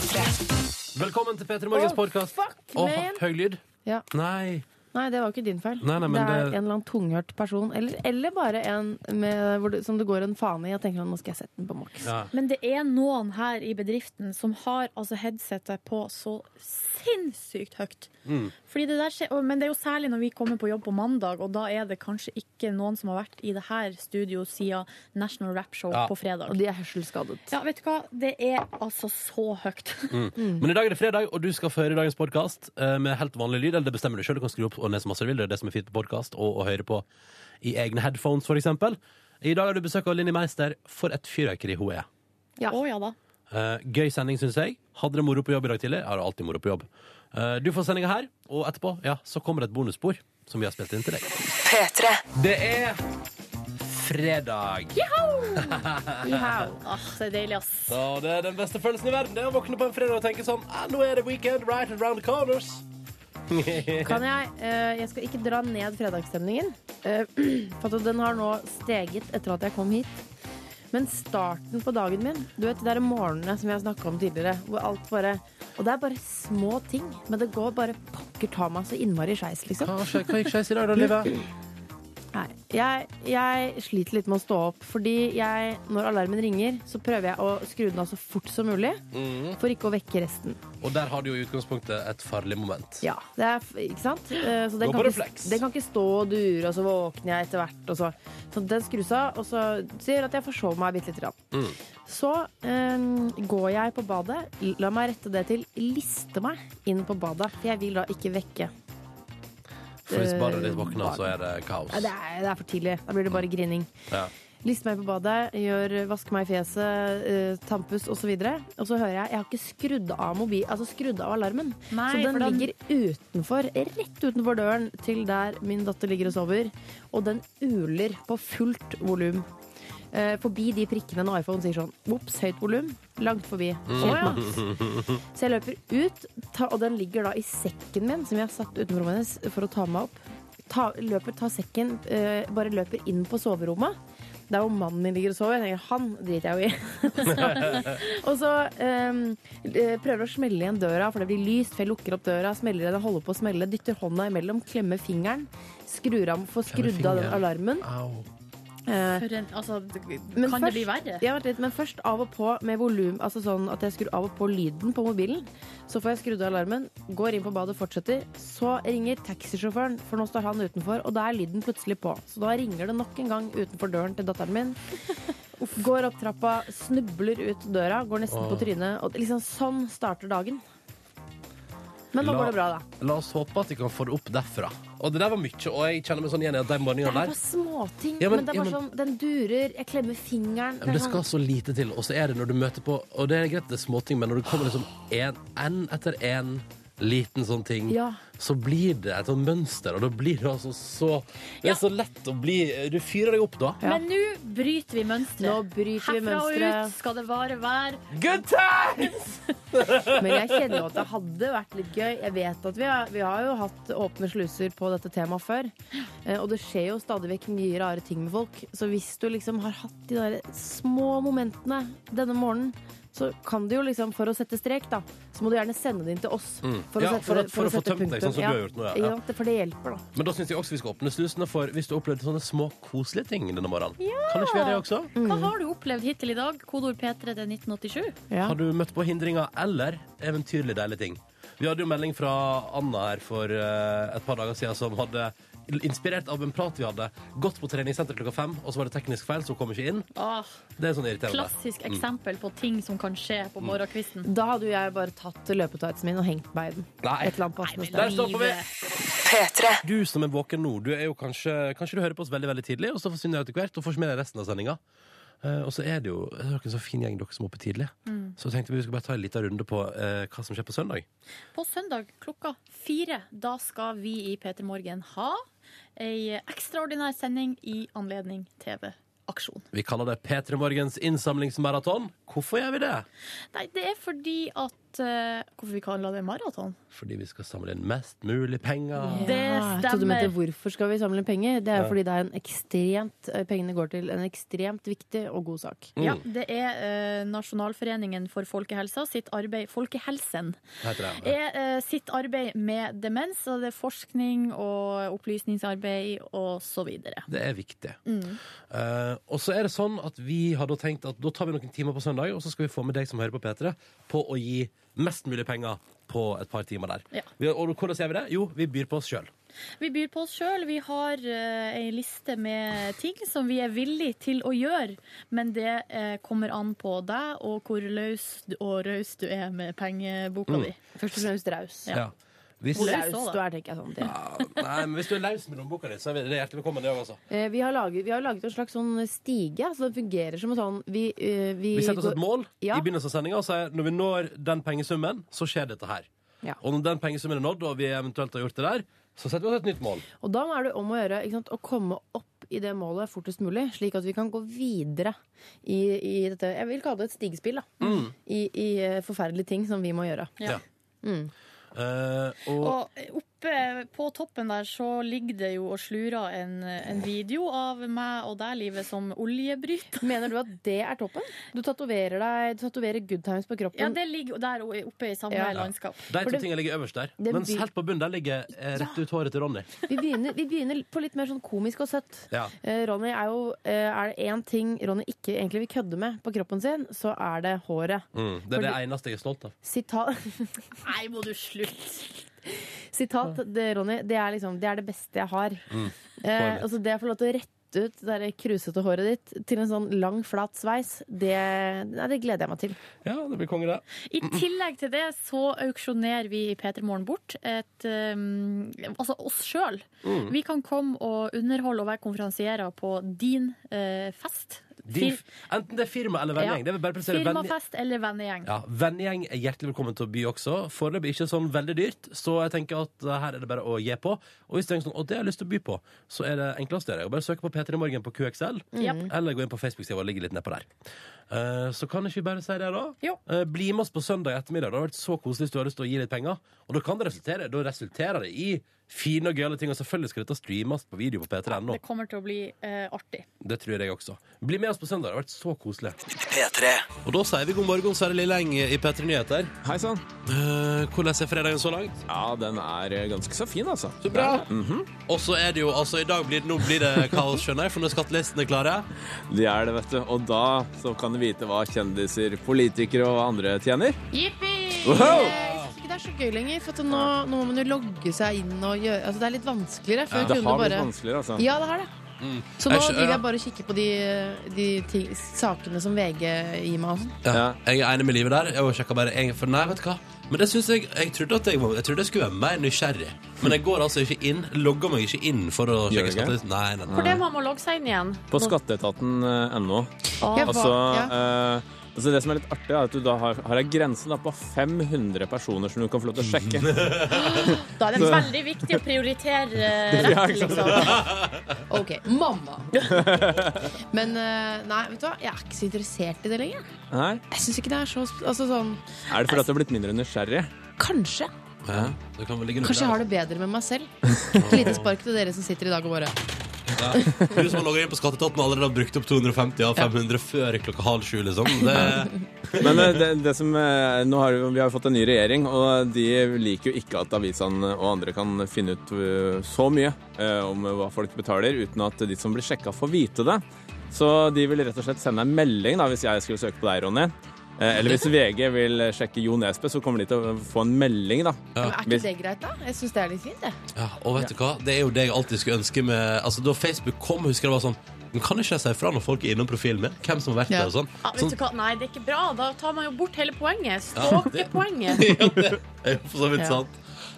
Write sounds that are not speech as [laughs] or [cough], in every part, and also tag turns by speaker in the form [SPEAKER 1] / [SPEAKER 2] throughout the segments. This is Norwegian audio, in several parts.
[SPEAKER 1] Velkommen til P3 Morgens
[SPEAKER 2] Åh,
[SPEAKER 1] podkast.
[SPEAKER 2] fuck, man.
[SPEAKER 1] høy lyd.
[SPEAKER 2] Ja.
[SPEAKER 1] Nei.
[SPEAKER 2] Nei, det var ikke din feil.
[SPEAKER 1] Nei, nei, men
[SPEAKER 2] det er
[SPEAKER 1] det-
[SPEAKER 2] en eller annen tunghørt person. Eller, eller bare en med, hvor det, som det går en fane i. Jeg tenker sånn, nå skal jeg sette den på maks.
[SPEAKER 1] Ja.
[SPEAKER 3] Men det er noen her i bedriften som har altså headsetet på så sinnssykt høyt. Fordi det der skjer, og- men det er jo særlig når vi kommer på jobb på mandag, og da er det kanskje ikke noen som har vært i det her studio siden National Rap Show
[SPEAKER 1] Ja.
[SPEAKER 3] på fredag.
[SPEAKER 2] Og de er hørselsskadet.
[SPEAKER 1] [laughs]
[SPEAKER 3] Ja, vet du hva? Det er altså så høyt.
[SPEAKER 1] Mm. Men i dag er det fredag, og du skal få høre dagens podkast med helt vanlig lyd. Eller det bestemmer du sjøl. Du kan skru opp og ned så masse du vil. Det er det som er fint på podkast. Og å høre på i egne headphones, for eksempel. I dag har du besøk av Linni Meister. For et fyrverkeri hun er.
[SPEAKER 2] Ja.
[SPEAKER 3] Å ja da.
[SPEAKER 1] Eh, gøy sending, syns jeg. Hadde det moro på jobb i dag tidlig? Jeg har alltid moro på jobb. Eh, du får sendinga her, og etterpå ja, så kommer det et bonusspor som vi har spilt inn til deg. Det er fredag.
[SPEAKER 3] Ah, det er deilig, ass.
[SPEAKER 1] Så det er den beste følelsen i verden. Det er å våkne på en fredag og tenke sånn ah, Nå er det weekend, right around the corners.
[SPEAKER 2] Kan jeg, eh, jeg skal ikke dra ned fredagsstemningen, eh, [clears throat] for at den har nå steget etter at jeg kom hit. Men starten på dagen min, du vet de der morgenene som jeg snakka om tidligere, hvor alt bare Og det er bare små ting, men det går bare pokker ta meg så innmari skeis, liksom.
[SPEAKER 1] Hva skje- hva gikk skeis i dag, da, Live?
[SPEAKER 2] Nei, jeg, jeg sliter litt med å stå opp, fordi jeg, når alarmen ringer, så prøver jeg å skru den av så fort som mulig,
[SPEAKER 1] Mhm.
[SPEAKER 2] for ikke å vekke resten.
[SPEAKER 1] [laughs] Og der har du jo i utgangspunktet et farlig moment.
[SPEAKER 2] Ja, det er, f- ikke sant? Eh, Så den
[SPEAKER 1] Gå
[SPEAKER 2] kan
[SPEAKER 1] på
[SPEAKER 2] ikke,
[SPEAKER 1] refleks.
[SPEAKER 2] den kan ikke stå og dure, og så våkner jeg etter hvert. Og så. så den skrus av, og så sier at jeg forsov meg bitte lite grann.
[SPEAKER 1] Mm.
[SPEAKER 2] Så eh, går jeg på badet. La meg rette det til liste meg inn på badet. For jeg vil da ikke vekke.
[SPEAKER 1] For hvis badet ditt
[SPEAKER 2] Eh,
[SPEAKER 1] våkner, så er det kaos.
[SPEAKER 2] Nei, Det er, det er for tidlig. Da blir det bare grining.
[SPEAKER 1] Ja.
[SPEAKER 2] Liste meg på badet, gjør, vaske meg i fjeset, eh, tampus osv. Og, så videre. og så hører jeg jeg har ikke skrudd av, mobil, altså skrudd av alarmen.
[SPEAKER 3] Nei,
[SPEAKER 2] så den,
[SPEAKER 3] for den-
[SPEAKER 2] ligger utenfor, rett utenfor døren til der min datter ligger og sover. Og den uler på fullt volum. Eh, forbi de prikkene når iPhone sier sånn Ops, høyt volum. Langt forbi.
[SPEAKER 3] Mm. [laughs]
[SPEAKER 2] Helt maks. Så jeg løper ut, ta, og den ligger da i sekken min, som jeg har satt utenfor rommet hennes for å ta meg opp. Ta, løper, tar sekken, eh, bare løper inn på soverommet. Det er jo mannen min ligger og sover. Jeg tenker, han driter jeg jo i. [laughs] Og så ehm, eh, prøver å smelle igjen døra, for det blir lyst. For jeg lukker opp døra, smeller den, holder på å smelle, dytter hånda imellom, klemmer fingeren. Skrur av, får skrudd av den alarmen.
[SPEAKER 1] Au.
[SPEAKER 2] Eh,
[SPEAKER 3] For en, altså, kan
[SPEAKER 2] men
[SPEAKER 3] det
[SPEAKER 2] først-
[SPEAKER 3] bli verre?
[SPEAKER 2] Ja, vent litt, men først av og på med volum, altså sånn at jeg skrur av og på lyden på mobilen. Så får jeg skrudd av alarmen, går inn på badet og fortsetter. Så ringer taxisjåføren, for nå står han utenfor, og da er lyden plutselig på. Så da ringer det nok en gang utenfor døren til datteren min. Går opp trappa, snubler ut døra, går nesten på trynet. Og liksom sånn starter dagen. Men nå
[SPEAKER 1] La-
[SPEAKER 2] går det bra, da.
[SPEAKER 1] La oss håpe at vi kan få det opp derfra. Og det der var mye, og jeg kjenner meg sånn igjen i at de
[SPEAKER 2] Det er
[SPEAKER 1] morgenene
[SPEAKER 2] bare
[SPEAKER 1] der
[SPEAKER 2] småting.
[SPEAKER 1] Ja, men-
[SPEAKER 2] men, det er
[SPEAKER 1] ja,
[SPEAKER 2] bare
[SPEAKER 1] men-
[SPEAKER 2] sånn, den durer, jeg klemmer fingeren.
[SPEAKER 1] Men det
[SPEAKER 2] er sånn-
[SPEAKER 1] skal så lite til, og så er det når du møter på Og det er greit, det er småting, men når det kommer liksom en, en etter en liten sånn ting,
[SPEAKER 2] Ja.
[SPEAKER 1] så blir det et sånt mønster, og da blir det altså så Det
[SPEAKER 3] Ja.
[SPEAKER 1] er så lett å bli Du fyrer deg opp da.
[SPEAKER 2] Ja.
[SPEAKER 3] Men nå bryter vi mønsteret.
[SPEAKER 2] Nå bryter vi
[SPEAKER 3] Herfra og
[SPEAKER 2] mønsteret.
[SPEAKER 3] ut skal det vare hver.
[SPEAKER 1] Good times!
[SPEAKER 2] Men jeg kjenner jo at det hadde vært litt gøy. Jeg vet at Vi har, vi har jo hatt åpne sluser på dette temaet før. Eh, Og det skjer jo stadig vekk mye rare ting med folk. Så hvis du liksom har hatt de der små momentene denne morgenen, så kan du jo liksom, for å sette strek, da, så må du gjerne sende det inn til oss. å
[SPEAKER 1] Mm. Ja,
[SPEAKER 2] sette
[SPEAKER 1] for at-
[SPEAKER 2] det-
[SPEAKER 1] for å få
[SPEAKER 2] sette
[SPEAKER 1] tømt deg,
[SPEAKER 2] punktum.
[SPEAKER 1] sånn som du har gjort nå, ja.
[SPEAKER 2] Ja, det- for det hjelper, da.
[SPEAKER 1] Men da syns jeg også vi skal åpne slusene, for hvis du opplevde sånne små koselige ting denne morgenen, kan det ikke være det også?
[SPEAKER 3] Hva
[SPEAKER 2] Mm.
[SPEAKER 3] har du opplevd hittil i dag? Kodord P3 til 1987.
[SPEAKER 2] Ja.
[SPEAKER 1] Har du møtt på hindringer eller eventyrlig deilige ting? Vi hadde jo melding fra Anna her for eh, et par dager siden som hadde, inspirert av en prat vi hadde, gått på treningssenter klokka fem, og så var det teknisk feil, så hun kom ikke inn.
[SPEAKER 3] Ah,
[SPEAKER 1] Det Mm. er sånn irriterende.
[SPEAKER 3] klassisk eksempel på ting som kan skje på morgenkvisten.
[SPEAKER 2] Da hadde jo jeg bare tatt løpetightsen min og hengt meg i den.
[SPEAKER 1] Nei.
[SPEAKER 2] Et eller annet passende
[SPEAKER 3] Nei,
[SPEAKER 2] sted.
[SPEAKER 3] men-
[SPEAKER 1] Der stopper vi!
[SPEAKER 3] Livet.
[SPEAKER 1] Du som er våken nå, du er jo kanskje, kanskje du hører på oss veldig veldig tidlig, og så forsvinner du etter hvert og får ikke med deg resten av sendinga. Eh, og så er det jo det er dere en så fin gjeng, dere som er oppe tidlig. Så tenkte vi vi skulle bare ta en liten runde på eh, hva som skjer på søndag.
[SPEAKER 3] På søndag klokka fire, da skal vi i P3 Morgen ha ei ekstraordinær sending i anledning TV-aksjon.
[SPEAKER 1] Vi kaller det P3 Morgens innsamlingsmaraton. Hvorfor gjør vi det?
[SPEAKER 3] Nei, det er fordi at eh, Hvorfor vi kaller det maraton?
[SPEAKER 1] Fordi vi skal samle inn mest mulig penger.
[SPEAKER 3] Det
[SPEAKER 2] Jeg trodde du
[SPEAKER 3] stemmer.
[SPEAKER 2] mente hvorfor skal vi samle penger? Det
[SPEAKER 1] Ja.
[SPEAKER 2] er fordi det er en ekstremt, eh, pengene går til en ekstremt viktig og god sak.
[SPEAKER 1] Mm,
[SPEAKER 3] Ja, det er eh, Nasjonalforeningen for folkehelsa sitt arbeid Folkehelsen
[SPEAKER 1] heter det.
[SPEAKER 3] er eh, sitt arbeid med demens, og det er forskning og opplysningsarbeid og så videre.
[SPEAKER 1] Det er viktig. Eh, og så er det sånn at vi har da tenkt at da tar vi noen timer på søndag, og så skal vi få med deg som hører på P3, på å gi mest mulig penger på et par timer der.
[SPEAKER 3] Ja.
[SPEAKER 1] Vi, og hvordan gjør vi det? Jo, vi byr på oss sjøl.
[SPEAKER 3] Vi byr på oss sjøl. Vi har eh, ei liste med ting som vi er villige til å gjøre, men det eh, kommer an på deg og hvor løs du- og raus du er med pengeboka di.
[SPEAKER 2] Først og fremst raus.
[SPEAKER 1] Ja. Hvis,
[SPEAKER 3] Hvor
[SPEAKER 1] ja,
[SPEAKER 3] er-
[SPEAKER 2] Raus du er, tenker jeg sånn. Ja.
[SPEAKER 1] nei, men hvis du er laus med lommeboka di, så er det hjertelig velkommen. Det, også, altså.
[SPEAKER 2] Eh, Vi har, laget, vi har laget en slags sånn stige, så den fungerer som en sånn Vi, eh, vi,
[SPEAKER 1] Vi setter oss et
[SPEAKER 2] går-
[SPEAKER 1] mål
[SPEAKER 2] Ja.
[SPEAKER 1] i begynnelsen av sendinga og sier når vi når den pengesummen, så skjer dette her.
[SPEAKER 2] Ja.
[SPEAKER 1] Og når den pengesummen er nådd, og vi eventuelt har gjort det der, så setter vi oss et nytt mål.
[SPEAKER 2] Og da er det om å gjøre ikke sant, å komme opp i det målet fortest mulig, slik at vi kan gå videre i, i dette Jeg vil kalle det et stigespill. da.
[SPEAKER 1] Mm.
[SPEAKER 2] I, i eh, forferdelige ting som vi må gjøre.
[SPEAKER 3] Ja.
[SPEAKER 1] Eh, og,
[SPEAKER 3] Og oppe på toppen der så ligger det jo og slurer en, en video av meg og deg, livet, som oljebryter.
[SPEAKER 2] Mener du at det er toppen? Du tatoverer deg, du tatoverer good times på kroppen.
[SPEAKER 3] Ja, det ligger der oppe i samme
[SPEAKER 2] Mm. Ja.
[SPEAKER 3] landskap.
[SPEAKER 1] de
[SPEAKER 2] for
[SPEAKER 1] to
[SPEAKER 2] det-
[SPEAKER 1] tingene ligger øverst der.
[SPEAKER 2] Det
[SPEAKER 1] Mens
[SPEAKER 2] blir-
[SPEAKER 1] helt på bunnen der ligger eh, rett ut håret til Ronny.
[SPEAKER 2] vi, begynner, vi begynner på litt mer sånn komisk og søtt.
[SPEAKER 1] Ja.
[SPEAKER 2] Eh, Ronny er jo eh, Er det én ting Ronny ikke egentlig vil kødde med på kroppen sin, så er det håret.
[SPEAKER 1] Mm, det er det eneste jeg er stolt av.
[SPEAKER 2] Sita-
[SPEAKER 3] Nei, må du slutte!
[SPEAKER 2] [laughs] Sitat, det, Ronny, det er liksom Det er det beste jeg har.
[SPEAKER 4] Mm.
[SPEAKER 2] eh,
[SPEAKER 1] mitt.
[SPEAKER 2] altså det å få lov til å rette ut det der krusete håret ditt til en sånn lang, flat sveis, det, nei, det gleder jeg meg til.
[SPEAKER 1] Ja, det blir konge, det.
[SPEAKER 3] I tillegg til det så auksjonerer vi i P3 Morgen bort et, um, altså oss sjøl.
[SPEAKER 1] Mm.
[SPEAKER 3] Vi kan komme og underholde og være konferansierer på din eh, fest.
[SPEAKER 1] Din,
[SPEAKER 3] Fir-
[SPEAKER 1] enten det er firma eller vennegjeng. Det vil bare prestere venn-
[SPEAKER 3] Firmafest eller vennegjeng.
[SPEAKER 1] Ja, Vennegjeng er hjertelig velkommen til å by også. Foreløpig ikke sånn veldig dyrt, så jeg tenker at eh, her er det bare å gi på. Og hvis du tenker sånn, og det har jeg lyst til å by på, så er det enklest å gjøre. Bare søke på P3 Morgen på QXL,
[SPEAKER 2] Mm.
[SPEAKER 3] Japp.
[SPEAKER 1] eller gå inn på Facebook-sida og ligge litt nedpå der. Eh, så kan ikke vi bare si det, da?
[SPEAKER 3] Jo.
[SPEAKER 1] Eh, bli med oss på søndag ettermiddag. Det har vært så koselig hvis du har lyst til å gi litt penger. Og da kan det resultere Da resulterer det i fine og gøyale ting, og selvfølgelig skal dette streames på video på p3.no.
[SPEAKER 3] Det kommer til å bli eh, artig.
[SPEAKER 1] Det tror jeg også. Bli med oss på søndag. Det har vært så koselig. Og da sier vi god morgen, Sverre Lilleng i P3 Nyheter.
[SPEAKER 4] Hei sann.
[SPEAKER 1] Eh, hvordan er fredagen så langt?
[SPEAKER 4] Ja, den er eh, ganske så fin, altså.
[SPEAKER 1] Så bra! Og så er det jo altså I dag blir det, nå blir det kaos, skjønner jeg, for når skattelistene er klare.
[SPEAKER 4] Det er det, vet du. Og da så kan du vite hva kjendiser, politikere og andre tjener.
[SPEAKER 2] Jippi!
[SPEAKER 4] Wow!
[SPEAKER 2] Jeg syns ikke det er så gøy lenger, for at nå, nå må man jo logge seg inn og gjøre altså Det er litt vanskeligere. Før
[SPEAKER 4] Det
[SPEAKER 2] kunne
[SPEAKER 4] har
[SPEAKER 2] du
[SPEAKER 4] blitt
[SPEAKER 2] bare
[SPEAKER 4] vanskeligere, altså.
[SPEAKER 2] Ja, det har det. Så nå
[SPEAKER 1] Mm. Jeg skjø-
[SPEAKER 2] driver
[SPEAKER 1] ja.
[SPEAKER 2] jeg bare og kikker på de, de ting, sakene som VG gir meg. og sånn.
[SPEAKER 4] Ja.
[SPEAKER 1] Jeg er enig med livet der. Jeg har sjekket bare en, for nei, vet du hva. Men det synes jeg jeg trodde, at jeg, var- jeg trodde jeg skulle være mer nysgjerrig. Men jeg går altså ikke inn, logger meg ikke inn for å
[SPEAKER 4] Gjør
[SPEAKER 1] sjekke
[SPEAKER 4] du ikke?
[SPEAKER 1] skattelisten. Nei, nei, nei.
[SPEAKER 5] For det må man logge seg inn igjen.
[SPEAKER 4] På skatteetaten.no.
[SPEAKER 3] Ah.
[SPEAKER 2] Jeg var-
[SPEAKER 4] Altså,
[SPEAKER 2] ja.
[SPEAKER 4] eh, altså Det som er litt artig, er at du da har, har en grense da på 500 personer som du kan få lov til å [laughs] sjekke.
[SPEAKER 2] Da er
[SPEAKER 3] Det
[SPEAKER 2] det
[SPEAKER 3] er veldig viktig å
[SPEAKER 1] [laughs]
[SPEAKER 3] prioritere eh,
[SPEAKER 4] Ja,
[SPEAKER 3] rett,
[SPEAKER 4] ikke sant?
[SPEAKER 3] liksom.
[SPEAKER 2] OK, mamma. Men eh, nei, vet du hva? Jeg er ikke så interessert i det lenger.
[SPEAKER 4] Nei?
[SPEAKER 2] Jeg syns ikke det er så sp- Altså sånn
[SPEAKER 4] Er det fordi at du har blitt mindre nysgjerrig?
[SPEAKER 2] Kanskje.
[SPEAKER 1] Ja, det kan vel ligge noe der,
[SPEAKER 2] Kanskje jeg har det bedre med meg selv. Et lite spark til dere som sitter i dag og bare
[SPEAKER 1] Ja. Du som har logget inn på Skatteetaten og allerede har brukt opp 250 av 500 før klokka halv sju, liksom. Det,
[SPEAKER 4] Men eh, det, det som, eh, nå har, vi- vi har jo fått en ny regjering, og de liker jo ikke at avisene og andre kan finne ut eh, så mye eh, om hva folk betaler, uten at de som blir sjekka, får vite det. Så de vil rett og slett sende en melding da, hvis jeg skulle søke på deg, Ronny. Eh, Eller hvis VG vil sjekke Jo Nesbø, så kommer de til å få en melding, da.
[SPEAKER 2] Men Er ikke det greit, da? Jeg syns det er litt fint, jeg.
[SPEAKER 1] ja, og vet du hva? Det er jo det jeg alltid skulle ønske med Altså, da Facebook kom, husker jeg det var sånn Men kan ikke jeg si fra når folk er innom profilen min? Hvem som har vært
[SPEAKER 2] Ja. Ah,
[SPEAKER 1] der og sånn?
[SPEAKER 5] Ja, vet
[SPEAKER 1] sånn
[SPEAKER 5] du hva? Nei, det er ikke bra. Da tar man jo bort hele poenget.
[SPEAKER 1] Ja,
[SPEAKER 5] Ståke
[SPEAKER 1] det-
[SPEAKER 5] poenget.
[SPEAKER 1] [laughs] ja, det er jo for så vidt
[SPEAKER 2] Ja.
[SPEAKER 1] sant.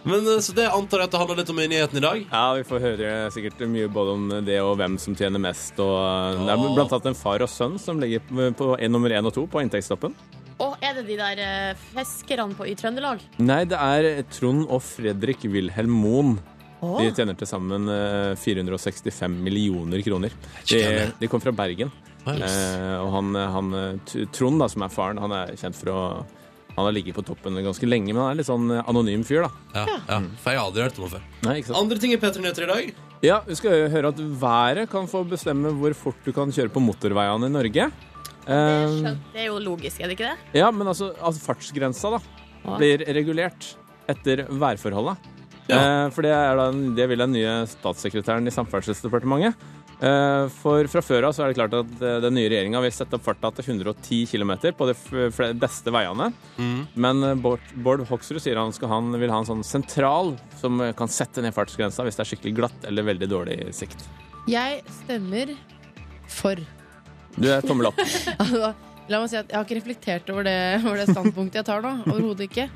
[SPEAKER 1] Men eh, så det antar jeg at det handler litt om i nyheten i dag.
[SPEAKER 4] Ja, vi får høre sikkert mye både om det og hvem som tjener mest. Og eh, det er blant annet en far og sønn som ligger på, på nummer én og to på inntektstoppen.
[SPEAKER 5] Og er det de der eh, fiskerne på, i Trøndelag?
[SPEAKER 4] Nei, det er eh, Trond og Fredrik Wilhelm Moen. De tjener til sammen eh, 465 millioner kroner. De,
[SPEAKER 1] Ikke gærent.
[SPEAKER 4] de kom fra Bergen. Eh, og han, han T- Trond, da, som er faren, han er kjent for å Han har ligget på toppen ganske lenge, men han er litt sånn anonym fyr, da.
[SPEAKER 1] Ja, ja, for jeg har aldri hørt om det før.
[SPEAKER 4] Nei, ikke sant?
[SPEAKER 1] Andre ting i P3 Nyheter i dag.
[SPEAKER 4] Ja, Vi skal jo høre at været kan få bestemme hvor fort du kan kjøre på motorveiene i Norge. Eh,
[SPEAKER 1] Mm.
[SPEAKER 3] Det er jo logisk, er det ikke det?
[SPEAKER 4] ja, men altså, altså fartsgrensa, da, blir regulert etter værforholdet. Eh, for det, er da, det vil den nye statssekretæren i Samferdselsdepartementet. Eh, for fra før av så er det klart at eh, den nye regjeringa vil sette opp farta til 110 km på de f- fle- beste veiene. Men eh, Bård, Bård Hoksrud sier han, skal ha en- vil ha en sånn sentral som eh, kan sette ned fartsgrensa hvis det er skikkelig glatt eller veldig dårlig sikt.
[SPEAKER 2] Jeg stemmer for.
[SPEAKER 4] Du er tommel opp.
[SPEAKER 2] Altså, La meg si at Jeg har ikke reflektert over det, over det standpunktet jeg tar nå. Overhodet ikke.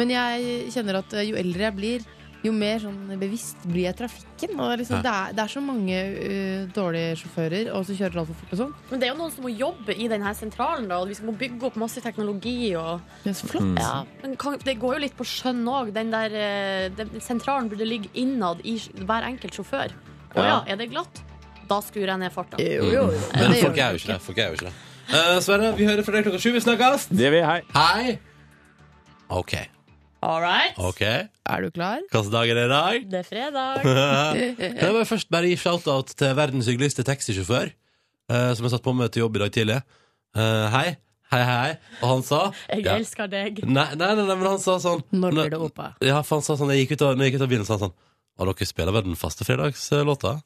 [SPEAKER 2] Men jeg kjenner at eh, jo eldre jeg blir, jo mer sånn bevisst blir jeg trafikken. Og liksom, det, er, det er så mange eh, dårlige sjåfører og som kjører altfor fort og sånn.
[SPEAKER 3] Men det er jo noen som må jobbe i denne sentralen, da, og vi skal må bygge opp masse teknologi og
[SPEAKER 2] Det er så flott.
[SPEAKER 1] Mm.
[SPEAKER 3] Men kan, det går jo litt på skjønn òg. Den der eh, den sentralen burde ligge innad i sj- hver enkelt sjåfør. Å ja,
[SPEAKER 4] Ja.
[SPEAKER 3] er det glatt? Da skrur jeg ned farta.
[SPEAKER 2] Jo, jo, jo.
[SPEAKER 1] Men
[SPEAKER 2] Det gjør
[SPEAKER 1] folk er
[SPEAKER 2] det
[SPEAKER 1] jo ikke det. Folk er jo ikke det. Eh, Sverre, vi hører fra deg klokka sju. Vi snakkes!
[SPEAKER 4] Det vil hei.
[SPEAKER 1] Hei! OK.
[SPEAKER 3] All right.
[SPEAKER 1] ok
[SPEAKER 2] Er du klar?
[SPEAKER 1] Hvilken dag er det i
[SPEAKER 3] [laughs]
[SPEAKER 1] dag?
[SPEAKER 3] Det er fredag.
[SPEAKER 1] Kan jeg bare først bare gi shout-out til verdens hyggeligste taxisjåfør, eh, som jeg satt på med til jobb i dag tidlig. Eh, hei. Hei, hei, hei. Og han sa
[SPEAKER 3] Jeg
[SPEAKER 1] Ja.
[SPEAKER 3] elsker deg.
[SPEAKER 1] Nei, nei, nei, nei, men han sa sånn
[SPEAKER 2] Når blir det oppa?
[SPEAKER 1] Ja, for han sa sånn, jeg gikk ut av, når jeg gikk ut av bilen, sa han sånn Og dere spiller vel den faste fredagslåta?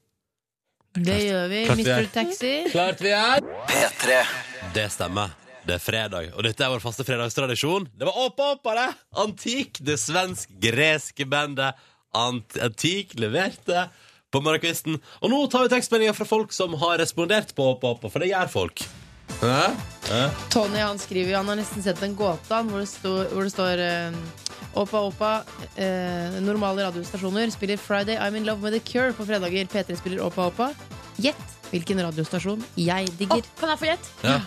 [SPEAKER 2] Det gjør vi.
[SPEAKER 1] Klart vi er.
[SPEAKER 2] Mr. Taxi.
[SPEAKER 1] Klart vi er! Det stemmer. Det er fredag, og dette er vår faste fredagstradisjon. Det var Åpa Åpa, det! Antik, det svensk-greske bandet Ant Antik leverte på morgenkvisten. Og nå tar vi tekstmeldinger fra folk som har respondert på Åpa Åpa, for det gjør folk. Hæ?
[SPEAKER 2] Tony han skriver jo, han har nesten sett en gåte han, hvor, det sto- hvor det står eh, Oppa, oppa, eh, normale radiostasjoner spiller Friday I'm in love with the cure på fredager. P3 spiller Oppa, oppa. Gjett hvilken radiostasjon jeg digger.
[SPEAKER 3] Å, kan jeg få gjette?
[SPEAKER 1] Ja.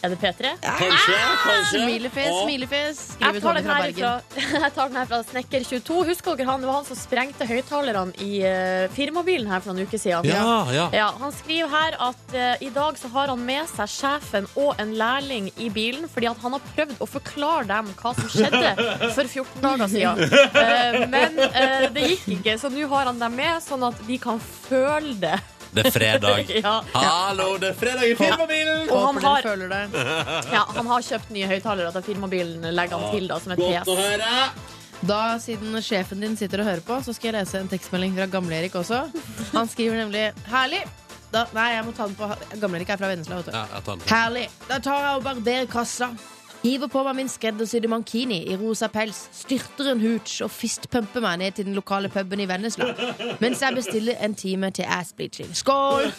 [SPEAKER 3] Er det P3?
[SPEAKER 1] Kanskje, kanskje.
[SPEAKER 2] Smilefjes,
[SPEAKER 1] Og-
[SPEAKER 2] smilefjes,
[SPEAKER 3] Jeg
[SPEAKER 2] skriver
[SPEAKER 3] tar,
[SPEAKER 2] Tony
[SPEAKER 3] den
[SPEAKER 2] fra
[SPEAKER 3] her
[SPEAKER 2] Bergen.
[SPEAKER 3] fra, [laughs] jeg tar den her fra Snekker22. Husker dere han? Det var han som sprengte høyttalerne i eh, firmabilen her for noen uker siden.
[SPEAKER 1] Ja, ja.
[SPEAKER 3] Ja, han skriver her at eh, i dag så har han med seg sjefen og en lærling i bilen, fordi at han har prøvd å forklare dem hva som skjedde for 14 dager siden. Eh, men eh, det gikk ikke, så nå har han dem med, sånn at de kan føle det.
[SPEAKER 1] Det er fredag.
[SPEAKER 3] Ja.
[SPEAKER 1] Hallo, det er fredag i firmabilen!
[SPEAKER 3] Og han
[SPEAKER 2] Håper dere
[SPEAKER 3] har,
[SPEAKER 2] føler det.
[SPEAKER 3] ja, han har kjøpt nye høyttalere til firmabilen, legger han til da, som et
[SPEAKER 1] Godt å
[SPEAKER 3] PS.
[SPEAKER 1] høre!
[SPEAKER 2] Da, siden sjefen din sitter og hører på, så skal jeg lese en tekstmelding fra Gamle-Erik også. Han skriver nemlig Herlig! Da, nei, jeg må ta den på Gamle-Erik er fra Vennesla, vet du.
[SPEAKER 1] Ja, jeg tar den.
[SPEAKER 2] Herlig. Da tar jeg og barberer kassa. Hiver på meg min skreddersydde mankini i rosa pels, styrter en hooch og fistpumper meg ned til den lokale puben i Vennesla mens jeg bestiller en time til ass-bleaching. Skål!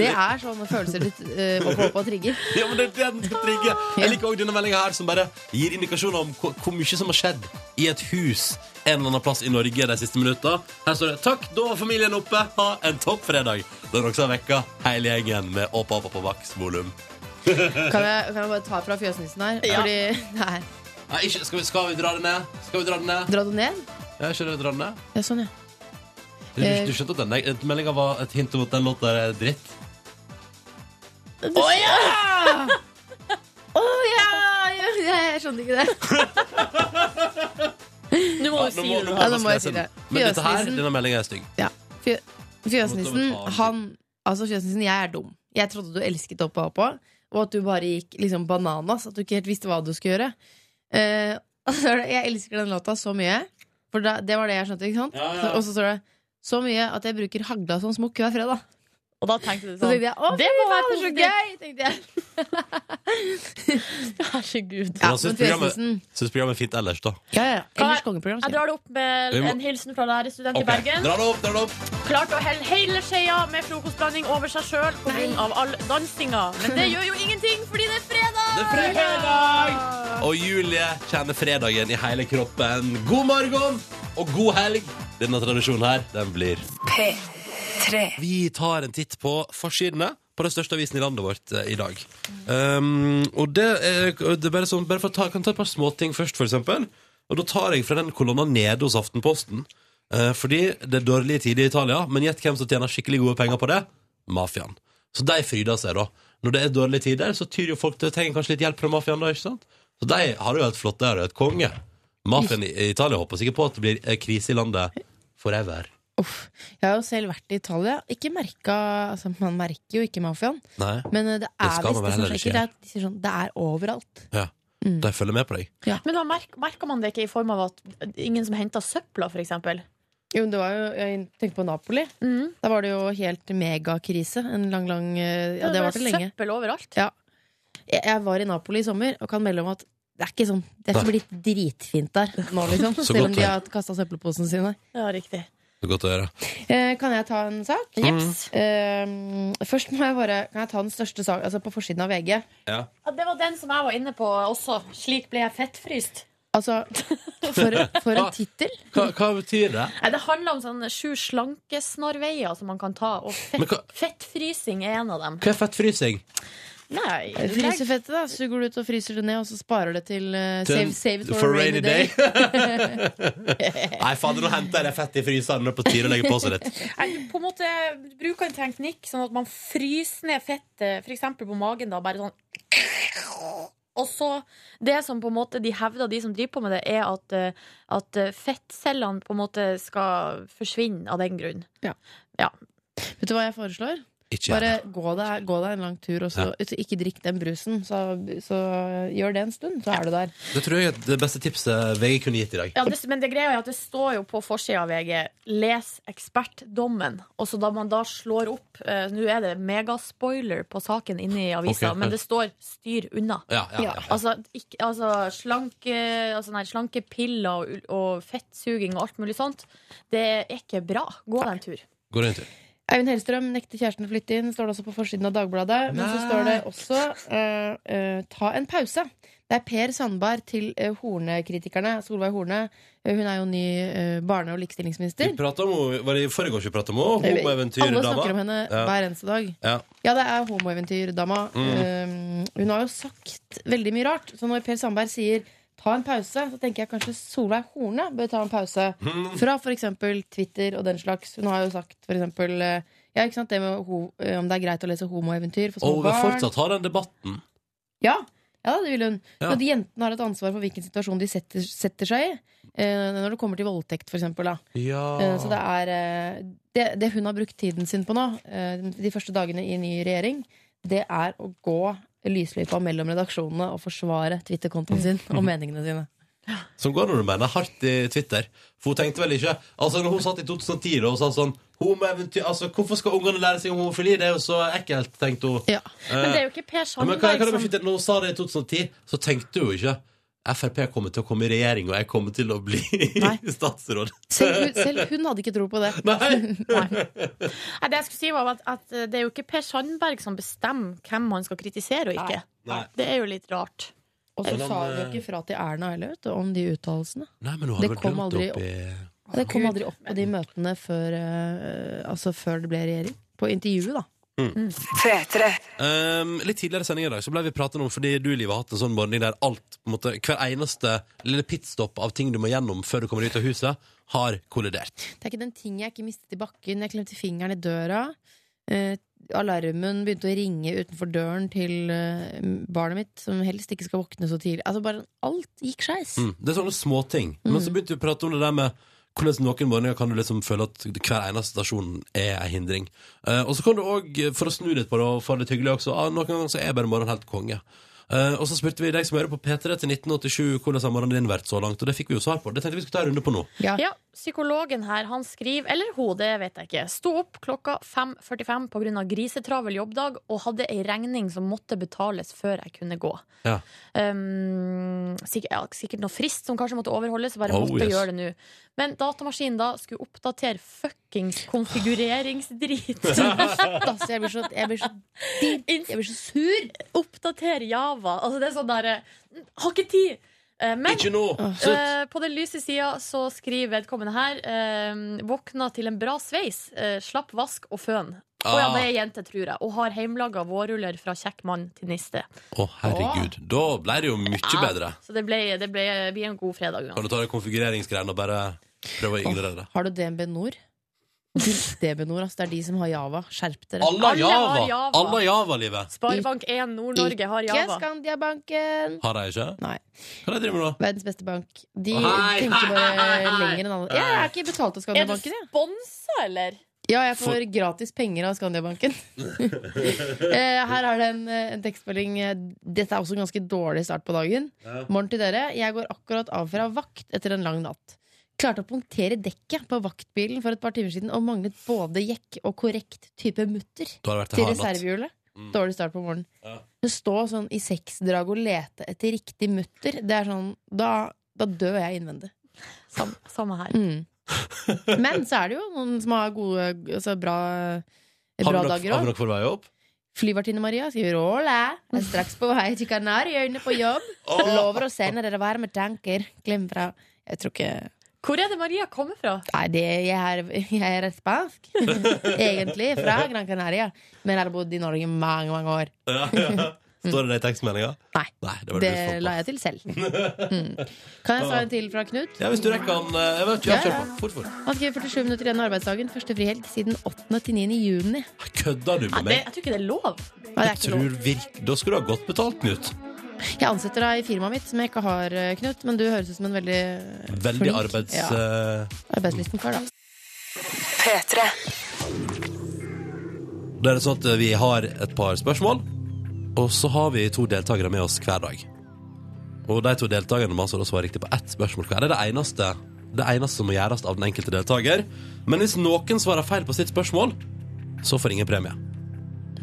[SPEAKER 2] Det er sånne følelser litt eh, opp opp og trigger.
[SPEAKER 1] Ja, men det er det den skal trigge. Jeg liker også denne meldinga her, som bare gir indikasjoner om hvor, hvor mye som har skjedd i et hus en eller annen plass i Norge de siste minutta. Her står det 'Takk, da var familien oppe. Ha en topp fredag'. Den også har vekka hele gjengen med Åpa Åpa på Vax-volum.
[SPEAKER 2] Kan jeg, kan jeg bare ta fra fjøsnissen her?
[SPEAKER 3] Ja.
[SPEAKER 2] Fordi, [laughs] nei,
[SPEAKER 1] Nei, ikke, skal, vi, skal vi dra det ned? Skal vi dra det ned?
[SPEAKER 2] dra den ned?
[SPEAKER 1] Ja, ikke det, dra det ned?
[SPEAKER 2] Ja, sånn, ja.
[SPEAKER 1] Du,
[SPEAKER 2] Eh.
[SPEAKER 1] du skjønte at den meldinga var et hint om at den låta er dritt?
[SPEAKER 2] Å ja! Jeg, jeg skjønte
[SPEAKER 1] [laughs]
[SPEAKER 2] ikke det.
[SPEAKER 3] Nå må du
[SPEAKER 1] nå
[SPEAKER 3] si
[SPEAKER 1] må-
[SPEAKER 3] det.
[SPEAKER 1] nå
[SPEAKER 3] da.
[SPEAKER 1] må vi
[SPEAKER 2] Ja, nå må jeg
[SPEAKER 1] lese
[SPEAKER 2] si
[SPEAKER 1] den.
[SPEAKER 2] det.
[SPEAKER 1] Men dette her,
[SPEAKER 2] Fjøsnissen.
[SPEAKER 1] denne meldinga er stygg.
[SPEAKER 2] Ja. Fjø
[SPEAKER 1] Jeg
[SPEAKER 2] fjøsnissen,
[SPEAKER 1] måtte betale.
[SPEAKER 2] han Altså, fjøsnissen, jeg er dum. Jeg trodde du elsket Oppa Oppa, og at du bare gikk liksom bananas. At du ikke helt visste hva du skulle gjøre. Eh, [laughs] og så er det- jeg elsker den låta så mye, for da, det var det jeg skjønte, ikke sant?
[SPEAKER 1] Ja, ja.
[SPEAKER 2] Så- Og så står det så mye at jeg bruker hagla som smokk hver fredag.
[SPEAKER 3] Og da tenkte du
[SPEAKER 2] Så
[SPEAKER 3] sånn.
[SPEAKER 2] tenkte jeg, å,
[SPEAKER 3] Det må være
[SPEAKER 2] det er så gøy! tenkte jeg. [laughs]
[SPEAKER 3] Herregud.
[SPEAKER 2] Ja,
[SPEAKER 1] jeg
[SPEAKER 2] men
[SPEAKER 1] synes programmet-
[SPEAKER 2] fjøsnissen
[SPEAKER 1] Syns programmet er fint ellers, da.
[SPEAKER 2] Ja, ja.
[SPEAKER 3] Kan
[SPEAKER 2] Ellers
[SPEAKER 3] jeg-
[SPEAKER 2] kongeprogram.
[SPEAKER 3] Jeg
[SPEAKER 2] sier jeg.
[SPEAKER 3] drar det opp med
[SPEAKER 1] Vi må-
[SPEAKER 3] en hilsen fra lærerstudent
[SPEAKER 1] Ok,
[SPEAKER 3] i Bergen.
[SPEAKER 1] Dra det opp, dra det opp.
[SPEAKER 3] Klarte å helle hele skeia med frokostblanding over seg sjøl pga. all dansinga. Men det gjør jo ingenting, fordi det er fredag!
[SPEAKER 1] Det er fredag! Og Julie kjenner fredagen i hele kroppen. God morgen og god helg. Denne tradisjonen her, den blir P3. Vi tar en titt på forsidene på den største avisen i landet vårt eh, i dag. Um, og det er, det er bare sånn, bare for å ta, kan ta et par småting først, for eksempel. Og da tar jeg fra den kolonna nede hos Aftenposten. Eh, fordi det er dårlige tider i Italia, men gjett hvem som tjener skikkelig gode penger på det? Mafiaen. Så de fryder seg, da. Når det er dårlige tider, så tyr jo folk til trenger kanskje litt hjelp fra mafiaen, da, ikke sant? Så de har det jo helt flott, de har jo et konge. Mafiaen i i Italia håper sikkert på at det blir eh, krise i landet forever.
[SPEAKER 2] Uff. Jeg har jo selv vært i Italia. Ikke merka altså, Man merker jo ikke mafiaen,
[SPEAKER 1] Nei.
[SPEAKER 2] men eh, det er
[SPEAKER 1] skal man vel
[SPEAKER 2] visst det som
[SPEAKER 1] heller
[SPEAKER 2] skjer.
[SPEAKER 1] ikke
[SPEAKER 2] Det er, de sier sånn, det er overalt.
[SPEAKER 1] Ja. De følger med på deg.
[SPEAKER 3] Men da merk- merker man det ikke i form av at ingen som henter søpla, for eksempel?
[SPEAKER 2] Jo, men det var jo, jeg tenkte på Napoli.
[SPEAKER 3] Mm.
[SPEAKER 2] Der var det jo helt megakrise. En lang, lang eh, Ja, det
[SPEAKER 3] var
[SPEAKER 2] varte lenge.
[SPEAKER 3] Søppel overalt.
[SPEAKER 2] Jeg, jeg var i Napoli i sommer og kan melde om at det er ikke sånn Det er ikke blitt dritfint der nå, liksom.
[SPEAKER 1] [laughs] Så
[SPEAKER 2] Selv
[SPEAKER 1] godt,
[SPEAKER 2] om de
[SPEAKER 1] ja.
[SPEAKER 2] har kasta søppelposene sine.
[SPEAKER 3] Ja, riktig.
[SPEAKER 1] Det er godt å gjøre.
[SPEAKER 2] Eh, kan jeg ta en sak?
[SPEAKER 3] Jeps.
[SPEAKER 2] Eh, først må jeg bare Kan jeg ta den største saken altså på forsiden av VG.
[SPEAKER 3] Ja, det var den som jeg var inne på også. Slik ble jeg fettfryst.
[SPEAKER 2] Altså, [laughs] for, for
[SPEAKER 1] Ah.
[SPEAKER 2] en tittel!
[SPEAKER 1] Hva, hva betyr det?
[SPEAKER 3] Nei, det handler om sånn sju slankesnarveier som man kan ta, og
[SPEAKER 1] Men
[SPEAKER 3] fett,
[SPEAKER 1] hva,
[SPEAKER 3] fettfrysing er en av dem.
[SPEAKER 1] hva er fettfrysing?
[SPEAKER 3] Nei, legg-
[SPEAKER 2] Fryser fettet, da. Suger du ut og fryser det ned, og så sparer det til eh,
[SPEAKER 1] Til-
[SPEAKER 2] save, save it for, a rainy day.
[SPEAKER 1] [laughs] Nei, fader, nå henter jeg det fett i fryseren. Nå er det på tide å legge på seg litt.
[SPEAKER 3] Nei, på en måte bruker en teknikk sånn at man fryser ned fettet, f.eks. på magen, da, bare sånn og så Det som på en måte de hevder, de som driver på med det, er at, eh, at eh, fettcellene på en måte skal forsvinne av den grunn.
[SPEAKER 2] Vet du hva jeg foreslår?
[SPEAKER 1] Ikke gjør
[SPEAKER 2] Bare
[SPEAKER 1] det.
[SPEAKER 2] gå deg, gå deg en lang tur, og så så ikke drikk den brusen. Så, så gjør det en stund, så er du der.
[SPEAKER 1] Det tror jeg er det beste tipset VG kunne gitt i dag.
[SPEAKER 3] Ja, det, Men det greia er at det står jo på forsida av VG 'Les ekspertdommen'. Og så da man da slår opp eh, Nå er det megaspoiler på saken inne i avisa,
[SPEAKER 1] Ok.
[SPEAKER 3] men det står 'styr unna'.
[SPEAKER 1] Ja, ja, ja.
[SPEAKER 3] Altså, ikke, altså, slanke, altså nei, slanke piller og, ul- og fettsuging og alt mulig sånt, det er ikke bra. Gå deg en tur.
[SPEAKER 1] Går det en tur?
[SPEAKER 2] Eivind Hellstrøm nekter kjæresten å flytte inn, står det også på forsiden av Dagbladet. Men så
[SPEAKER 1] Nei.
[SPEAKER 2] står det også eh, eh, 'ta en pause'. Det er Per Sandberg til eh, Horne-kritikerne. Solveig Horne. Eh, hun er jo ny eh, barne- og
[SPEAKER 1] Vi
[SPEAKER 2] likestillingsminister.
[SPEAKER 1] pratet om henne, var det i forrige vi pratet om henne?
[SPEAKER 2] Alle snakker om
[SPEAKER 1] Homoeventyrdama?
[SPEAKER 2] henne
[SPEAKER 1] Ja.
[SPEAKER 2] hver eneste dag.
[SPEAKER 1] Ja.
[SPEAKER 2] Ja, det er homoeventyrdama.
[SPEAKER 1] Mm.
[SPEAKER 2] Eh, hun har jo sagt veldig mye rart. Så når Per Sandberg sier 'ta en pause', så tenker jeg kanskje Solveig Horne bør ta en pause.
[SPEAKER 1] Mm.
[SPEAKER 2] Fra f.eks. Twitter og den slags. Hun har jo sagt f.eks. Ja, ikke sant, det med ho eh, om det er greit å lese homoeventyr for små
[SPEAKER 1] Og vi
[SPEAKER 2] barn.
[SPEAKER 1] fortsatt har den debatten.
[SPEAKER 2] Ja, ja, det vil hun.
[SPEAKER 1] Ja.
[SPEAKER 2] Men at jentene har et ansvar for hvilken situasjon de setter, setter seg i. eh, når det kommer til voldtekt, for eksempel, da.
[SPEAKER 1] Ja.
[SPEAKER 2] Eh, Så det er eh, det, det hun har brukt tiden sin på nå, eh, de første dagene i ny regjering, det er å gå lysløypa mellom redaksjonene og forsvare Twitter-kontoen sin
[SPEAKER 1] [laughs]
[SPEAKER 2] og meningene sine.
[SPEAKER 1] Som går når du mener hardt i Twitter. For hun tenkte vel ikke Altså når hun satt i 2010 da, og sa sånn Homoeventyr Altså Hvorfor skal ungene lære seg om homofili? Det er jo så ekkelt, tenkte hun.
[SPEAKER 2] Ja.
[SPEAKER 3] Men det
[SPEAKER 1] Eh,
[SPEAKER 3] er jo ikke Per
[SPEAKER 2] sånn
[SPEAKER 1] ja, men kan, kan
[SPEAKER 3] Sandberg
[SPEAKER 1] jeg
[SPEAKER 2] liksom-
[SPEAKER 3] som
[SPEAKER 1] beskytte, når hun sa det i 2010, så tenkte hun jo ikke Frp kommer til å komme i regjering, og jeg kommer til å bli
[SPEAKER 2] Nei.
[SPEAKER 1] [laughs] statsråd.
[SPEAKER 2] Selv, hun- selv hun hadde ikke tro på det.
[SPEAKER 1] [laughs] Nei!
[SPEAKER 2] [laughs]
[SPEAKER 3] Nei, det jeg skulle si var at, at det er jo ikke Per Sandberg som bestemmer hvem man skal kritisere og ikke.
[SPEAKER 1] Nei.
[SPEAKER 3] Det er jo litt rart.
[SPEAKER 2] Og så
[SPEAKER 1] Men,
[SPEAKER 2] sa hun jo
[SPEAKER 1] eh,
[SPEAKER 2] ikke fra til Erna heller, vet du, om de uttalelsene.
[SPEAKER 1] Nei, men hun
[SPEAKER 2] Det
[SPEAKER 1] hadde vel
[SPEAKER 2] kom
[SPEAKER 1] glemt det
[SPEAKER 2] aldri
[SPEAKER 1] oppi
[SPEAKER 2] Ja, Det kom aldri opp på de møtene før, eh, altså før det ble regjering. På intervjuet, da.
[SPEAKER 1] Um, litt tidligere i sendingen i dag så ble vi pratet om Fordi du, Liv, har hatt en sånn morgen der alt på en måte, Hver eneste lille pitstop av ting du må gjennom før du kommer ut av huset, har kollidert.
[SPEAKER 2] Det er ikke den ting jeg ikke mistet i bakken. Jeg klemte fingeren i døra. Eh, alarmen begynte å ringe utenfor døren til eh, barnet mitt, som helst ikke skal våkne så tidlig. Altså bare Alt gikk skeis.
[SPEAKER 1] Mm. Det er sånne småting. Men
[SPEAKER 3] Mm.
[SPEAKER 1] så begynte vi å prate om det der med hvordan noen morgener kan du liksom føle at hver eneste stasjon er ei hindring. Eh, og så kan du òg, for å snu litt på det og få det litt hyggelig også, ah, noen ganger så er bare morgenen helt konge. Eh, og så spurte vi deg som hører på P3 til 1987 hvordan har morgenen din vært så langt, og det fikk vi jo svar på. Det tenkte vi skulle ta en runde på nå.
[SPEAKER 2] Ja.
[SPEAKER 3] Ja, psykologen her, han skriver, eller hun, det vet jeg ikke, sto opp klokka 5.45 på grunn av grisetravel jobbdag og hadde ei regning som måtte betales før jeg kunne gå.
[SPEAKER 1] Ja.
[SPEAKER 3] Um, sikkert, ja, sikkert noe frist som kanskje måtte overholdes, så bare
[SPEAKER 1] Oh,
[SPEAKER 3] måtte
[SPEAKER 1] yes.
[SPEAKER 3] gjøre det nå. Men datamaskinen da skulle oppdatere fuckings
[SPEAKER 1] [laughs]
[SPEAKER 3] konfigureringsdrit.
[SPEAKER 2] [laughs] Altså, jeg blir så, jeg [laughs] blir så, jeg blir så sur!
[SPEAKER 3] Oppdatere Java. Altså, det er sånn derre Har ikke tid! Eh, Men
[SPEAKER 1] Ikke nå! Slutt!
[SPEAKER 3] Eh, på den lyse sida så skriver vedkommende her eh, Våkna til en bra sveis, eh, slapp vask og føn. Å
[SPEAKER 1] Ah.
[SPEAKER 3] ja, det er jente, tror jeg. Og har heimlaga vårruller fra kjekk mann til niste.
[SPEAKER 1] Å, herregud. Da ble det jo mye bedre.
[SPEAKER 3] Så det ble, det ble, blir en god fredag. uansett.
[SPEAKER 1] Kan du ta det konfigureringsgreiene og bare prøve å ignorere det?
[SPEAKER 2] Har du DNB Nor? Debenor, ass. Det er de som har Java. Skjerp dere.
[SPEAKER 1] Alle har
[SPEAKER 3] Alle har
[SPEAKER 1] Java!
[SPEAKER 3] Java.
[SPEAKER 1] Alle har Java-livet.
[SPEAKER 3] Sparebank1 Nord-Norge har
[SPEAKER 2] Ikke
[SPEAKER 3] Java.
[SPEAKER 2] Skandiabanken!
[SPEAKER 1] Har de ikke?
[SPEAKER 2] Nei.
[SPEAKER 1] Hva er det de driver med nå?
[SPEAKER 2] Verdens beste bank. De
[SPEAKER 1] Hei!
[SPEAKER 2] tenker bare
[SPEAKER 3] Hei!
[SPEAKER 2] lenger enn alle. Jeg er ikke betalt av
[SPEAKER 3] Er du
[SPEAKER 2] Skandiabanken, jeg.
[SPEAKER 3] sponsa, eller?
[SPEAKER 2] Ja, jeg får gratis penger av Skandiabanken. [laughs] Eh, Her er det en, eh, en tekstmelding. eh, Dette er også en ganske dårlig start på dagen. Morgen til dere. Jeg går akkurat av fra vakt etter en lang natt. Klarte å punktere dekket på vaktbilen for et par timer siden og manglet både jekk og korrekt type mutter
[SPEAKER 1] Du har vært
[SPEAKER 2] til
[SPEAKER 1] en hard natt.
[SPEAKER 2] reservehjulet.
[SPEAKER 1] Mm.
[SPEAKER 2] Dårlig start på morgenen.
[SPEAKER 1] Ja.
[SPEAKER 2] Å Stå sånn i seksdrag og lete etter riktig mutter, det er sånn Da, da dør jeg innvendig.
[SPEAKER 3] Samme, samme her.
[SPEAKER 2] Mm. Men så er det jo noen som har gode, altså bra, eh,
[SPEAKER 1] Har
[SPEAKER 2] bra
[SPEAKER 1] vi nok,
[SPEAKER 2] dager
[SPEAKER 1] har vi
[SPEAKER 2] òg.
[SPEAKER 1] nok på vei opp?
[SPEAKER 2] Flyvertinne Maria skriver Åle, jeg er straks på vei til Kanariøyene på jobb. Lover å sende dere varme tanker. Glem fra. Jeg tror ikke
[SPEAKER 3] Hvor er det Maria kommer fra?
[SPEAKER 2] Nei, det, jeg, er, jeg er spansk. [laughs] Egentlig fra Gran Canaria. Men jeg har bodd i Norge i mange, mange år.
[SPEAKER 1] Ja, ja. Står det det i tekstmeldinga?
[SPEAKER 2] Nei.
[SPEAKER 1] Nei det var det,
[SPEAKER 2] Det
[SPEAKER 1] du fant på.
[SPEAKER 2] la jeg til selv. Mm. Kan jeg ta en til fra Knut?
[SPEAKER 1] Ja, hvis du rekker den. eh, Jeg vet ikke, jeg kjør
[SPEAKER 2] Ja, ja.
[SPEAKER 1] på. Fort, fort.
[SPEAKER 2] Han skriver 47 minutter igjen av arbeidsdagen. Første frihelg siden 8. til 9. juni.
[SPEAKER 1] Kødder du
[SPEAKER 3] Nei,
[SPEAKER 1] med
[SPEAKER 3] det,
[SPEAKER 1] meg?
[SPEAKER 3] jeg tror ikke det er lov.
[SPEAKER 2] Nei, det er ikke lov.
[SPEAKER 1] Tror virk... Da skulle du ha godt betalt, Knut.
[SPEAKER 2] Jeg ansetter deg i firmaet mitt, som jeg ikke har, eh, Knut. Men du høres ut som en veldig eh,
[SPEAKER 1] Veldig
[SPEAKER 2] flink-
[SPEAKER 1] arbeids...
[SPEAKER 2] ja,
[SPEAKER 1] eh,
[SPEAKER 2] arbeidslisten kar, da.
[SPEAKER 1] Da er det sånn at vi har et par spørsmål, og så har vi to deltakere med oss hver dag. Og de to deltakerne må altså da svare riktig på ett spørsmål hver. Det er det eneste, det eneste som må gjøres av den enkelte deltaker. Men hvis noen svarer feil på sitt spørsmål, så får ingen premie.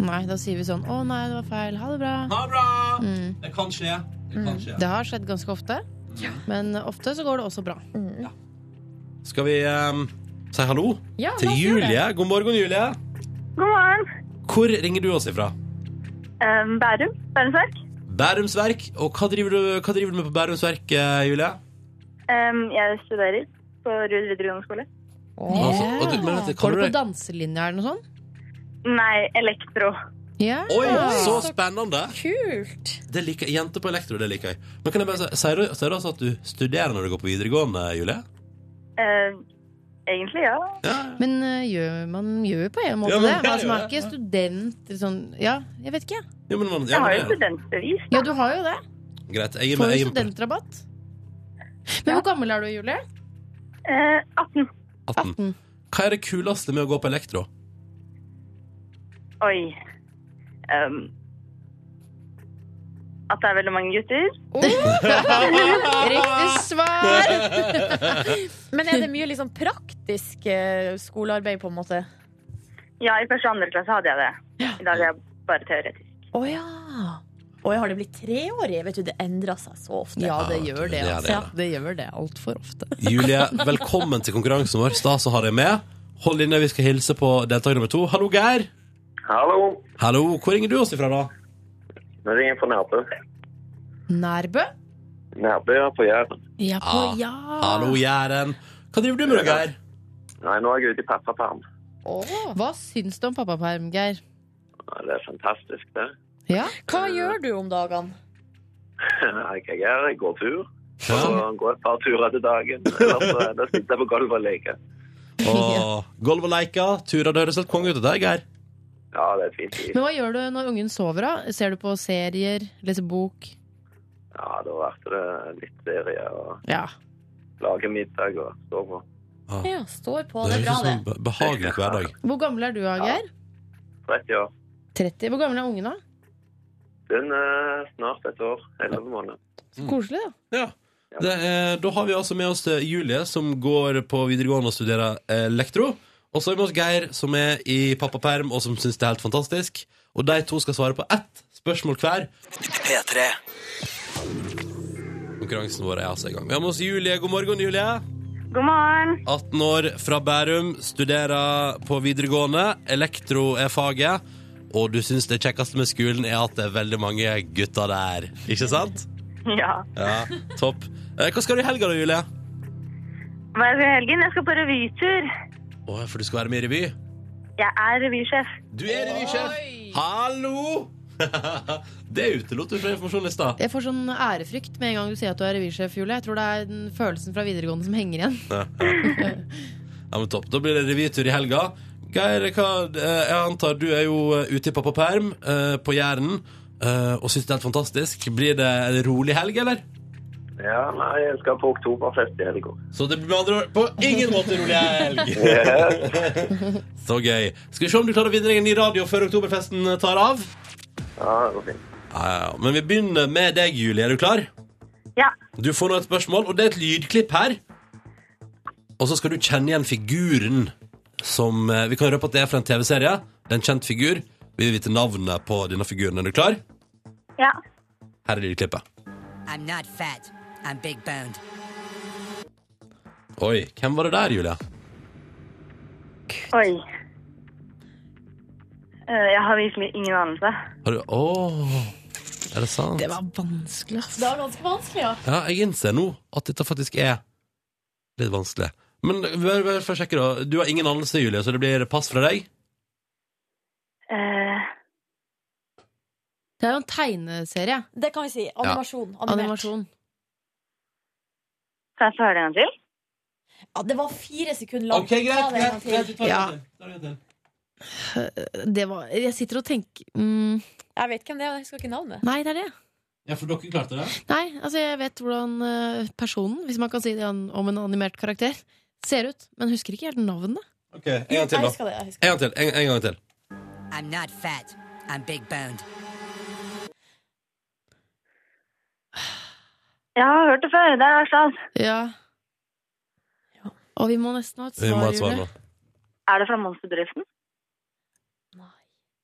[SPEAKER 2] Nei, da sier vi sånn Å nei, det var feil. Ha det bra.
[SPEAKER 1] Ha det bra!
[SPEAKER 3] Mm.
[SPEAKER 1] Det kan skje. Det kan skje.
[SPEAKER 2] Det har skjedd ganske ofte. Men ofte så går det også bra.
[SPEAKER 1] Skal vi eh, si hallo
[SPEAKER 3] Ja,
[SPEAKER 1] til
[SPEAKER 3] la oss gjøre det.
[SPEAKER 1] Julie? God morgen, Julie.
[SPEAKER 6] God morgen.
[SPEAKER 1] Hvor ringer du oss ifra?
[SPEAKER 6] Um, Bærum. Bærumsverk.
[SPEAKER 1] Bærums Verk. Og hva driver du, hva driver du med på Bærums Verk, eh, Julie?
[SPEAKER 6] Um, jeg studerer på Rud videregående skole.
[SPEAKER 1] Altså, og du, men, vet du, kan
[SPEAKER 2] Går du
[SPEAKER 1] du
[SPEAKER 2] på danselinja eller noe sånt?
[SPEAKER 6] Nei, elektro.
[SPEAKER 2] Ja.
[SPEAKER 1] Oi, så spennende!
[SPEAKER 3] Kult!
[SPEAKER 1] Det liker, jeg. jenter på elektro, det liker jeg. Men kan jeg bare si, Sier du, sier du altså at du studerer når du går på videregående, Julie?
[SPEAKER 6] Um, egentlig, ja.
[SPEAKER 1] Ja.
[SPEAKER 2] Men eh, gjør man gjør jo på en måte
[SPEAKER 1] Ja,
[SPEAKER 2] det.
[SPEAKER 1] men
[SPEAKER 2] Man
[SPEAKER 1] det er
[SPEAKER 2] som
[SPEAKER 1] jo
[SPEAKER 2] er
[SPEAKER 1] det.
[SPEAKER 2] ikke student sånn Ja, jeg vet ikke.
[SPEAKER 1] Jo, men, man- ja,
[SPEAKER 6] Jeg har jo
[SPEAKER 1] men, det er
[SPEAKER 6] studentbevis.
[SPEAKER 2] Ja, du har jo det.
[SPEAKER 1] jo- Greit. Jeg, er med- jeg,
[SPEAKER 2] Får jo
[SPEAKER 1] er med-
[SPEAKER 2] studentrabatt. Men hvor gammel er du, Julie?
[SPEAKER 6] Uh, 18.
[SPEAKER 1] 18. Hva er det kuleste med å gå på elektro?
[SPEAKER 6] Oi. Um, at det er veldig mange gutter.
[SPEAKER 2] [laughs] Riktig svar!
[SPEAKER 3] Men er det mye liksom praktisk eh, skolearbeid, på en måte?
[SPEAKER 6] Ja, i første og andre klasse hadde jeg det. I dag er jeg bare teoretisk.
[SPEAKER 3] Å ja. Å, har det blitt treårig? Vet du, det endrer seg så ofte.
[SPEAKER 2] Ja, det
[SPEAKER 1] Ja,
[SPEAKER 2] gjør det.
[SPEAKER 1] det er det,
[SPEAKER 2] Altså. Det gjør det altfor ofte.
[SPEAKER 1] Julie, velkommen til konkurransen vår. Stas å ha deg med. Hold inne, vi skal hilse på deltaker nummer to. Hallo, Geir.
[SPEAKER 7] Hallo,
[SPEAKER 1] Hallo, Hvor ringer du oss ifra, da?
[SPEAKER 7] nå ringer jeg fra Nærbø.
[SPEAKER 2] Nærbø?
[SPEAKER 7] Nærbø er på Jæren.
[SPEAKER 2] Ja, på
[SPEAKER 1] Ah.
[SPEAKER 2] ja.
[SPEAKER 1] Hallo, Jæren. Hva driver du med, da, Geir?
[SPEAKER 7] Nei, nå er jeg ute i pappaperm.
[SPEAKER 2] Hva syns du om pappaperm, Geir?
[SPEAKER 7] Nei, Det er fantastisk, det. [laughs]
[SPEAKER 2] Ja?
[SPEAKER 3] Hva gjør du om dagene?
[SPEAKER 7] Nei, Jeg er her, jeg går tur.
[SPEAKER 1] Ja.
[SPEAKER 7] Og går et par turer til dagen. Ellers eh, da sitter jeg på gulvet og leker.
[SPEAKER 1] Og Golv og leika, turer, det høres helt konge ut. Det der, Geir.
[SPEAKER 7] Ja, det er et fint liv.
[SPEAKER 2] Men hva gjør du når ungen sover, da? Ser du på serier? Leser bok?
[SPEAKER 7] Ja, da ble det litt serie og
[SPEAKER 2] Ja.
[SPEAKER 7] lage middag og stå på.
[SPEAKER 3] Ja, står på.
[SPEAKER 1] Det
[SPEAKER 3] Det er
[SPEAKER 1] høres
[SPEAKER 3] bra,
[SPEAKER 1] ut som
[SPEAKER 3] det.
[SPEAKER 1] en be- behagelig hverdag.
[SPEAKER 2] Hvor gammel er du, da,
[SPEAKER 7] Ja.
[SPEAKER 2] Geir?
[SPEAKER 7] 30 år.
[SPEAKER 2] 30. Hvor gammel er ungen, da?
[SPEAKER 7] Den er eh, snart et år. 11 måneder.
[SPEAKER 2] Så Mm. koselig, da.
[SPEAKER 1] Ja. Det er, da har vi altså med oss eh, Julie, som går på videregående og studerer elektro. Og så har vi med oss Geir, som er i pappaperm, og som syns det er helt fantastisk. Og de to skal svare på ett spørsmål hver. Konkurransen vår er altså i gang. Vi har med oss Julie. God morgen, Julie.
[SPEAKER 6] God morgen. [laughs]
[SPEAKER 1] 18 år fra Bærum, studerer på videregående. Elektro er faget. Og du syns det kjekkeste med skolen er at det er veldig mange gutter der, ikke sant?
[SPEAKER 6] Ja.
[SPEAKER 1] Ja, topp. Eh, Hva skal du i helga da, Julie?
[SPEAKER 6] Hva er det i helgen? Jeg skal på revytur.
[SPEAKER 1] Å, for du skal være med i revy?
[SPEAKER 6] Jeg er revysjef.
[SPEAKER 1] Du er revysjef! Hallo! [laughs] det utelot du fra informasjonslista.
[SPEAKER 2] Jeg får sånn ærefrykt med en gang du sier at du er revysjef, Julie. Jeg tror det er den følelsen fra videregående som henger igjen.
[SPEAKER 1] Ja, men topp. Da blir det revytur i helga. Geir, hva, eh, jeg antar du er jo eh, ute i pappaperm eh, på Jæren eh, og syns det er helt fantastisk. Blir det en rolig helg, eller?
[SPEAKER 7] Ja, nei, jeg skal på oktoberfest i helga.
[SPEAKER 1] Så det blir med andre ord på ingen måte rolig helg. Så gøy. Skal vi se om du klarer å vinne deg en ny radio før oktoberfesten tar av.
[SPEAKER 7] [laughs] Ja, det går fint.
[SPEAKER 1] Ja, ja, ja. Men vi begynner med deg, Julie. Er du klar?
[SPEAKER 6] Ja.
[SPEAKER 1] Du får nå et spørsmål, og det er et lydklipp her. Og så skal du kjenne igjen figuren som eh, Vi kan røpe at det er fra en TV-serie. Det er en kjent figur. Vi vil vite navnet på denne figuren. Er du klar?
[SPEAKER 6] Ja.
[SPEAKER 1] Her er lydklippet.
[SPEAKER 8] I'm not fat. I'm big boned.
[SPEAKER 1] Oi, hvem var det der, Julie?
[SPEAKER 6] Oi. Eh, Jeg har virkelig ingen anelse.
[SPEAKER 1] Har du Åh, er det sant?
[SPEAKER 2] Det var vanskelig, altså. ass.
[SPEAKER 3] Det var ganske vanskelig, ja.
[SPEAKER 1] Ja, jeg innser nå at dette faktisk er litt vanskelig. Men vær, vær, for å sjekke, da. Du har ingen anelse, Julie, så det blir pass fra deg?
[SPEAKER 6] Eh,
[SPEAKER 2] Det er jo en tegneserie.
[SPEAKER 3] Det kan vi si. Animasjon. animert.
[SPEAKER 2] Animasjon.
[SPEAKER 6] Kan jeg få høre det en gang til?
[SPEAKER 3] Ja, det var fire sekunder langt. Ta det en gang til.
[SPEAKER 2] Ja. Det var, jeg sitter og tenker mm,
[SPEAKER 3] Jeg vet hvem det er, jeg husker ikke navnet.
[SPEAKER 2] Nei, det er det.
[SPEAKER 1] Ja, for dere klarte det?
[SPEAKER 2] Nei, altså jeg vet hvordan eh, personen, hvis man kan si det an- om en animert karakter, ser ut. Men husker ikke helt navnet.
[SPEAKER 1] Ok, En gang til,
[SPEAKER 3] Jeg
[SPEAKER 1] da.
[SPEAKER 3] husker det. Jeg husker.
[SPEAKER 1] En gang til. En, en gang til.
[SPEAKER 8] I'm not fat. I'm big boned.
[SPEAKER 6] Jeg har hørt det før. Det er Arslan.
[SPEAKER 2] Ja. Og vi må nesten ha et
[SPEAKER 1] Vi må
[SPEAKER 2] svar,
[SPEAKER 1] ha et svar
[SPEAKER 2] Julie.
[SPEAKER 1] nå.
[SPEAKER 6] Er det fra Monsterbedriften?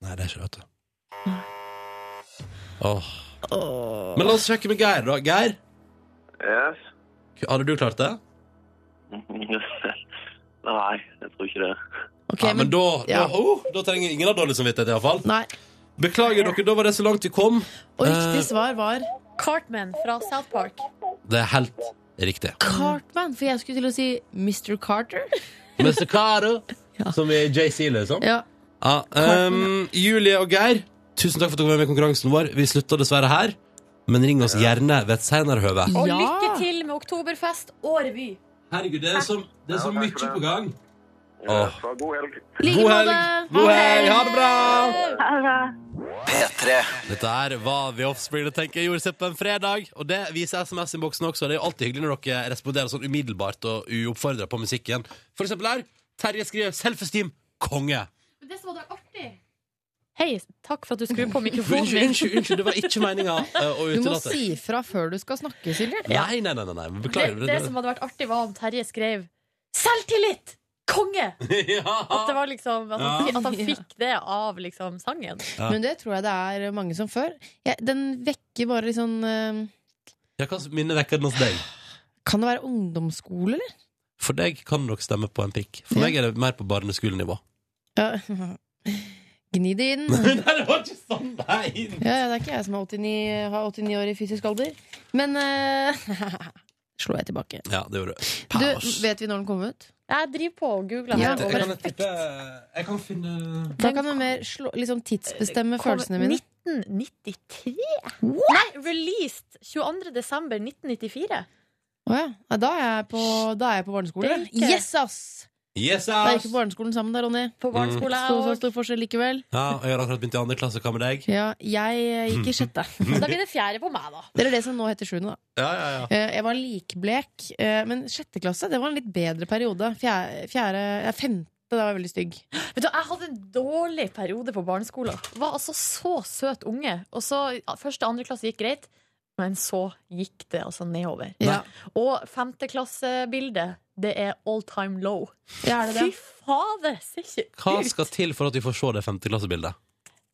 [SPEAKER 1] Nei, det er ikke det, vet du. Åh. Men la oss sjekke med Geir, da. Geir,
[SPEAKER 7] Yes. [laughs]
[SPEAKER 1] hadde du klart det?
[SPEAKER 7] Nei, jeg tror ikke det.
[SPEAKER 2] Ok,
[SPEAKER 1] ja, men
[SPEAKER 2] men,
[SPEAKER 1] da, da,
[SPEAKER 2] ja.
[SPEAKER 1] oh, da trenger ingen ha dårlig samvittighet, iallfall.
[SPEAKER 2] nei.
[SPEAKER 1] Beklager dere, da var det så langt vi kom.
[SPEAKER 2] Og
[SPEAKER 1] Eh.
[SPEAKER 2] riktig svar var
[SPEAKER 3] Cartman fra South Park.
[SPEAKER 1] Det er helt riktig.
[SPEAKER 2] Cartman, for jeg skulle til å si Mr. Carter.
[SPEAKER 1] Mr.
[SPEAKER 2] [laughs]
[SPEAKER 1] Caro, som i JC, liksom.
[SPEAKER 2] Ja.
[SPEAKER 1] Ja, ehm, Julie og Geir, tusen takk for at dere var med i konkurransen vår. Vi slutter dessverre her, men ring oss gjerne ved et senere høve.
[SPEAKER 3] Og
[SPEAKER 2] Ja.
[SPEAKER 3] lykke til med Oktoberfest og revy.
[SPEAKER 1] Herregud, det er så,
[SPEAKER 7] så mye på
[SPEAKER 1] gang.
[SPEAKER 7] Ja, så god helg.
[SPEAKER 2] Like
[SPEAKER 1] God helg!
[SPEAKER 2] måte.
[SPEAKER 1] God helg! Ha det bra!
[SPEAKER 6] Ja, det er bra.
[SPEAKER 1] Dette her var The Offspring. Det tenker jeg gjorde seg på en fredag. Og det viser SMS-innboksen også. Det er jo alltid hyggelig når dere responderer sånn umiddelbart og uoppfordra på musikken. For eksempel her. Terje skriver 'Self-esteem konge'.
[SPEAKER 3] Men det som var artig Hei, takk for at du skrur på mikrofonen
[SPEAKER 1] Unnskyld,
[SPEAKER 3] din.
[SPEAKER 1] unnskyld, unnskyld, det var ikke meninga å
[SPEAKER 2] Du må
[SPEAKER 1] utelate.
[SPEAKER 2] si fra før du skal snakke, Silje.
[SPEAKER 1] Nei, nei, nei. nei, nei.
[SPEAKER 3] Det,
[SPEAKER 1] Beklager. [laughs]
[SPEAKER 3] det som hadde vært artig, var om Terje skrev 'Selvtillit! Konge!' At, det var liksom, at, han, at han fikk det av liksom, sangen.
[SPEAKER 1] Ja.
[SPEAKER 2] Men det tror jeg det er mange som før. Jeg, den vekker bare litt sånn eh,
[SPEAKER 1] Jeg kan minne vekker den hos deg.
[SPEAKER 2] Kan det være ungdomsskole, eller?
[SPEAKER 1] For deg kan nok stemme på en prikk. For
[SPEAKER 2] Ja.
[SPEAKER 1] meg er det mer på barneskolenivå.
[SPEAKER 2] Ja. [laughs] Gni det inn.
[SPEAKER 1] [laughs] nei, det var ikke sånn! Nei!
[SPEAKER 2] Ja, ja, det er ikke jeg som har 89, har 89 år i fysisk alder. Men uh, [laughs] Slo jeg tilbake.
[SPEAKER 1] Ja, det gjorde du.
[SPEAKER 2] Du,
[SPEAKER 1] Paus.
[SPEAKER 2] vet vi når den kom ut?
[SPEAKER 3] Jeg driver på og googler
[SPEAKER 2] Ja,
[SPEAKER 3] her.
[SPEAKER 1] jeg,
[SPEAKER 3] over
[SPEAKER 1] kan
[SPEAKER 3] en
[SPEAKER 1] tippe Jeg kan finne
[SPEAKER 2] Da kan du mer slå, liksom tidsbestemme
[SPEAKER 3] Kom-
[SPEAKER 2] følelsene mine.
[SPEAKER 3] 1993? Nei, released 22. desember 1994.
[SPEAKER 2] Å ja. Nei, Da er jeg på, da er jeg på barneskole.
[SPEAKER 3] Det liker jeg.
[SPEAKER 2] Yes, ass!
[SPEAKER 1] Yes,
[SPEAKER 2] Da
[SPEAKER 1] ass!
[SPEAKER 2] gikk vi på barneskolen sammen da, Ronny.
[SPEAKER 1] Mm.
[SPEAKER 3] På barneskole.
[SPEAKER 2] Så, så
[SPEAKER 3] Og, [laughs]
[SPEAKER 2] stor forskjell likevel.
[SPEAKER 1] Ja, og jeg har akkurat begynt i andre klasse. Hva med deg?
[SPEAKER 2] Ja, jeg eh, gikk i [laughs] sjette.
[SPEAKER 3] så da blir det fjerde på meg, da.
[SPEAKER 2] Det er det som nå heter sjuende, da.
[SPEAKER 1] Ja, ja, ja.
[SPEAKER 2] Eh, Jeg var likblek, eh, men sjette klasse det var en litt bedre periode. Fjerde, fjerde ja, Femte, da var jeg veldig stygg.
[SPEAKER 3] Vet du, Jeg hadde en dårlig periode på barneskolen. Var altså så søt unge. Og så ja, Første og andre klasse gikk greit, men så gikk det altså nedover.
[SPEAKER 2] Ja,
[SPEAKER 3] Og femteklassebildet, det er all time low.
[SPEAKER 2] ja er det
[SPEAKER 3] Fy
[SPEAKER 2] det?
[SPEAKER 3] fader, ser ikke
[SPEAKER 1] Hva
[SPEAKER 3] ut!
[SPEAKER 1] skal til for at vi får se det femteklassebildet?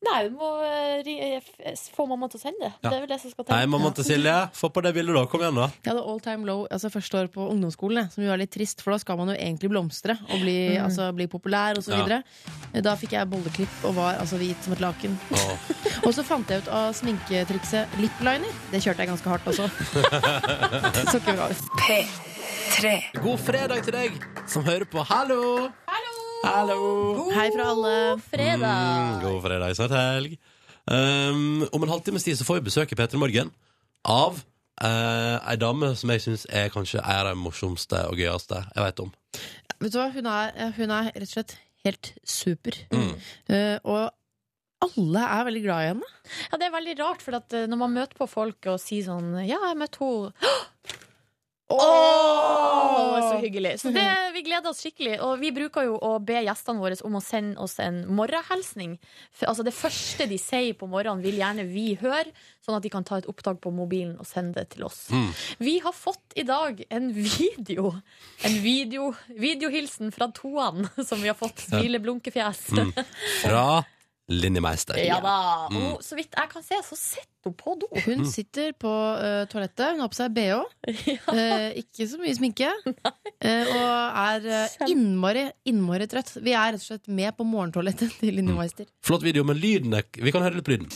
[SPEAKER 3] Nei, du må eh, ri- eh, f- få mamma til å sende det.
[SPEAKER 1] Ja.
[SPEAKER 3] Det er vel det som skal til.
[SPEAKER 1] Nei, mamma til Silje, få på det bildet, da. Kom igjen, da.
[SPEAKER 2] Jeg hadde all time low altså første år på ungdomsskolen, jeg, som jo er litt trist, for da skal man jo egentlig blomstre og bli, altså, bli populær og så
[SPEAKER 1] Mm. Ja.
[SPEAKER 2] videre. Da fikk jeg bolleklipp og var altså hvit som et laken.
[SPEAKER 1] Åh.
[SPEAKER 2] [laughs] Og så fant jeg ut av sminketrikset lipliner. Det kjørte jeg ganske hardt
[SPEAKER 1] [laughs]
[SPEAKER 2] også. så ikke bra ut.
[SPEAKER 1] God fredag til deg som hører på. Hallo! Hallo!
[SPEAKER 2] Hei fra alle.
[SPEAKER 1] Mm, god fredag, snart helg. Um, om en halvtimes tid så får vi besøk i P3 Morgen av eh, uh, ei dame som jeg syns er kanskje er av de morsomste og gøyeste jeg veit om.
[SPEAKER 2] Vet du hva, hun er, eh, hun er rett og slett helt super.
[SPEAKER 1] Mm.
[SPEAKER 2] Eh, og alle er veldig glad i henne.
[SPEAKER 3] Ja, det er veldig rart, for at eh, når man møter på folk og sier sånn Ja, jeg møtte henne. Åh, Så hyggelig. Så det, vi gleder oss skikkelig. Og vi bruker jo å be gjestene våre om å sende oss en morgenhilsning. For, altså det første de sier på morgenen, vil gjerne vi høre, sånn at de kan ta et opptak på mobilen og sende det til oss. Vi har fått i dag en video. En video, videohilsen fra Toan, som vi har fått. Smileblunkefjes.
[SPEAKER 1] Fra Linnemeister.
[SPEAKER 3] Ja da.
[SPEAKER 1] Mm.
[SPEAKER 3] Hun- så vidt jeg kan se, så sitter hun på do.
[SPEAKER 2] Hun sitter på eh, toalettet, hun har på seg bh, [laughs] eh, ikke så mye [laughs] sminke, eh, og er eh, innmari, innmari trøtt. Vi er rett og slett med på morgentoalettet [laughs] til
[SPEAKER 1] Mm.
[SPEAKER 2] Linni Meister.
[SPEAKER 1] Flott video, men lyden er Vi kan høre litt på lyden.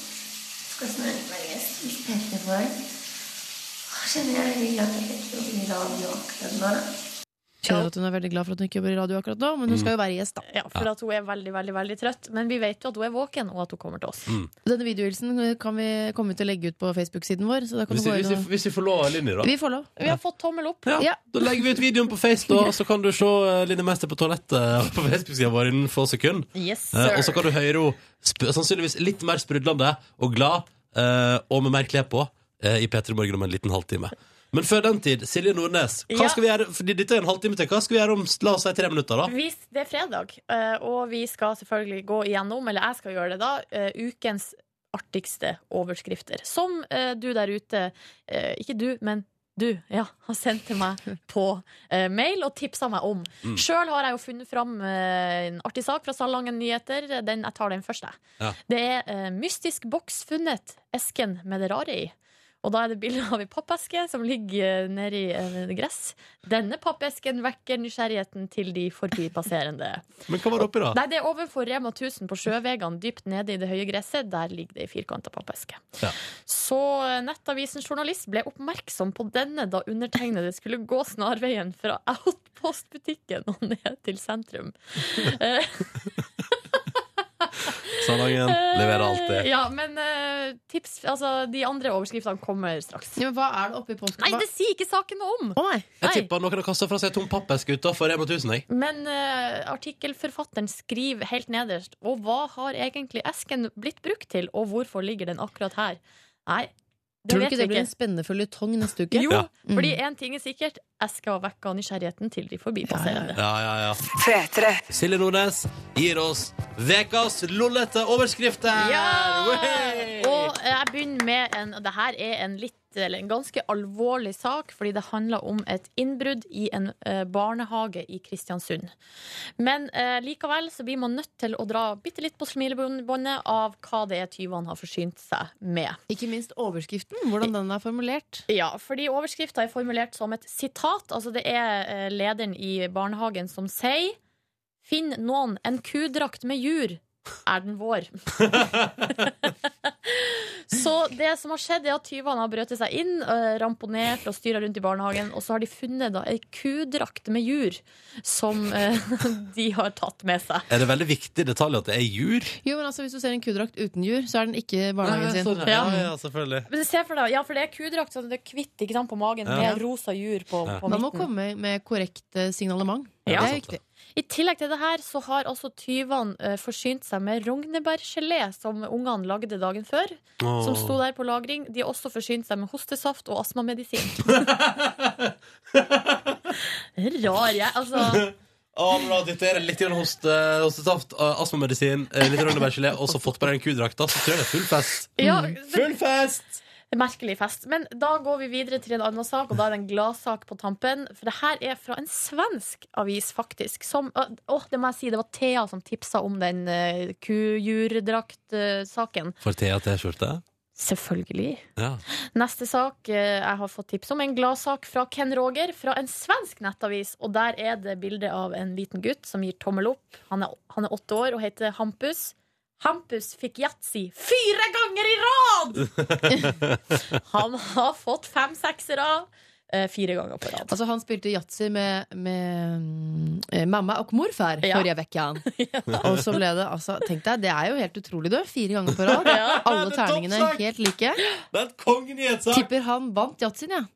[SPEAKER 2] Skjønner at hun er veldig glad for at hun ikke jobber i radio akkurat nå, men hun skal
[SPEAKER 1] Mm.
[SPEAKER 2] jo være gjest, da.
[SPEAKER 3] Ja, for at hun er veldig, veldig, veldig trøtt. Men vi vet jo at hun er våken, og at hun kommer til oss.
[SPEAKER 2] Denne videohilsen eh, kan vi komme til å legge ut på Facebook-siden vår, så da kan
[SPEAKER 1] Hvis
[SPEAKER 2] du
[SPEAKER 1] vi,
[SPEAKER 2] gå
[SPEAKER 1] hvis,
[SPEAKER 2] inn
[SPEAKER 1] vi,
[SPEAKER 2] og
[SPEAKER 1] hvis vi får lov av Linni, da.
[SPEAKER 2] Vi får lov.
[SPEAKER 3] Vi har fått tommel opp.
[SPEAKER 1] Ja,
[SPEAKER 2] Ja.
[SPEAKER 1] Da legger vi ut videoen på Face, da, og så kan du se eh, Linni Meister på toalettet eh, på Facebook-sida vår innen få sekunder.
[SPEAKER 3] Yes,
[SPEAKER 1] Eh,
[SPEAKER 3] sir.
[SPEAKER 1] og så kan du høre henne sp- sannsynligvis litt mer sprudlende og glad, eh, og med mer klær på, eh, i P3 Morgen om en liten halvtime. Men før den tid, Silje Nordnes, hva
[SPEAKER 3] Ja.
[SPEAKER 1] skal vi gjøre Fordi dette er en halvtime til. Hva skal vi gjøre om la oss si tre minutter, da?
[SPEAKER 3] Vi, det er fredag, eh, og vi skal selvfølgelig gå igjennom, eller jeg skal gjøre det da, eh, ukens artigste overskrifter. Som eh, du der ute, eh, ikke du, men du, ja, har sendt til meg [laughs] på eh, mail og tipsa meg om.
[SPEAKER 1] Mm.
[SPEAKER 3] Sjøl har jeg jo funnet fram eh, en artig sak fra Salangen Nyheter. Den, jeg tar den først, jeg.
[SPEAKER 1] Ja.
[SPEAKER 3] Det er eh, 'Mystisk boks funnet. Esken med det rare i'. Og da er det bilde av ei pappeske som ligger eh, nedi eh, gress. Denne pappesken vekker nysgjerrigheten til de forbipasserende.
[SPEAKER 1] Men hva var det oppi, da?
[SPEAKER 3] Nei, det er overfor Rema 1000 på sjøvegene, dypt nede i det høye gresset. Der ligger det ei firkanta pappeske.
[SPEAKER 1] Ja.
[SPEAKER 3] Så eh, Nettavisens journalist ble oppmerksom på denne da undertegnede skulle gå snarveien fra Outpost-butikken og ned til sentrum. Eh,
[SPEAKER 1] Salangen leverer alltid.
[SPEAKER 3] Eh, Ja, men eh, tips Altså, de andre overskriftene kommer straks.
[SPEAKER 2] Ja, men hva er det oppi påsken?
[SPEAKER 3] Nei,
[SPEAKER 2] Hva-
[SPEAKER 3] det sier ikke saken noe om!
[SPEAKER 2] Å nei!
[SPEAKER 1] Jeg
[SPEAKER 3] Nei.
[SPEAKER 1] tipper noen har kasta fra seg tom pappeske utafor Rema 1000, jeg.
[SPEAKER 3] Men eh, artikkelforfatteren skriver helt nederst Og hva har egentlig esken blitt brukt til, og hvorfor ligger den akkurat her? Nei, det
[SPEAKER 2] Tror du
[SPEAKER 3] vet
[SPEAKER 2] ikke det
[SPEAKER 3] vi
[SPEAKER 2] blir Mm.
[SPEAKER 3] ikke.
[SPEAKER 2] en spennende føljetong neste uke?
[SPEAKER 3] Jo,
[SPEAKER 1] Ja.
[SPEAKER 3] fordi én ting er sikkert. Eska vekker nysgjerrigheten til de forbipasserende.
[SPEAKER 1] Ja, ja, ja. Silje Nordnes gir oss ukas lollete overskrifter! Wey!
[SPEAKER 3] Og jeg begynner med en og Det her er en litt eller en ganske alvorlig sak, fordi det handler om et innbrudd i en eh, barnehage i Kristiansund. Men eh, likevel så blir man nødt til å dra bitte litt på smilebåndet av hva det er tyvene har forsynt seg med.
[SPEAKER 2] [laughs] Ikke minst overskriften, hvordan den er formulert.
[SPEAKER 3] Ja, fordi overskrifta er formulert som et sitat. Altså det er eh, lederen i barnehagen som sier Finn noen en kudrakt med jur. Er den vår? [laughs] så det som har skjedd, er at tyvene har brøtet seg inn, eh, ramponert og styra rundt i barnehagen, og så har de funnet da ei kudrakt med jur som eh, [laughs] de har tatt med seg.
[SPEAKER 1] Er det veldig viktig detalj at det er jur?
[SPEAKER 2] Jo, men altså, Hvis du ser en kudrakt uten jur, så er den ikke barnehagen sin.
[SPEAKER 1] sånn, ja, ja, selvfølgelig.
[SPEAKER 3] Men se for deg, ja, for det er kudrakt, så det er hvitt ikke sant, på magen,
[SPEAKER 1] Ja.
[SPEAKER 3] med rosa jur på,
[SPEAKER 1] Ja.
[SPEAKER 3] på
[SPEAKER 2] Man må
[SPEAKER 3] midten.
[SPEAKER 2] komme med korrekt eh, signalement.
[SPEAKER 3] Ja.
[SPEAKER 2] Det er viktig.
[SPEAKER 3] I tillegg til det her så har altså tyvene eh, forsynt seg med rognebærgelé som ungene lagde dagen før. Som sto der på lagring. De har også forsynt seg med hostesaft og astmamedisin. [laughs] Rar jeg, altså.
[SPEAKER 1] Å, bra, dette er litt grann hoste, hostesaft, eh, astmamedisin, eh, litt rønnebærgelé, og så fått på deg en kudrakt. Da så tror jeg det er full fest.
[SPEAKER 3] Ja,
[SPEAKER 1] Mm. Full fest!
[SPEAKER 3] Det er Merkelig fest. Men da går vi videre til en annen sak, og da er det en gladsak på tampen. For det her er fra en svensk avis, faktisk. Som Å, å, det må jeg si, det var Thea som tipsa om den uh, kujurdrakt-saken.
[SPEAKER 1] For Thea T-skjorte?
[SPEAKER 3] Selvfølgelig.
[SPEAKER 1] Ja.
[SPEAKER 3] Neste sak eh, jeg har fått tips om, en gladsak fra Ken Roger fra en svensk nettavis. Og der er det bilde av en liten gutt som gir tommel opp. Han er, han er åtte år og heter Hampus. Hampus fikk yatzy fire ganger i rad! han har fått fem seksere eh, fire ganger på rad.
[SPEAKER 2] Altså, han spilte yatzy med, med mm, eh, mamma og morfar
[SPEAKER 3] [laughs] Ja.
[SPEAKER 2] forrige uke. Og så ble det altså Tenk deg, det er jo helt utrolig, du. Fire ganger på rad.
[SPEAKER 3] [laughs] Ja.
[SPEAKER 2] Alle
[SPEAKER 1] Det er
[SPEAKER 2] terningene
[SPEAKER 1] toppsak.
[SPEAKER 2] helt like.
[SPEAKER 1] Det er et kongenyhetssak!
[SPEAKER 2] Tipper han vant yatzyen, jeg.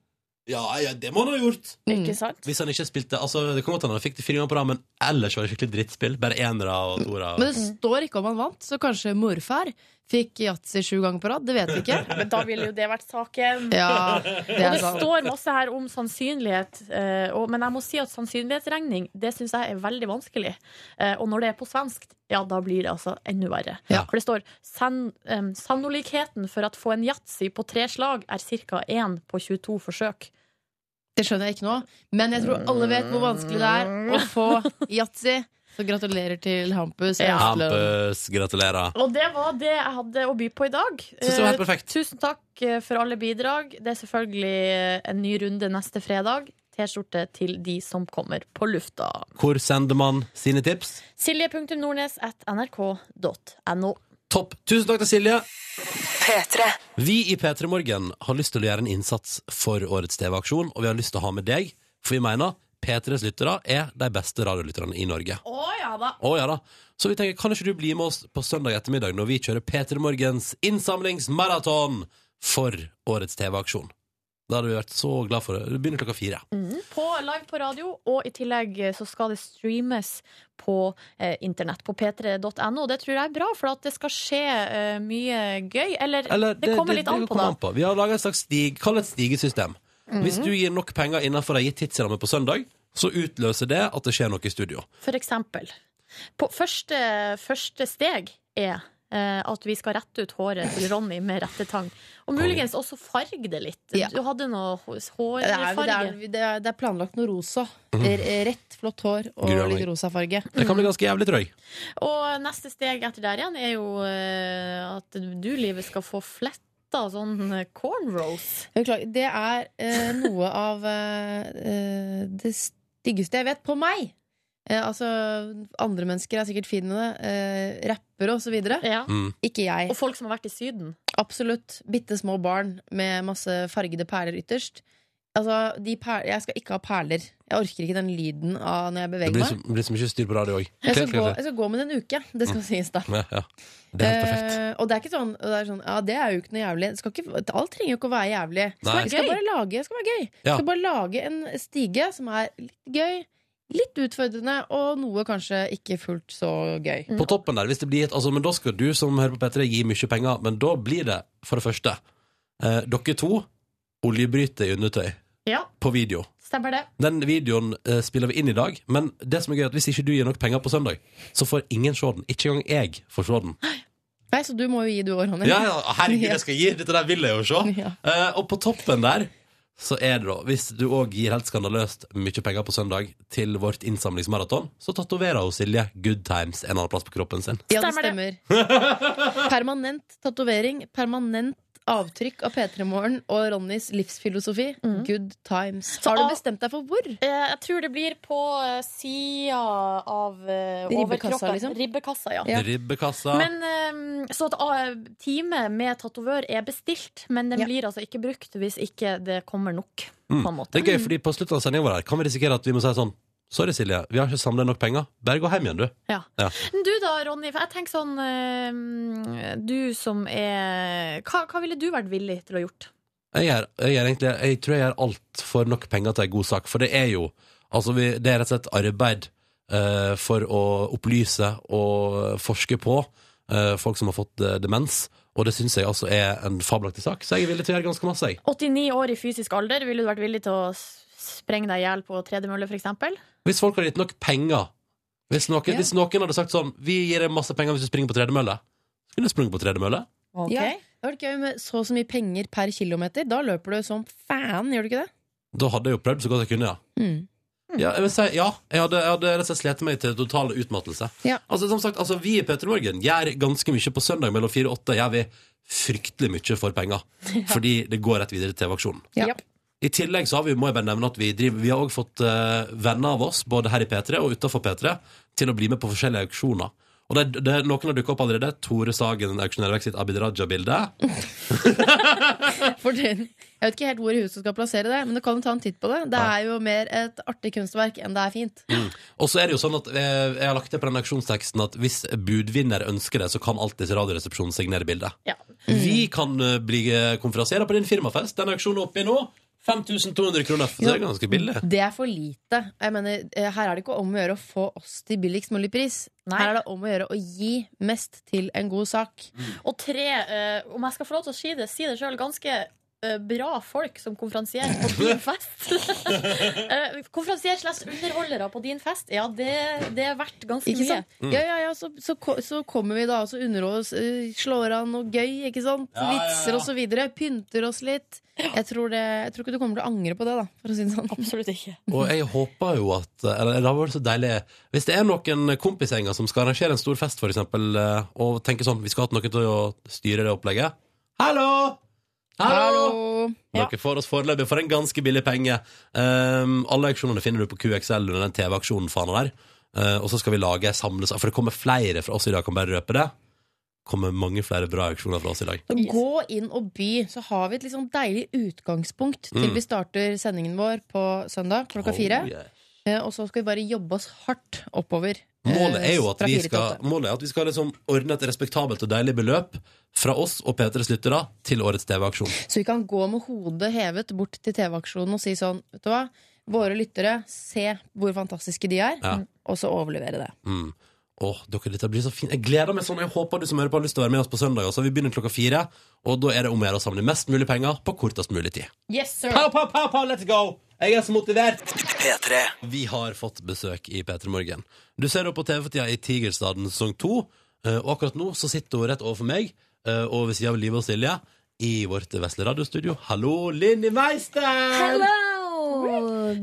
[SPEAKER 1] Ja, ja, det må han ha gjort.
[SPEAKER 9] Ikke sant?
[SPEAKER 1] Hvis han ikke spilte altså, Det kan godt hende han fikk det fire ganger på rad, men ellers var det skikkelig drittspill. Bare enere og toere.
[SPEAKER 10] Men det står ikke om han vant, så kanskje morfar fikk yatzy sju ganger på rad. Det vet vi ikke.
[SPEAKER 3] [laughs]
[SPEAKER 9] Men da ville jo det vært saken.
[SPEAKER 10] Ja, det
[SPEAKER 3] Og
[SPEAKER 10] er
[SPEAKER 3] det
[SPEAKER 10] sant.
[SPEAKER 3] står masse her om sannsynlighet, eh, og, men jeg må si at sannsynlighetsregning det syns jeg er veldig vanskelig. Eh, og når det er på svensk, ja, da blir det altså enda verre.
[SPEAKER 1] Ja.
[SPEAKER 3] For det står sann- em, sannolikheten for at få en yatzy på tre slag er ca. 1 på 22 forsøk.
[SPEAKER 10] Det skjønner jeg ikke nå, men jeg tror alle vet hvor vanskelig det er å få yatzy. Så gratulerer til Hampus.
[SPEAKER 3] Ja.
[SPEAKER 10] Østlund.
[SPEAKER 1] Hampus, gratulerer.
[SPEAKER 3] Og det var det jeg hadde å by på i dag.
[SPEAKER 1] Synes det var helt
[SPEAKER 3] Eh,
[SPEAKER 1] perfekt.
[SPEAKER 3] Tusen takk eh, for alle bidrag. Det er selvfølgelig eh, en ny runde neste fredag. T-skjorte til de som kommer på lufta.
[SPEAKER 1] Hvor sender man sine tips?
[SPEAKER 3] Silje.nordnes at nrk.no.
[SPEAKER 1] Topp. Tusen takk til Silje. Vi i P3 Morgen har lyst til å gjøre en innsats for årets TV-aksjon, og vi har lyst til å ha med deg, for vi mener P3s lyttere er de beste radiolytterne i Norge.
[SPEAKER 3] Å ja da.
[SPEAKER 1] Å, ja da. Så vi tenker, kan ikke du bli med oss på søndag ettermiddag når vi kjører P3 Morgens innsamlingsmaraton for årets TV-aksjon? Da hadde vi vært så glad for det. Det begynner klokka fire.
[SPEAKER 2] Mm.
[SPEAKER 3] På live på radio, og i tillegg eh, så skal det streames på eh, internett, på p3.no. Det tror jeg er bra, for at det skal skje eh, mye gøy. Eller,
[SPEAKER 1] Eller,
[SPEAKER 3] det, kommer litt an på,
[SPEAKER 1] kommer
[SPEAKER 3] da. Mhm.
[SPEAKER 1] an på. Vi har laga et slags stig, kall det et stigesystem. Hvis du gir nok penger innenfor ei gitt tidsramme på søndag, så utløser det at det skjer noe i studio.
[SPEAKER 3] For eksempel. På første, første steg er eh, at vi skal rette ut håret til Ronny med rettetang. Og muligens også farge det litt.
[SPEAKER 2] Ja.
[SPEAKER 3] Du hadde noe hos-
[SPEAKER 2] Det er, det,
[SPEAKER 3] hårfarge.
[SPEAKER 2] er, det, er, det er planlagt noe rosa.
[SPEAKER 1] Mhm.
[SPEAKER 2] R- eh, Rett, flott hår og
[SPEAKER 1] Grønning.
[SPEAKER 2] litt rosa farge.
[SPEAKER 1] Det
[SPEAKER 3] Mhm.
[SPEAKER 1] kan bli ganske jævlig, tror jeg.
[SPEAKER 3] Og neste steg etter der igjen er jo eh, at du, Livet, skal få fletta sånn eh, cornrows.
[SPEAKER 2] Jeg beklager, Det er eh, noe av eh, eh, det styggeste jeg vet på meg. Eh, altså, andre mennesker er sikkert fine med det. Eh, rappere og så videre.
[SPEAKER 3] Ja.
[SPEAKER 1] Mm.
[SPEAKER 2] Ikke jeg.
[SPEAKER 3] Og folk som har vært i Syden.
[SPEAKER 2] Absolutt bitte små barn med masse fargede perler ytterst. Altså, de per jeg skal ikke ha perler. Jeg orker ikke den lyden av når jeg
[SPEAKER 1] Det
[SPEAKER 2] beveger
[SPEAKER 1] blir, så,
[SPEAKER 2] meg.
[SPEAKER 1] det blir så mye styr på radio òg.
[SPEAKER 2] Jeg skal, gå, jeg skal gå med det en uke. Det
[SPEAKER 1] Mm.
[SPEAKER 2] skal sies, da.
[SPEAKER 1] Ja, ja. Det er helt perfekt.
[SPEAKER 2] Eh, og det er ikke sånn, og det er sånn Ja, det er jo ikke noe jævlig. Det skal ikke, alt trenger jo ikke å være jævlig. Det
[SPEAKER 1] Nei.
[SPEAKER 2] skal, skal bare lage, det skal være gøy.
[SPEAKER 1] Ja.
[SPEAKER 2] Skal bare lage en stige som er litt gøy, litt utfordrende, og noe kanskje ikke fullt så gøy.
[SPEAKER 3] Eh,
[SPEAKER 1] På toppen der, hvis det blir et altså, Men da skal du som hører på P3, gi mye penger, men da blir det, for det første, eh, dere to oljebryter i undertøy
[SPEAKER 3] Ja,
[SPEAKER 1] på video.
[SPEAKER 3] stemmer det.
[SPEAKER 1] Den videoen eh, spiller vi inn i dag, men det som er gøy er at hvis ikke du gir nok penger på søndag, så får ingen se den. Ikke engang jeg får se den.
[SPEAKER 2] Nei, så du må jo gi du òg, Ronny.
[SPEAKER 1] Ja, ja, herregud, jeg skal gi! Dette der vil jeg jo se!
[SPEAKER 2] Ja.
[SPEAKER 1] Eh, og på toppen der så er det da, hvis du òg gir helt skandaløst mye penger på søndag til vårt innsamlingsmaraton, så tatoverer hun Silje Good Times en annen plass på kroppen sin.
[SPEAKER 2] Ja, det
[SPEAKER 3] Stemmer
[SPEAKER 2] stemmer. [laughs] Permanent tatovering, permanent avtrykk av P3 Morgen og Ronnys livsfilosofi. Good times.
[SPEAKER 3] Så
[SPEAKER 2] Har
[SPEAKER 3] av-
[SPEAKER 2] du bestemt deg for hvor?
[SPEAKER 3] Eh, Jeg tror det blir på eh, sida av eh,
[SPEAKER 2] Ribbekassa,
[SPEAKER 3] overkroppen.
[SPEAKER 2] liksom?
[SPEAKER 3] Ribbekassa, ja.
[SPEAKER 2] Ja.
[SPEAKER 1] Ribbekassa.
[SPEAKER 3] Men, eh, så at ah, time med tatovør er bestilt, men den
[SPEAKER 2] Ja.
[SPEAKER 3] blir altså ikke brukt hvis ikke det kommer nok.
[SPEAKER 1] Mm.
[SPEAKER 3] På en måte.
[SPEAKER 1] Det er gøy, fordi på slutten av sendingen vår her kan vi risikere at vi må si sånn Sorry, Silje, vi har ikke samla nok penger. Bare gå hjem igjen, du.
[SPEAKER 3] Men Du da, Ronny, for jeg tenker sånn eh, Du som er hva, hva ville du vært villig til å gjort?
[SPEAKER 1] Jeg, gjør, jeg, gjør egentlig, jeg tror jeg gjør alt for nok penger til en god sak, for det er jo altså vi, Det er rett og slett arbeid eh, for å opplyse og forske på eh, folk som har fått eh, demens, og det syns jeg altså er en fabelaktig sak, så jeg er villig til å gjøre ganske masse, jeg.
[SPEAKER 3] 89 år i fysisk alder, ville du vært villig til å s- sprenge deg i hjel på tredemølle, for eksempel?
[SPEAKER 1] Hvis folk hadde gitt nok penger hvis noen,
[SPEAKER 2] Ja.
[SPEAKER 1] hvis noen hadde sagt sånn Vi gir deg masse penger hvis du springer på tredemølle, så kunne du sprunget på tredemølle.
[SPEAKER 2] Ja, det hadde vært gøy med så og så mye penger per kilometer. Da løper du som fan, gjør du ikke det?
[SPEAKER 1] Da hadde jeg jo prøvd så godt jeg kunne, ja.
[SPEAKER 2] Mm.
[SPEAKER 1] Ja, jeg, vil si, ja, jeg hadde, jeg hadde rett og slett slitt meg til total utmattelse.
[SPEAKER 2] Ja.
[SPEAKER 1] Altså, som sagt, altså, vi i Petter Morgen gjør ganske mye på søndag mellom fire og åtte. Gjør vi fryktelig mye for
[SPEAKER 2] [laughs]
[SPEAKER 1] penger. Fordi det går rett videre til TV-aksjonen.
[SPEAKER 2] Ja.
[SPEAKER 3] Japp.
[SPEAKER 1] I tillegg så har vi, må jeg bare nevne at vi driver Vi har også fått eh, venner av oss, både her i P3 og utenfor P3, til å bli med på forskjellige auksjoner. Og det, det, Noen har dukka opp allerede. Tore Sagen auksjonerer vekk sitt Abid Raja-bilde.
[SPEAKER 2] For den, jeg vet ikke helt hvor i huset du skal plassere det, men du kan jo ta en titt på det. Det er jo mer et artig kunstverk enn det er fint.
[SPEAKER 1] Og så er det jo sånn at eh, jeg har lagt det på den auksjonsteksten at hvis budvinner ønsker det, så kan alltid Radioresepsjonen signere bildet.
[SPEAKER 3] Ja.
[SPEAKER 1] Vi kan eh, bli eh, konferansierer på din firmafest. Den auksjonen er oppe i nå. 5200 kroner. For det er ganske billig.
[SPEAKER 2] Det er for lite. Jeg mener, eh, her er det ikke om å gjøre å få oss til billigst mulig pris.
[SPEAKER 3] Nei.
[SPEAKER 2] Her er det om å gjøre å gi mest til en god sak.
[SPEAKER 1] Mm.
[SPEAKER 3] Og tre, eh, om jeg skal få lov til å si det, si det sjøl, ganske eh, bra folk som konferansierer på
[SPEAKER 1] [laughs]
[SPEAKER 3] din fest. [laughs] uh, konferansier slash underholdere på din fest, ja, det, det er verdt ganske mye.
[SPEAKER 2] Ikke sant? Ja, ja, ja, så, så, ko- så kommer vi da og så underholder oss, eh, slår an noe gøy, ikke sant?
[SPEAKER 1] Ja, ja, ja.
[SPEAKER 2] Vitser og så videre. Pynter oss litt. Jeg tror, det, jeg tror ikke du kommer til å angre på det, da, for å si det sånn.
[SPEAKER 3] Absolutt ikke.
[SPEAKER 1] Og jeg håper jo at eh, eller, det hadde vært så deilig Hvis det er noen kompisgjenger som skal arrangere en stor fest, for eksempel, eh, og tenker sånn Vi skal ha noen til å styre det opplegget. Hallo! Hallo!
[SPEAKER 2] Hallo!
[SPEAKER 3] Ja.
[SPEAKER 1] Dere får oss foreløpig for en ganske billig penge. Um, alle auksjonene finner du på QXL under den TV-aksjonen faen der. Eh, og så skal vi lage samles For det kommer flere fra oss i dag, kan bare røpe det. Kommer mange flere bra auksjoner fra oss i dag.
[SPEAKER 2] Så gå inn og by, så har vi et litt sånn deilig utgangspunkt til
[SPEAKER 1] Mm.
[SPEAKER 2] vi starter sendingen vår på søndag klokka fire.
[SPEAKER 1] Oh, yeah.
[SPEAKER 2] Eh, Og så skal vi bare jobbe oss hardt oppover. eh,
[SPEAKER 1] Målet er jo at
[SPEAKER 2] fra
[SPEAKER 1] vi
[SPEAKER 2] fire til
[SPEAKER 1] skal,
[SPEAKER 2] åtte.
[SPEAKER 1] målet er at vi skal liksom ordne et respektabelt og deilig beløp fra oss og P3s lyttere til årets TV-aksjon.
[SPEAKER 2] Så vi kan gå med hodet hevet bort til TV-aksjonen og si sånn, vet du hva? Våre lyttere, se hvor fantastiske de er,
[SPEAKER 1] Ja.
[SPEAKER 2] og så overlevere det.
[SPEAKER 1] Mm. Åh, dere, dette blir så fint. Jeg gleder meg sånn. Jeg håper du som hører på har lyst til å være med oss på søndag. Altså. Vi begynner klokka fire, og da er det om å gjøre å samle mest mulig penger på kortest mulig tid.
[SPEAKER 2] Yes, sir!
[SPEAKER 1] Pow, pow, pow, pow, let's go! Jeg er så motivert! Vi har fått besøk i P3 Morgen. Du ser henne på TV for tida i Tigerstaden sesong 2, og akkurat nå så sitter hun rett overfor meg, eh, og ved siden av Live og Silje, i vårt vesle radiostudio. Hallo, Linni Meister!
[SPEAKER 11] Hello!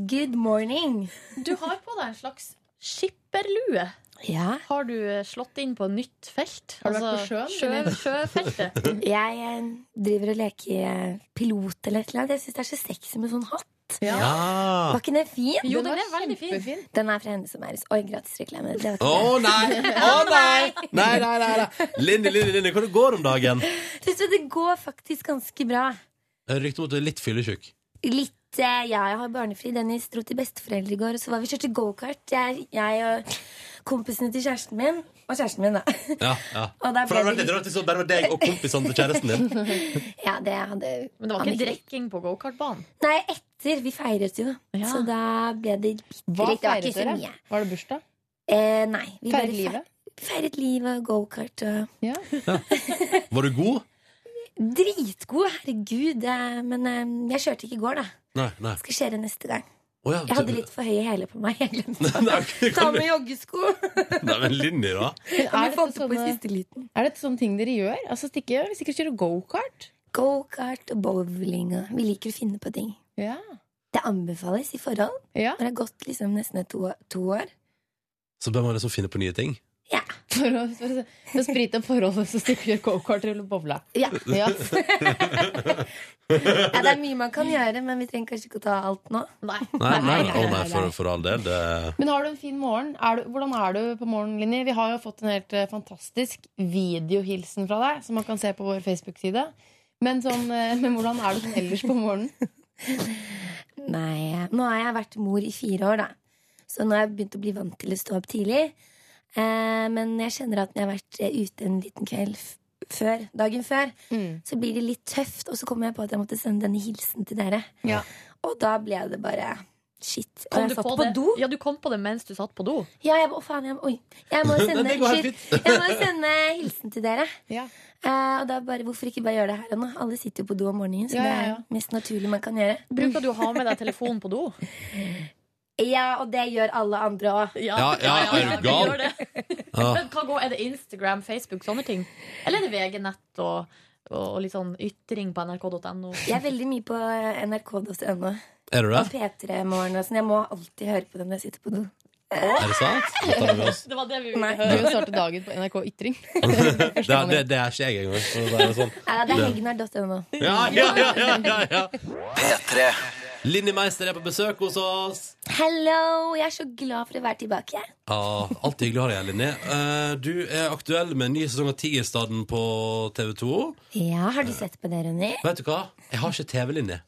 [SPEAKER 11] Good morning.
[SPEAKER 3] Du har på deg en slags skipperlue.
[SPEAKER 11] Ja,
[SPEAKER 3] Har du eh, slått inn på nytt felt? Altså,
[SPEAKER 2] Har du vært på sjøen, eller?
[SPEAKER 3] Sjø,
[SPEAKER 2] [laughs]
[SPEAKER 3] sjøfeltet.
[SPEAKER 11] jeg eh, driver og leker eh, pilot eller et eller annet. Jeg syns det er så sexy med sånn hatt.
[SPEAKER 1] Ja!
[SPEAKER 11] Var ikke den fin?
[SPEAKER 3] Jo, den er veldig fin.
[SPEAKER 11] Den er fra henne som er hos Oi, gratisreklame. Det var
[SPEAKER 1] Å
[SPEAKER 11] ikke det.
[SPEAKER 1] nei! Å nei! Nei, nei, nei, nei. Linni, Linni, Linni, hvordan går det om dagen?
[SPEAKER 11] Synes du, det går faktisk ganske bra.
[SPEAKER 1] Rykte Eh, om at du er litt fyllesyk.
[SPEAKER 11] Litt eh, ja, Jeg har barnefri. Dennis dro til besteforeldre i går, og så var vi kjørte gokart. Jeg, jeg og kompisene til kjæresten min. Og kjæresten min, da. [laughs]
[SPEAKER 1] Ja, ja.
[SPEAKER 11] Og der
[SPEAKER 1] For det hadde
[SPEAKER 11] ble
[SPEAKER 1] vært litt
[SPEAKER 11] det-
[SPEAKER 1] rart hvis det bare var deg og kompisene til kjæresten din.
[SPEAKER 11] Ja, det hadde
[SPEAKER 3] Men det var ikke
[SPEAKER 11] Anniken.
[SPEAKER 3] drikking på gokartbanen.
[SPEAKER 11] Nei, etter. Vi feiret jo.
[SPEAKER 3] Ja.
[SPEAKER 11] Så da ble det bitte litt.
[SPEAKER 2] Hva
[SPEAKER 11] Det var
[SPEAKER 2] feiret
[SPEAKER 11] ikke så
[SPEAKER 2] dere?
[SPEAKER 11] mye.
[SPEAKER 2] Var det bursdag?
[SPEAKER 11] Eh, nei. Vi bare
[SPEAKER 2] Feiret livet?
[SPEAKER 11] Feiret livet og gokart og
[SPEAKER 2] Ja.
[SPEAKER 1] Var du god?
[SPEAKER 11] Dritgod, herregud. eh, Men eh, jeg kjørte ikke i går, da.
[SPEAKER 1] Nei, nei.
[SPEAKER 11] Skal kjøre neste gang.
[SPEAKER 1] Å, ja.
[SPEAKER 11] Jeg hadde litt for høye hæler på meg. Jeg glemte
[SPEAKER 1] [laughs] Nei,
[SPEAKER 11] å ta med joggesko.
[SPEAKER 1] Nei, men Linni, da?
[SPEAKER 2] Men Er
[SPEAKER 11] Men vi
[SPEAKER 2] dette,
[SPEAKER 11] fant det på i
[SPEAKER 2] sånne,
[SPEAKER 11] siste liten.
[SPEAKER 2] er dette sånne ting dere gjør? Altså, stikke, hvis ikke kjører go-kart?
[SPEAKER 11] Gokart og bowling og Vi liker å finne på ting.
[SPEAKER 2] Ja.
[SPEAKER 11] Det anbefales i forhold.
[SPEAKER 2] ja.
[SPEAKER 11] Når det har gått liksom nesten to, to år.
[SPEAKER 1] Så bør man liksom finne på nye ting.
[SPEAKER 11] Ja.
[SPEAKER 2] For å, for å, for å sprite opp forholdet, så stikker du go-kart eller bobla.
[SPEAKER 11] Ja.
[SPEAKER 2] Ja.
[SPEAKER 11] ja, det er mye man kan gjøre, men vi trenger kanskje ikke å ta alt nå.
[SPEAKER 3] Nei.
[SPEAKER 1] Nei, nei,
[SPEAKER 2] nei,
[SPEAKER 1] å, nei
[SPEAKER 2] nei,
[SPEAKER 1] for,
[SPEAKER 2] nei.
[SPEAKER 1] for all del. Det...
[SPEAKER 2] Men har du en fin morgen? Er du, hvordan er du på morgenen, Linni? Vi har jo fått en helt eh, fantastisk videohilsen fra deg, som man kan se på vår Facebook-side. Men, sånn, eh, men hvordan er du sånn ellers på morgenen?
[SPEAKER 11] Nei, nå har jeg vært mor i fire år, da. Så nå har jeg begynt å bli vant til å stå opp tidlig. Eh, men jeg kjenner at når jeg har vært eh, ute en liten kveld f før, dagen før, så blir det litt tøft. Og så kommer jeg på at jeg måtte sende denne hilsen til dere.
[SPEAKER 2] Ja.
[SPEAKER 11] Og da ble det bare shit. Og
[SPEAKER 3] Kom
[SPEAKER 11] jeg
[SPEAKER 3] du
[SPEAKER 11] satt
[SPEAKER 3] på
[SPEAKER 11] på,
[SPEAKER 3] det?
[SPEAKER 11] do.
[SPEAKER 3] Ja, du kom på det mens du satt på do.
[SPEAKER 11] Ja, jeg, å faen, jeg, oi. Jeg må sende,
[SPEAKER 1] Det går helt
[SPEAKER 11] shit, jeg må sende hilsen til dere.
[SPEAKER 2] Ja.
[SPEAKER 11] Eh, og da bare, hvorfor ikke bare gjøre det her og nå? Alle sitter jo på do om morgenen, så
[SPEAKER 2] Ja,
[SPEAKER 11] det
[SPEAKER 2] ja,
[SPEAKER 11] er
[SPEAKER 2] ja.
[SPEAKER 11] mest naturlig man kan gjøre.
[SPEAKER 2] Mm.
[SPEAKER 3] Bruker du å ha med deg telefonen på do?
[SPEAKER 11] Ja, og det gjør alle andre òg.
[SPEAKER 1] Ja, ja, er du gal?
[SPEAKER 3] gjør det.
[SPEAKER 1] Ja.
[SPEAKER 3] Men [laughs] hva går, Er det Instagram, Facebook, sånne ting? Eller er det VG-nett og, og litt sånn ytring på nrk.no?
[SPEAKER 11] Jeg er veldig mye på eh, nrk.no
[SPEAKER 1] Er du det?
[SPEAKER 11] og P3-morgen. og sånn. Jeg må alltid høre på det når jeg sitter på do.
[SPEAKER 1] Er det sant? Det, tar vi med
[SPEAKER 3] [laughs]
[SPEAKER 1] oss.
[SPEAKER 3] Det var det vi ville
[SPEAKER 11] Nei.
[SPEAKER 3] høre.
[SPEAKER 2] Du starter dagen på NRK Ytring.
[SPEAKER 1] det, det, det er ikke jeg engang. så det er Sånn.
[SPEAKER 11] Ja, det er hegnar.no.
[SPEAKER 1] Ja, ja, ja, ja, ja, ja. Linni Meister er på besøk hos oss.
[SPEAKER 11] Hello! Jeg er så glad for å være tilbake.
[SPEAKER 1] Ja, Alltid hyggelig å ha deg her, Linni. Eh, Du er aktuell med en ny sesong av Tigerstaden på TV2.
[SPEAKER 11] Ja, Har du sett på det, Ronny?
[SPEAKER 1] Vet du hva? Jeg har ikke TV-linje.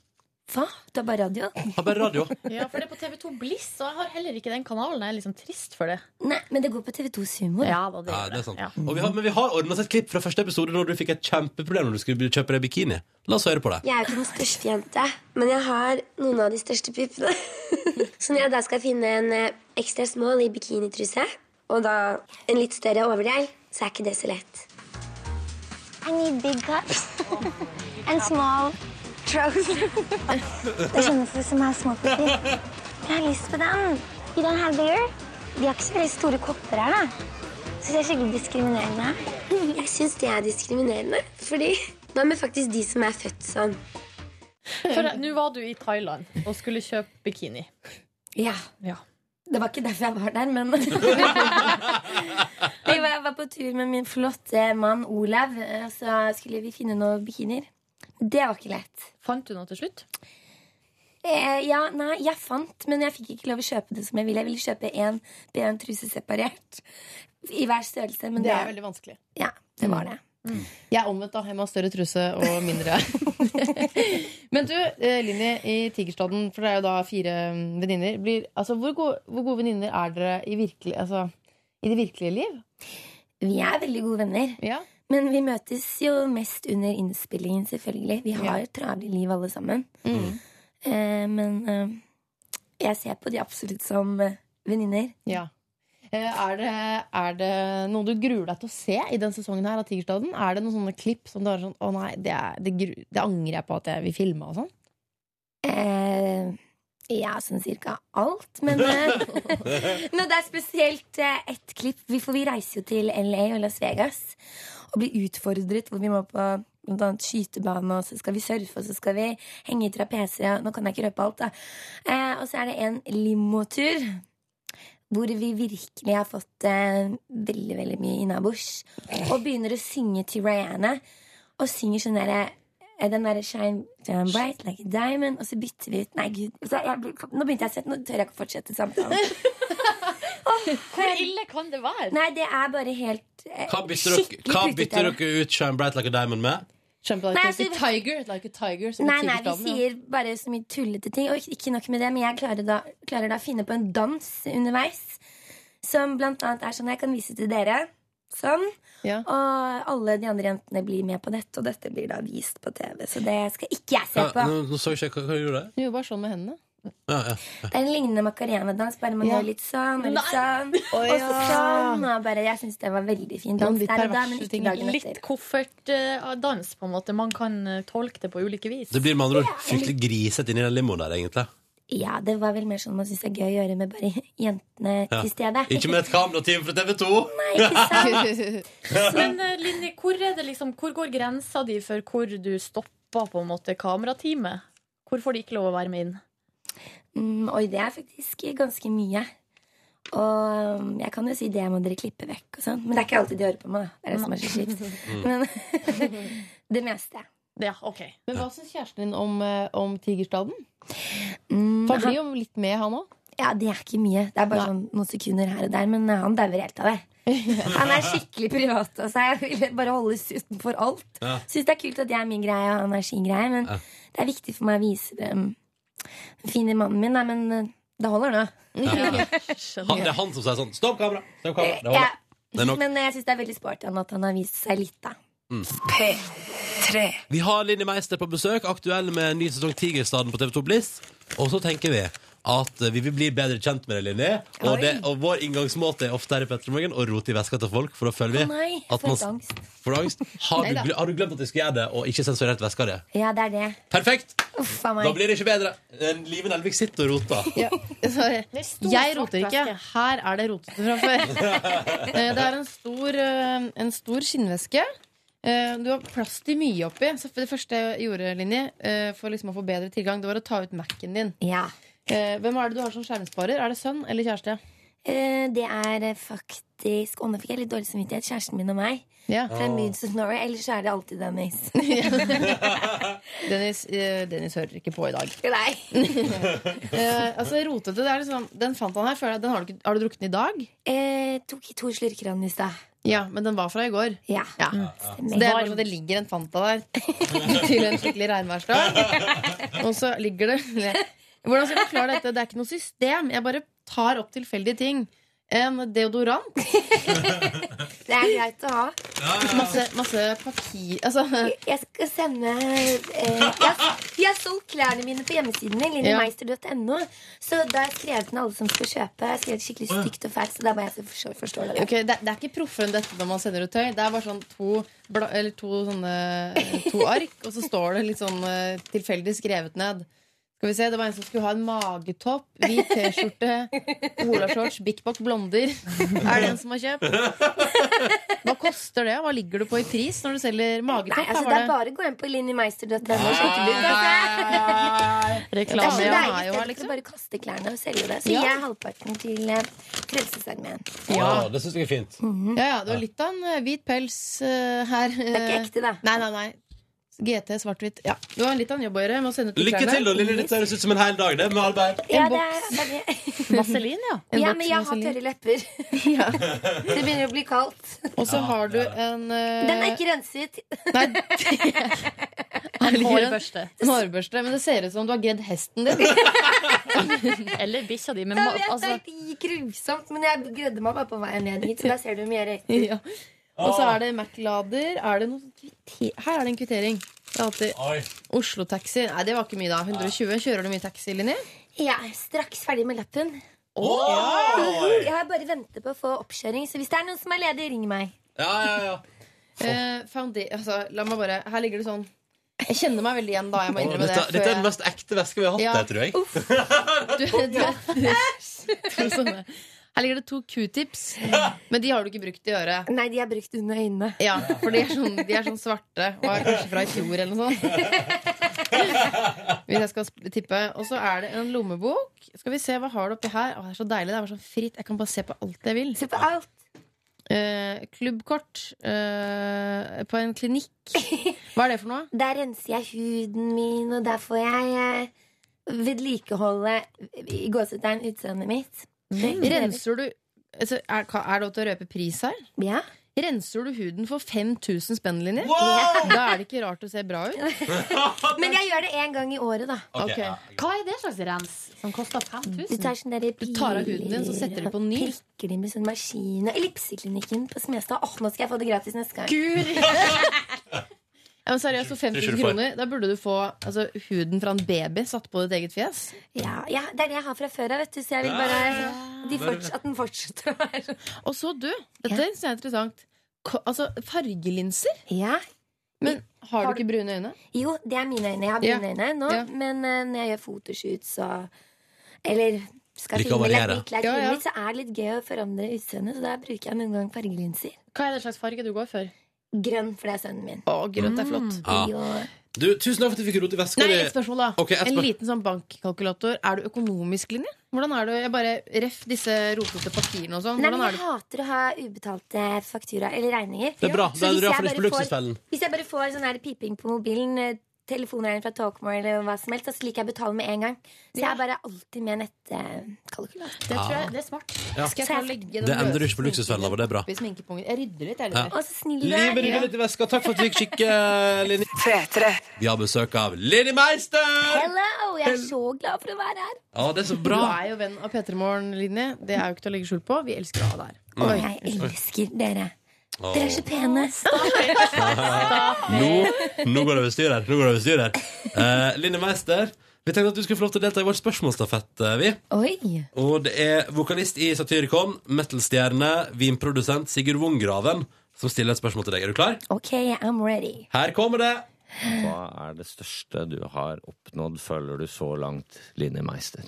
[SPEAKER 11] Hva? Du har bare radio?
[SPEAKER 1] Har bare radio.
[SPEAKER 3] Ja, for det er på TV2 Bliss, og jeg har heller ikke den kanalen. Jeg er liksom trist for det.
[SPEAKER 11] Nei, men det går på TV2 Sumo.
[SPEAKER 3] Ja, da, det
[SPEAKER 1] Ja, det
[SPEAKER 3] gjør
[SPEAKER 1] er
[SPEAKER 3] det.
[SPEAKER 1] sant.
[SPEAKER 3] Ja.
[SPEAKER 1] Og vi har, men vi har ordna oss et klipp fra første episode når du fikk et kjempeproblem når du skulle kjøpe deg bikini. La oss høre på det.
[SPEAKER 8] Jeg er jo ikke den største jente, men jeg har noen av de største puppene. [laughs] Så når jeg da skal finne en eh, ekstra small i bikinitruse, og da en litt større overdel, så er ikke det så lett. I need big cups [laughs] and small trousers. [laughs] Det kjennes ut som jeg har småpupper. Jeg har lyst på den. You don't have beer? De har ikke så veldig store kopper her, da. Syns jeg er skikkelig diskriminerende? Jeg syns det er diskriminerende, fordi Hva med faktisk de som er født sånn?
[SPEAKER 3] For jeg- nå var du i Thailand og skulle kjøpe bikini.
[SPEAKER 11] Ja.
[SPEAKER 3] Ja.
[SPEAKER 11] Det var ikke derfor jeg var der, men Jeg var- jeg var på tur med min flotte mann Olav, eh, så skulle vi finne noen bikinier. Det var ikke lett.
[SPEAKER 3] Fant du noe til slutt?
[SPEAKER 11] Eh, ja, nei, jeg fant, men jeg fikk ikke lov å kjøpe det som jeg ville. Jeg ville kjøpe én bh truse separert. I hver størrelse, men
[SPEAKER 2] Det er
[SPEAKER 11] det,
[SPEAKER 2] veldig vanskelig.
[SPEAKER 11] ja, det var det.
[SPEAKER 2] Jeg er omvendt av hjemme av større truse og mindre. [laughs] Men du, eh, Linni, i Tigerstaden, for det er jo da fire mm, venninner blir- altså, Hvor gode, hvor gode venninner er dere i, virkelig, altså, i det virkelige liv?
[SPEAKER 11] Vi er veldig gode venner.
[SPEAKER 2] Ja.
[SPEAKER 11] Men vi møtes jo mest under innspillingen, selvfølgelig. Vi har
[SPEAKER 2] Ja.
[SPEAKER 11] jo travle liv, alle sammen.
[SPEAKER 2] Mm.
[SPEAKER 11] Eh, men eh, jeg ser på de absolutt som eh, venninner.
[SPEAKER 2] Ja. Eh, Er det, er det noe du gruer deg til å se i den sesongen her av Tigerstaden? Er det noen sånne klipp som du har sånn Å nei, det, er, det, gru, det angrer jeg på at jeg vil filme og sånn?
[SPEAKER 11] Eh, ja, sånn cirka alt.
[SPEAKER 2] [laughs]
[SPEAKER 11] Men eh, [laughs] men det er spesielt eh, ett klipp. Vi, for vi reiser jo til LA og Las Vegas og blir utfordret hvor vi må på blant annet skytebane, og så skal vi surfe, og så skal vi henge i trapese. og Nå kan jeg ikke røpe alt, da. Eh, og så er det en limotur. Hvor vi virkelig har fått eh, veldig veldig mye innabords. Og begynner å synge til Rihanna. Og synger sånn derre eh, den derre shine, shine bright like a diamond. Og så bytter vi ut Nei, gud. Så jeg, blir- nå begynte jeg å svette. Nå tør jeg ikke fortsette samtalen.
[SPEAKER 3] Hvor ille kan det være?
[SPEAKER 11] Nei, det er bare helt eh,
[SPEAKER 1] Hva bytter dere, hva bytter dere ut Shine Bright Like a Diamond med?
[SPEAKER 2] Skjønner på
[SPEAKER 11] Nei,
[SPEAKER 2] deg,
[SPEAKER 11] altså-
[SPEAKER 2] tiger, like a tiger som i
[SPEAKER 11] Nei, nei, vi
[SPEAKER 2] Tigerstaden, ja.
[SPEAKER 11] sier bare så mye tullete ting. Og ikke- ikke nok med det, men jeg klarer da, klarer da å finne på en dans underveis. Som blant annet er sånn jeg kan vise til dere. Sånn.
[SPEAKER 2] Ja.
[SPEAKER 11] Og alle de andre jentene blir med på dette, og dette blir da vist på TV. Så det skal ikke jeg se
[SPEAKER 1] Ja,
[SPEAKER 11] på.
[SPEAKER 1] nå, nå så ikke jeg hva, hva du gjorde.
[SPEAKER 2] Du gjør bare sånn med hendene. [laughs]
[SPEAKER 1] Ja, ja.
[SPEAKER 11] Det er en lignende macarena-dans, bare man
[SPEAKER 2] Ja.
[SPEAKER 11] gjør litt sånn og
[SPEAKER 3] Nei.
[SPEAKER 11] litt sånn. Og så sånn. Og bare, jeg syns det var veldig fin
[SPEAKER 2] Noen
[SPEAKER 11] dans
[SPEAKER 2] litt
[SPEAKER 11] der og da, men
[SPEAKER 2] perverse
[SPEAKER 11] ikke
[SPEAKER 2] ting.
[SPEAKER 11] dagen etter.
[SPEAKER 3] Litt koffertdans, på en måte. Man kan eh, tolke det på ulike vis.
[SPEAKER 1] Det blir med andre ord fryktelig grisete inni den limoen der, egentlig.
[SPEAKER 11] Ja, det var vel mer sånn man syns det er gøy å gjøre med bare jentene
[SPEAKER 1] Ja.
[SPEAKER 11] til stede.
[SPEAKER 1] Ikke med et kamerateam fra TV2!
[SPEAKER 11] Nei, ikke sant?
[SPEAKER 3] Men eh, Linni, hvor, er det liksom, hvor går grensa di for hvor du stopper på en måte kamerateamet? Hvor får de ikke lov å være med inn?
[SPEAKER 11] Mm, oi, det er faktisk ganske mye. Og um, jeg kan jo si det må dere klippe vekk og sånn. Men det er ikke alltid de hører på meg, da. Det er det som er så
[SPEAKER 1] Mm.
[SPEAKER 11] kjipt. Men [laughs] det meste.
[SPEAKER 3] Ja, ok.
[SPEAKER 2] Men hva syns kjæresten din om, eh, om Tigerstaden?
[SPEAKER 11] Mm,
[SPEAKER 2] For han blir jo litt med, han òg.
[SPEAKER 11] ja, det er ikke mye. Det er bare sånn noen sekunder her og der. Men eh, han dauer helt av det.
[SPEAKER 1] [laughs]
[SPEAKER 11] Han er skikkelig privat av seg. Jeg vil bare holdes utenfor alt.
[SPEAKER 1] Ja.
[SPEAKER 11] Syns det er kult at det er min greie, og han er sin greie. Men
[SPEAKER 1] Ja.
[SPEAKER 11] det er viktig for meg å vise dem den fine mannen min. Nei, men eh, det holder nå.
[SPEAKER 1] Han, det er han som sier sånn Stopp kamera! Stopp kamera. Det
[SPEAKER 11] Ja.
[SPEAKER 1] holder. Det er nok. Mm.
[SPEAKER 11] Men jeg syns det er veldig sporty av han at han har vist seg litt, da.
[SPEAKER 1] Vi har Linni Meister på besøk, aktuell med en ny sesong Tigerstaden på TV2 Bliss. Og så tenker vi at vi vil bli bedre kjent med deg, Linni. Og, det- og vår inngangsmåte er ofte her i Petremorgen å rote i veska til folk, for da føler vi
[SPEAKER 11] Å nei,
[SPEAKER 1] at
[SPEAKER 11] for
[SPEAKER 1] man-
[SPEAKER 11] et angst.
[SPEAKER 1] Får du angst? Har du,
[SPEAKER 2] Neida.
[SPEAKER 1] gle- har du glemt at vi skulle gjøre det, og ikke sensurert veska di?
[SPEAKER 11] Ja, det er det.
[SPEAKER 1] Perfekt!
[SPEAKER 11] Uff a
[SPEAKER 1] Da
[SPEAKER 11] meg.
[SPEAKER 1] blir det ikke bedre. Eh, Live Nelvik sitter og roter.
[SPEAKER 2] Jeg roter ikke. Her er det rotete fra før. Eh, Det er en stor, eh, en stor skinnveske. Eh, Du har plass til mye oppi. Så det første jeg gjorde, Linni, eh, for liksom å få bedre tilgang, det var å ta ut Mac-en din.
[SPEAKER 11] Ja.
[SPEAKER 2] Eh, Hvem er det du har som skjermsparer? Er det sønn eller kjæreste?
[SPEAKER 11] Eh, Det er eh, faktisk Å, nå fikk jeg litt dårlig samvittighet. Kjæresten min og meg.
[SPEAKER 2] Ja.
[SPEAKER 11] Fra
[SPEAKER 1] Ah.
[SPEAKER 11] Moods of Norway. Ellers så er det alltid Dennis. [laughs]
[SPEAKER 2] Dennis, eh, Dennis hører ikke på i dag.
[SPEAKER 11] Nei.
[SPEAKER 2] Eh, altså Rotete, det er liksom Den fant han her. Føler jeg, den har, du ikke, har du drukket den i dag?
[SPEAKER 11] Eh, tok i to slurker av den i stad.
[SPEAKER 2] Ja, men den var fra i går.
[SPEAKER 11] Ja,
[SPEAKER 2] Så det, er bare så det ligger en Fanta der [laughs] til en skikkelig [laughs] regnværsdag. Og så ligger det Hvordan skal jeg forklare dette? Det er ikke noe system. Jeg bare tar opp tilfeldige ting. En deodorant.
[SPEAKER 11] Det er greit å ha.
[SPEAKER 2] Masse, masse papir Altså
[SPEAKER 11] Jeg skal sende eh, jeg, jeg solgt klærne mine på hjemmesiden min, linemeister.no. Så da har jeg skrevet ned alle som skal kjøpe. Jeg har skrevet skikkelig stygt og fælt, så da må jeg forstå, forstå det.
[SPEAKER 2] Ok, det, det er ikke proffere enn dette når man sender ut tøy. Det er bare sånn to, bla, eller to, sånne, to ark, og så står det litt sånn eh, tilfeldig skrevet ned. Skal vi se, Det var en som skulle ha en magetopp, hvit T-skjorte, olashorts, Big Box blonder. Er det en som har kjøpt? Hva koster det? Hva ligger du på i pris når du selger
[SPEAKER 11] Nei,
[SPEAKER 2] magetopp?
[SPEAKER 11] altså,
[SPEAKER 2] Her
[SPEAKER 11] det
[SPEAKER 2] var
[SPEAKER 11] er
[SPEAKER 2] det-
[SPEAKER 11] bare å gå inn på linjemeister.no og sjekke det ut. Altså. Det er
[SPEAKER 2] Reklame
[SPEAKER 11] så
[SPEAKER 2] i
[SPEAKER 11] deilig liksom.
[SPEAKER 2] Ohio her,
[SPEAKER 11] stedet å bare kaste klærne og selge det. Så
[SPEAKER 2] liksom. Ja.
[SPEAKER 11] gir jeg halvparten til eh, Frelsesarmeen.
[SPEAKER 1] [laughs] Ja, det syns jeg er fint.
[SPEAKER 2] Ja, ja, det var litt av en eh, hvit pels eh, her. Det
[SPEAKER 11] er ikke ekte, da.
[SPEAKER 2] Nei, nei, nei. GT svart-hvitt. Ja, du har litt av en jobb å gjøre med å sende ut de
[SPEAKER 1] Lykke
[SPEAKER 2] klærne.
[SPEAKER 1] til, da, Lille. Dette høres ut som en hel dag, det, med arbeid.
[SPEAKER 11] Ja, det er
[SPEAKER 2] [laughs]
[SPEAKER 11] bare...
[SPEAKER 3] Vaselin, ja.
[SPEAKER 2] En boks
[SPEAKER 11] ja, men jeg
[SPEAKER 2] med
[SPEAKER 11] har
[SPEAKER 2] vaselin.
[SPEAKER 11] tørre
[SPEAKER 2] [laughs]
[SPEAKER 11] lepper. [laughs] Det begynner å bli kaldt.
[SPEAKER 2] Og så har du en eh,
[SPEAKER 11] Den er ikke renset.
[SPEAKER 2] [laughs] Nei, en hårbørste. En hårbørste, Men det ser ut som du har gredd hesten din.
[SPEAKER 3] Eller bikkja di. Men
[SPEAKER 11] Jeg
[SPEAKER 3] ma-
[SPEAKER 11] vet det
[SPEAKER 3] altså,
[SPEAKER 11] er ikke grusomt, men jeg grødde meg bare på veien ned hit. Så da ser du mye røyter.
[SPEAKER 2] ja. Og så er det Mac-lader. Er det noe kvitter- Her er det en kvittering. Det er alltid
[SPEAKER 1] Oi.
[SPEAKER 2] Oslo-taxi. Nei, det var ikke mye, da. 120. Kjører du mye taxi, Linni?
[SPEAKER 11] Jeg er straks ferdig med lappen.
[SPEAKER 1] Oi.
[SPEAKER 11] Jeg har bare ventet på å få oppkjøring, så hvis det er noen som er ledig, ring meg.
[SPEAKER 1] Ja, ja, ja.
[SPEAKER 2] Eh, founda- altså, la meg bare Her ligger det sånn. Jeg kjenner meg veldig igjen, da. Jeg må
[SPEAKER 1] Å,
[SPEAKER 2] innrømme det.
[SPEAKER 1] Dette,
[SPEAKER 2] før
[SPEAKER 1] dette er
[SPEAKER 2] jeg-
[SPEAKER 1] den mest ekte veska vi har hatt
[SPEAKER 2] Ja.
[SPEAKER 1] der, tror jeg.
[SPEAKER 2] Du, [laughs] du, to sånne. sånn- Her ligger det to q-tips, men de har du ikke brukt i øret.
[SPEAKER 11] Nei, de er brukt under øynene.
[SPEAKER 2] Ja, for de er sånn, de er sånn svarte og er kanskje fra i fjor eller noe sånt. Hvis jeg skal sp- tippe. Og så er det en lommebok. Skal vi se, hva har du oppi her? Å, det er så deilig. Det er bare sånn fritt. Jeg kan bare se på alt jeg vil.
[SPEAKER 11] Se på alt.
[SPEAKER 2] Eh, klubbkort eh, på en klinikk. Hva er det for noe?
[SPEAKER 11] Der renser jeg huden min, og der får jeg eh, vedlikeholde i gåsetegn utseendet mitt.
[SPEAKER 3] Mm.
[SPEAKER 2] Renser du altså, er, ka- er det lov til å røpe pris her?
[SPEAKER 11] Ja.
[SPEAKER 2] Renser du huden for 5000 spenn, Linje? Da er det ikke rart å se bra ut.
[SPEAKER 11] Men jeg gjør det én gang i året, da.
[SPEAKER 1] Ok,
[SPEAKER 2] Ok.
[SPEAKER 1] ja.
[SPEAKER 3] hva er det slags rens som koster
[SPEAKER 11] Du
[SPEAKER 3] 5000?
[SPEAKER 11] tar sånn der
[SPEAKER 2] Du tar av huden din, så setter du på ny.
[SPEAKER 11] Prikker de med sånn maskin. Og Ellipseklinikken på Smestad. Åh, nå skal jeg få det gratis neste gang.
[SPEAKER 2] Ja, men seriøst, for 5000
[SPEAKER 1] Unnskyld for-
[SPEAKER 2] kroner, da burde du få altså, huden fra en baby satt på ditt eget fjes.
[SPEAKER 11] Ja, ja, det er det jeg har fra før av, vet du. Så jeg vil bare de forts at den fortsetter å være sånn.
[SPEAKER 2] Og så du, dette synes jeg er interessant. Ko altså, fargelinser?
[SPEAKER 11] Ja.
[SPEAKER 2] Men har
[SPEAKER 11] Har
[SPEAKER 2] du ikke brune øyne?
[SPEAKER 11] Jo, det er mine øyne. Jeg har
[SPEAKER 2] Ja.
[SPEAKER 11] brune øyne nå.
[SPEAKER 2] Ja.
[SPEAKER 11] Men eh, når jeg gjør fotoshoot, så Eller skal
[SPEAKER 1] Liker å
[SPEAKER 11] filme litt,
[SPEAKER 1] variere.
[SPEAKER 11] litt, litt,
[SPEAKER 2] Ja, ja.
[SPEAKER 11] litt, så er det litt gøy å forandre utseendet. Så da bruker jeg noen gang fargelinser.
[SPEAKER 3] Hva er det slags farge du går for?
[SPEAKER 11] Grønn, for det er sønnen min.
[SPEAKER 2] Å, grønt er flott.
[SPEAKER 1] Ja.
[SPEAKER 11] Jo.
[SPEAKER 1] Du, tusen takk for at du fikk rot i veska
[SPEAKER 2] Nei,
[SPEAKER 1] di.
[SPEAKER 2] et spørsmål, da.
[SPEAKER 1] Ok, et
[SPEAKER 2] en
[SPEAKER 1] spørsmål.
[SPEAKER 2] liten sånn bankkalkulator. Er du økonomisk, Linje? Hvordan er du? Jeg bare Ref disse rotete papirene og sånn.
[SPEAKER 11] Nei, men
[SPEAKER 2] Hvordan
[SPEAKER 11] jeg
[SPEAKER 2] er du?
[SPEAKER 11] hater å ha ubetalte faktura eller regninger.
[SPEAKER 1] Det er bra.
[SPEAKER 11] Så
[SPEAKER 1] Da er
[SPEAKER 11] hvis
[SPEAKER 1] du
[SPEAKER 11] jeg
[SPEAKER 1] iallfall ikke på
[SPEAKER 11] bare får-
[SPEAKER 1] luksusfellen.
[SPEAKER 11] Hvis jeg bare får sånn her piping på mobilen, eh, telefonregning fra Talkmore eller hva som helst, så liker jeg å betale med en gang. Så jeg er bare alltid med nettkalkulator.
[SPEAKER 3] Det, tror jeg, det er smart.
[SPEAKER 2] Skal jeg ta og legge den
[SPEAKER 1] Det endrer
[SPEAKER 2] løse
[SPEAKER 1] du ikke på luksusfellen av, og det er bra.
[SPEAKER 2] oppi sminkepongen? Jeg rydder litt, jeg.
[SPEAKER 1] Ja.
[SPEAKER 2] Litt.
[SPEAKER 11] Å, så snill du
[SPEAKER 1] Livet rydder
[SPEAKER 11] er.
[SPEAKER 1] litt i veska. Takk for at du fikk kikke,
[SPEAKER 2] [laughs]
[SPEAKER 1] Linni. Vi har besøk av Linni Meister!
[SPEAKER 11] Hello! Jeg er så glad for å være her.
[SPEAKER 1] Ja, det er så
[SPEAKER 2] Du
[SPEAKER 1] bra.
[SPEAKER 2] er jo venn av P3 Morgen-linje. Det er jo ikke til å legge skjul på. Vi elsker å ha deg her.
[SPEAKER 11] Og jeg elsker dere. Dere er så pene.
[SPEAKER 1] Nå, nå går det over styr her. Nå går det over styr her. Eh, Linni Meister, vi tenkte at du skulle få lov til å delta i vår spørsmålsstafett. eh, vi.
[SPEAKER 11] Oi.
[SPEAKER 1] Og det er vokalist i Satyricon, metal-stjerne, vinprodusent Sigurd Wongraven som stiller et spørsmål til deg. Er du klar?
[SPEAKER 11] Ok, I'm ready.
[SPEAKER 1] Her kommer det.
[SPEAKER 12] Hva er det største du har oppnådd, føler du så langt, Linni Meister?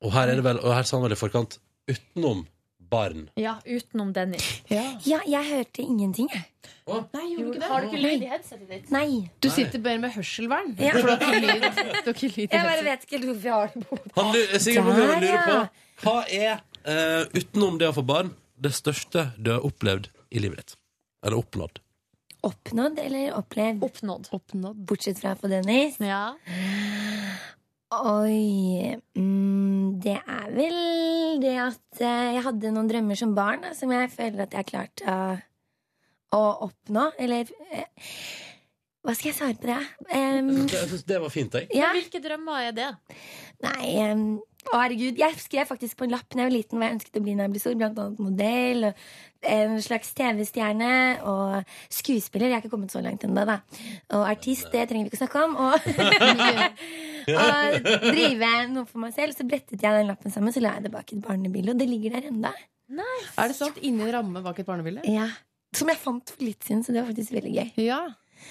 [SPEAKER 1] Og her er det vel, og her sa han vel i forkant utenom barn.
[SPEAKER 3] Ja, utenom Dennis.
[SPEAKER 11] Ja, jeg hørte ingenting, jeg.
[SPEAKER 3] Har du ikke lyd i headsetet ditt?
[SPEAKER 11] Nei.
[SPEAKER 2] Du sitter bare med hørselvern.
[SPEAKER 11] Ja.
[SPEAKER 2] For du har ikke lyd. Du har ikke lyd i
[SPEAKER 11] Jeg bare
[SPEAKER 2] headset.
[SPEAKER 11] vet ikke helt hvorfor jeg har det på.
[SPEAKER 1] Han, lu- Sigurd
[SPEAKER 11] Der,
[SPEAKER 1] Wongraven lurer
[SPEAKER 11] ja.
[SPEAKER 1] på hva er, eh, utenom det å få barn, det største du har opplevd i livet ditt? Eller oppnådd?
[SPEAKER 11] Oppnådd eller opplevd?
[SPEAKER 3] Oppnådd.
[SPEAKER 2] Oppnådd.
[SPEAKER 11] Bortsett fra på Dennis.
[SPEAKER 3] Ja.
[SPEAKER 11] Oi mm, Det er vel det at eh, jeg hadde noen drømmer som barn da, som jeg føler at jeg har klart å, å oppnå. Eller eh, Hva skal jeg svare på det? Em,
[SPEAKER 1] Jeg syns det var fint, jeg.
[SPEAKER 11] Hvilke drømmer er det? Nei, em, å herregud, Jeg skrev faktisk på en lapp da jeg var liten hva jeg ønsket å bli når jeg ble stor. Blant annet modell, og en slags TV-stjerne og skuespiller. Jeg er ikke kommet så langt ennå, da. Og artist, det trenger vi ikke å snakke om. Og, [laughs] og drive noe for meg selv. Så brettet jeg den lappen sammen, så la jeg det bak et barnebilde, og det ligger der ennå.
[SPEAKER 13] Er det
[SPEAKER 2] sånn
[SPEAKER 13] sant? Inni en ramme bak et barnebilde?
[SPEAKER 11] Ja. Som jeg fant for litt siden, så det var faktisk veldig gøy.
[SPEAKER 13] Ja.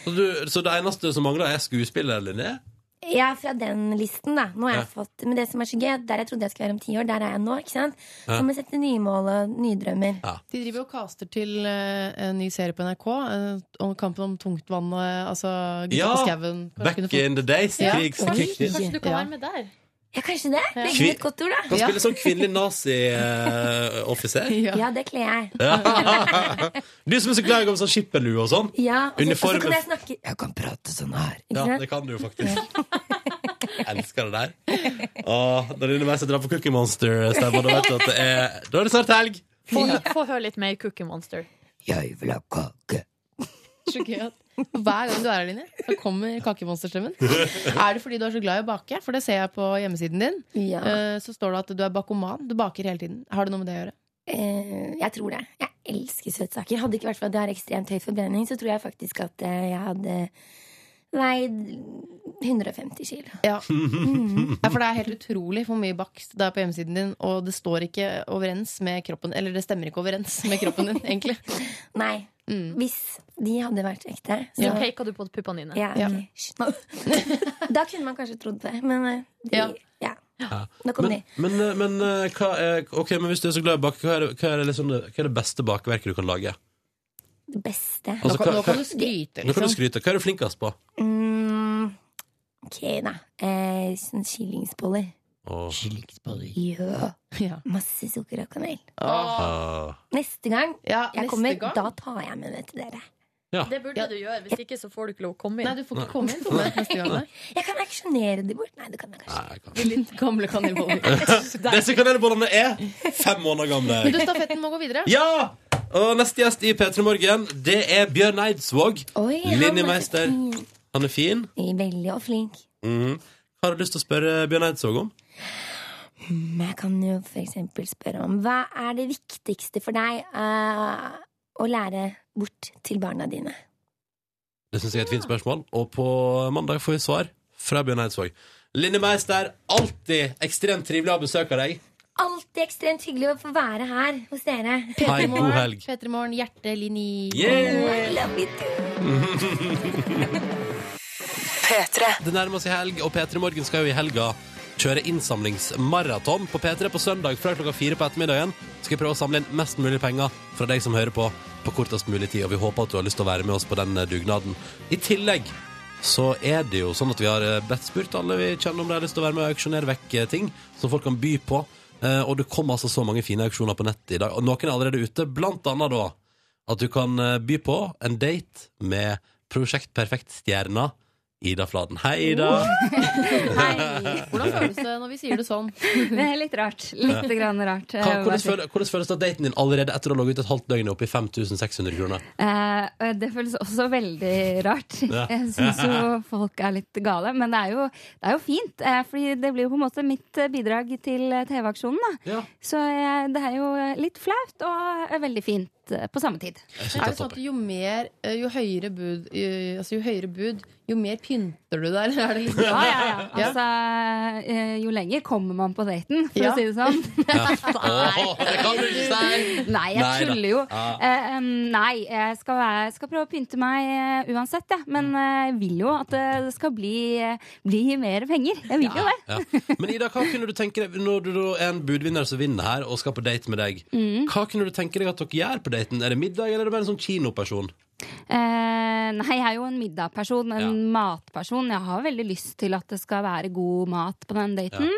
[SPEAKER 1] Så, du, så det eneste som mangler, er skuespiller, Linné?
[SPEAKER 11] Ja, fra den listen, da. Nå har jeg
[SPEAKER 1] Ja.
[SPEAKER 11] fått, men det som er så gøy, der jeg trodde jeg skulle være om ti år, der er jeg nå. ikke sant?
[SPEAKER 1] Ja.
[SPEAKER 11] Så må jeg sette nye mål og nye drømmer.
[SPEAKER 13] De driver og caster til eh, en ny serie på NRK eh, om kampen om tungtvannet, altså Gutta
[SPEAKER 1] Ja.
[SPEAKER 13] på skauen. Kanskje
[SPEAKER 1] Back
[SPEAKER 13] kunne få-
[SPEAKER 1] in the days, krigs- krigsnytt.
[SPEAKER 13] Ja.
[SPEAKER 5] med der?
[SPEAKER 11] Ja, kanskje det. Legg
[SPEAKER 1] Kvi-
[SPEAKER 11] inn et godt ord, da.
[SPEAKER 1] Kan spille som sånn kvinnelig eh, nazi-offiser.
[SPEAKER 11] [laughs] Ja. ja, det kler jeg.
[SPEAKER 1] Ja. Du som er så glad i å gå med sånn skipperlue og sånn.
[SPEAKER 11] Ja, og så, og så
[SPEAKER 1] Uniformen-
[SPEAKER 11] kan jeg snakke Jeg kan prate sånn her. Ikke
[SPEAKER 1] Ja,
[SPEAKER 11] sant?
[SPEAKER 1] det kan du jo faktisk. Jeg [laughs] elsker det der. Åh, når Line Meister drar på Cookie Monster-stemmer, da vet du at det er Da er det snart helg!
[SPEAKER 5] Få, få høre litt mer Cookie Monster.
[SPEAKER 1] Jeg vil ha kake.
[SPEAKER 13] Så gøy at Hver gang du er her, Line, så kommer kakemonsterstrømmen. Er det fordi du er så glad i å bake? For det ser jeg på hjemmesiden din.
[SPEAKER 11] Ja.
[SPEAKER 13] Eh, Så står det at du er bakoman. Du baker hele tiden. Har det noe med det å gjøre?
[SPEAKER 11] Eh, jeg tror det. Jeg elsker søtsaker. Hadde det ikke vært for at jeg har ekstremt høy forbrenning, så tror jeg faktisk at eh, jeg hadde veid 150 kilo.
[SPEAKER 13] Ja. Ja, for det er helt utrolig hvor mye bakst det er på hjemmesiden din, og det står ikke overens med kroppen Eller det stemmer ikke overens med kroppen din,
[SPEAKER 1] [laughs]
[SPEAKER 13] egentlig.
[SPEAKER 1] Altså,
[SPEAKER 11] Nei. Hvis de hadde vært ekte, så
[SPEAKER 5] Så peker du på puppene dine.
[SPEAKER 11] Ja, ok. Hysj, nå. [laughs] Da kunne man kanskje trodd det, men eh, de, ja. Nå kom
[SPEAKER 1] Men,
[SPEAKER 11] de.
[SPEAKER 1] men, men, eh, hva er, ok, men hvis du er så glad i å bake, hva er, det- hva er, det, liksom, det- hva er det beste bakeverket du kan lage?
[SPEAKER 11] Det beste.
[SPEAKER 1] Altså, Nå kan- hva- nå kan du skryte, Nå kan
[SPEAKER 13] liksom.
[SPEAKER 1] du skryte. Hva er du flinkest på?
[SPEAKER 11] Mm, ok, da. Eh, sånn Skillingsboller.
[SPEAKER 1] Åh.
[SPEAKER 11] Ja.
[SPEAKER 13] Ja.
[SPEAKER 11] Masse sukker og kanel.
[SPEAKER 1] Åh.
[SPEAKER 11] Neste gang jeg
[SPEAKER 13] neste
[SPEAKER 11] kommer,
[SPEAKER 13] gang.
[SPEAKER 11] da tar jeg med det til dere.
[SPEAKER 1] Ja.
[SPEAKER 5] Det burde du gjøre. Hvis ikke så får du ikke lov å komme inn.
[SPEAKER 13] Nei, du får
[SPEAKER 1] ikke
[SPEAKER 13] komme inn, Tone, neste gang. nei.
[SPEAKER 11] Jeg kan auksjonere de bort. Nei, det kan jeg kanskje.
[SPEAKER 13] Litt gamle kanelboller.
[SPEAKER 1] Disse kanelbollene er fem måneder
[SPEAKER 11] [laughs]
[SPEAKER 1] gamle.
[SPEAKER 13] Men du, stafetten må gå videre.
[SPEAKER 1] Ja! Og neste gjest i P3 Morgen, det er Bjørn Eidsvåg.
[SPEAKER 11] Oi, han er så
[SPEAKER 1] Linjemeister.
[SPEAKER 11] fin.
[SPEAKER 1] Han er fin.
[SPEAKER 11] Veldig og flink.
[SPEAKER 1] Mhm. Hva har du lyst til å spørre Bjørn Eidsvåg om?
[SPEAKER 11] Men jeg kan jo for eksempel spørre om hva er det viktigste for deg eh, å lære bort til barna dine?
[SPEAKER 1] Det syns jeg er et fint spørsmål. Og på mandag får vi svar fra Bjørn Eidsvåg. Linni Meister, alltid ekstremt trivelig å ha besøk av deg.
[SPEAKER 11] Alltid ekstremt hyggelig å få være her hos dere.
[SPEAKER 1] Hei, god helg.
[SPEAKER 13] Petremorgen, hjerte, linje
[SPEAKER 1] Yeah!
[SPEAKER 11] Love you too.
[SPEAKER 1] Det nærmer seg helg, og P3 Morgen skal jo i helga kjøre innsamlingsmaraton på P3 på søndag fra klokka fire på ettermiddagen. Skal jeg prøve å samle inn mest mulig penger fra deg som hører på, på kortest mulig tid, og vi håper at du har lyst til å være med oss på den eh, dugnaden. I tillegg så er det jo sånn at vi har eh, bedt spurt alle vi kjenner om de har lyst til å være med og auksjonere vekk eh, ting som folk kan by på. Eh, Og det kom altså så mange fine auksjoner på nettet i dag, og noen er allerede ute, blant annet da at du kan eh, by på en date med Prosjekt Perfekt-stjerna Ida Fladen. Hei,
[SPEAKER 14] Oh,
[SPEAKER 1] Ida!
[SPEAKER 13] Hvordan føles det når vi sier det sånn?
[SPEAKER 14] Det er litt rart. Litt grann rart.
[SPEAKER 1] Hva, hvordan, føles, hvordan føles det at daten din allerede etter å ha ligget et halvt døgn er oppe i 5600 kroner?
[SPEAKER 14] Eh, det føles også veldig rart.
[SPEAKER 1] Ja.
[SPEAKER 14] [laughs] Jeg syns jo folk er litt gale. Men det er jo, det er jo fint, eh, fordi det blir jo på en måte mitt eh, bidrag til eh, TV-aksjonen. da. Så eh, det er jo eh, litt flaut og eh, veldig fint eh, på samme tid.
[SPEAKER 13] Er det
[SPEAKER 1] altså.
[SPEAKER 13] sånn at jo, mer, eh, jo, høyere bud, eh, altså, jo høyere bud, jo mer pynter du deg? eller Er det liksom,
[SPEAKER 14] Ja, ja, ja. Altså, eh, jo lenger kommer man på daten, for
[SPEAKER 13] Ja.
[SPEAKER 14] å si det sånn.
[SPEAKER 1] Åh, det kan du ikke si!
[SPEAKER 14] Nei,
[SPEAKER 1] Nei
[SPEAKER 14] jeg
[SPEAKER 1] da.
[SPEAKER 14] tuller jo.
[SPEAKER 1] Ja.
[SPEAKER 14] Eh, em, nei, jeg skal, være, skal prøve å pynte meg eh, uansett, jeg.
[SPEAKER 1] Mm.
[SPEAKER 14] Men eh, jeg vil jo at eh, det skal bli, eh, bli mer penger. Jeg vil jo det.
[SPEAKER 1] Ja. Men Ida, hva kunne du tenke deg når du da er en budvinner som vinner her og skal på date med deg?
[SPEAKER 14] Mm.
[SPEAKER 1] Hva kunne du tenke deg at dere gjør på daten? Er det middag, eller er det bare en sånn kinoperson?
[SPEAKER 14] [laughs] Eh, nei, jeg er jo en middagperson, en
[SPEAKER 1] Ja.
[SPEAKER 14] matperson. Jeg har veldig lyst til at det skal være god mat på den daten.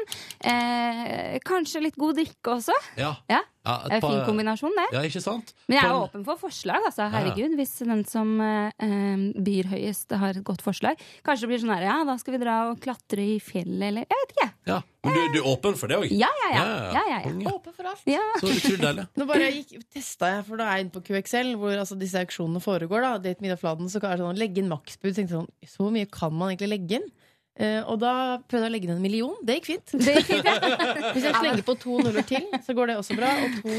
[SPEAKER 14] Eh, kanskje litt god drikke også.
[SPEAKER 1] Ja.
[SPEAKER 14] Ja.
[SPEAKER 1] Ja, et
[SPEAKER 14] Det er en fin
[SPEAKER 1] par-
[SPEAKER 14] kombinasjon, det.
[SPEAKER 1] Ja, ikke sant?
[SPEAKER 14] Men jeg
[SPEAKER 1] På
[SPEAKER 14] er
[SPEAKER 1] en-
[SPEAKER 14] åpen for forslag, altså.
[SPEAKER 1] Ja, ja.
[SPEAKER 14] Herregud. Hvis den som eh, eh, byr høyest har et godt forslag. Kanskje det blir sånn her, ja, da skal vi dra og klatre i fjellet, eller jeg vet ikke.
[SPEAKER 1] Ja, Men du, du er åpen for det òg?
[SPEAKER 14] Ja, ja, ja. ja, ja,
[SPEAKER 1] Konge.
[SPEAKER 14] ja.
[SPEAKER 2] Åpen for alt.
[SPEAKER 14] Ja. [laughs]
[SPEAKER 1] Så utrolig deilig.
[SPEAKER 2] Nå bare gikk, testa jeg, for da er jeg inne på QXL, hvor altså, disse auksjonene foregår. da Date Middag Fladen, så er det sånn, Legge inn maksbud. Tenkte jeg sånn, Så mye kan man egentlig legge inn? Eh, og da prøvde jeg å legge inn en million. Det gikk fint. Hvis jeg slenger på to nuller til, så går det også bra. Og to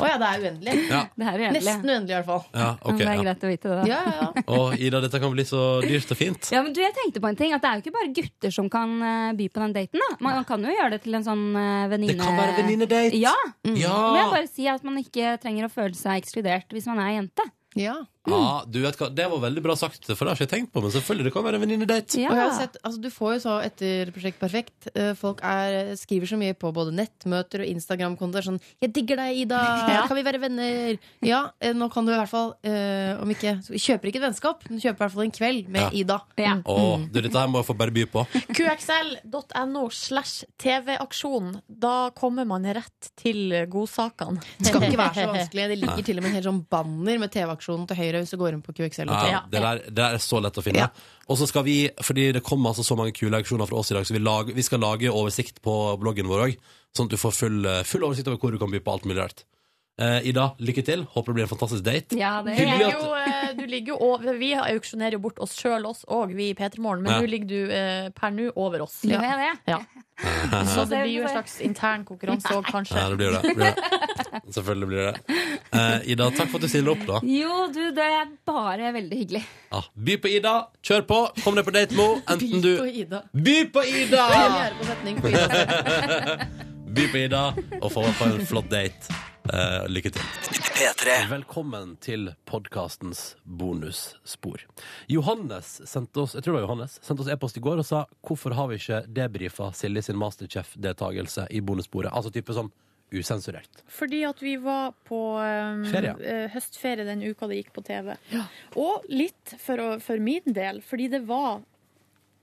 [SPEAKER 2] Å ja, det er uendelig.
[SPEAKER 1] Ja.
[SPEAKER 14] Det her er uendelig.
[SPEAKER 2] Nesten uendelig, i hvert fall.
[SPEAKER 1] Ja, ok,
[SPEAKER 14] det er
[SPEAKER 1] ja.
[SPEAKER 14] greit å vite det, da.
[SPEAKER 2] Ja, ja.
[SPEAKER 1] Og Ida, dette kan bli så dyrt og fint.
[SPEAKER 14] Ja, men du, jeg tenkte på en ting At det er jo ikke bare gutter som kan eh, by på den daten da. Man kan jo gjøre det til en sånn eh, venninne
[SPEAKER 1] Det kan være venninnedate. Mm. Ah.
[SPEAKER 14] ja.
[SPEAKER 1] Ja.
[SPEAKER 14] Men jeg bare si at man ikke trenger å føle seg ekskludert Hvis man er jente
[SPEAKER 1] Ja, Ah, du vet hva, Det var veldig bra sagt, for det har ikke jeg tenkt på. Men selvfølgelig det kan være en venninnedate.
[SPEAKER 2] Og jeg har sett, altså, du får jo så etter Prosjekt Perfekt eh, Folk er, skriver så mye på både nettmøter og Instagram-kontoer sånn 'Jeg digger deg, [laughs] Ida!
[SPEAKER 13] Ja.
[SPEAKER 2] Kan vi være venner?' Ja, eh, nå kan du i hvert fall eh, om ikke, så Kjøper ikke et vennskap, men kjøper i hvert fall en kveld med
[SPEAKER 1] Ja.
[SPEAKER 2] Ida.
[SPEAKER 1] Å, du, dette her må jeg få bare by på.
[SPEAKER 5] QXL.no slash TV-aksjon. Da kommer man rett til godsakene.
[SPEAKER 2] Det skal ikke være så vanskelig. Det ligger til og med en hel sånn banner med TV-aksjonen til høyre hvis du går inn på QXL.
[SPEAKER 1] [laughs] Ja, det, der, det der er så lett å finne. Og så skal vi, fordi det kommer altså så mange kule auksjoner fra oss i dag, så vi, lag- vi skal lage oversikt på bloggen vår òg. Sånn at du får full, full oversikt over hvor du kan by på alt mulig rart. Eh, Ida, lykke til. Håper det blir en fantastisk date.
[SPEAKER 14] Ja,
[SPEAKER 5] [laughs]
[SPEAKER 14] det
[SPEAKER 5] Du
[SPEAKER 14] er
[SPEAKER 5] ligger jo, eh, du ligger jo over, vi auksjonerer jo bort oss sjøl oss og vi i P3morgen, men
[SPEAKER 1] Ja.
[SPEAKER 5] nå ligger du eh, per nå over oss.
[SPEAKER 14] Gjør jeg
[SPEAKER 5] Ja. Så det blir jo en slags intern konkurranse òg, kanskje.
[SPEAKER 1] Ja, det blir det. det, blir det. [laughs] Selvfølgelig blir det. Eh, Ida, takk for at du stiller opp, da.
[SPEAKER 14] Jo, du, det er bare veldig hyggelig
[SPEAKER 1] Ja, by på Ida. Kjør på. Kom deg på date
[SPEAKER 2] [laughs]
[SPEAKER 1] med henne. Enten du
[SPEAKER 2] Ida.
[SPEAKER 1] By på Ida!
[SPEAKER 2] Premiere
[SPEAKER 1] [laughs]
[SPEAKER 2] på setning på Ida.
[SPEAKER 1] By på Ida og få på en flott date. Eh, lykke til. Velkommen til podkastens bonusspor. Johannes sendte oss jeg tror det var Johannes, sendte oss e-post i går og sa hvorfor har vi ikke debrifa Silje sin Masterchef-deltakelse i bonussporet? Altså type sånn usensurert.
[SPEAKER 3] Fordi at vi var på eh,
[SPEAKER 1] Ferie.
[SPEAKER 3] eh, høstferie den uka det gikk på TV. Og litt for, å, for min del, fordi det var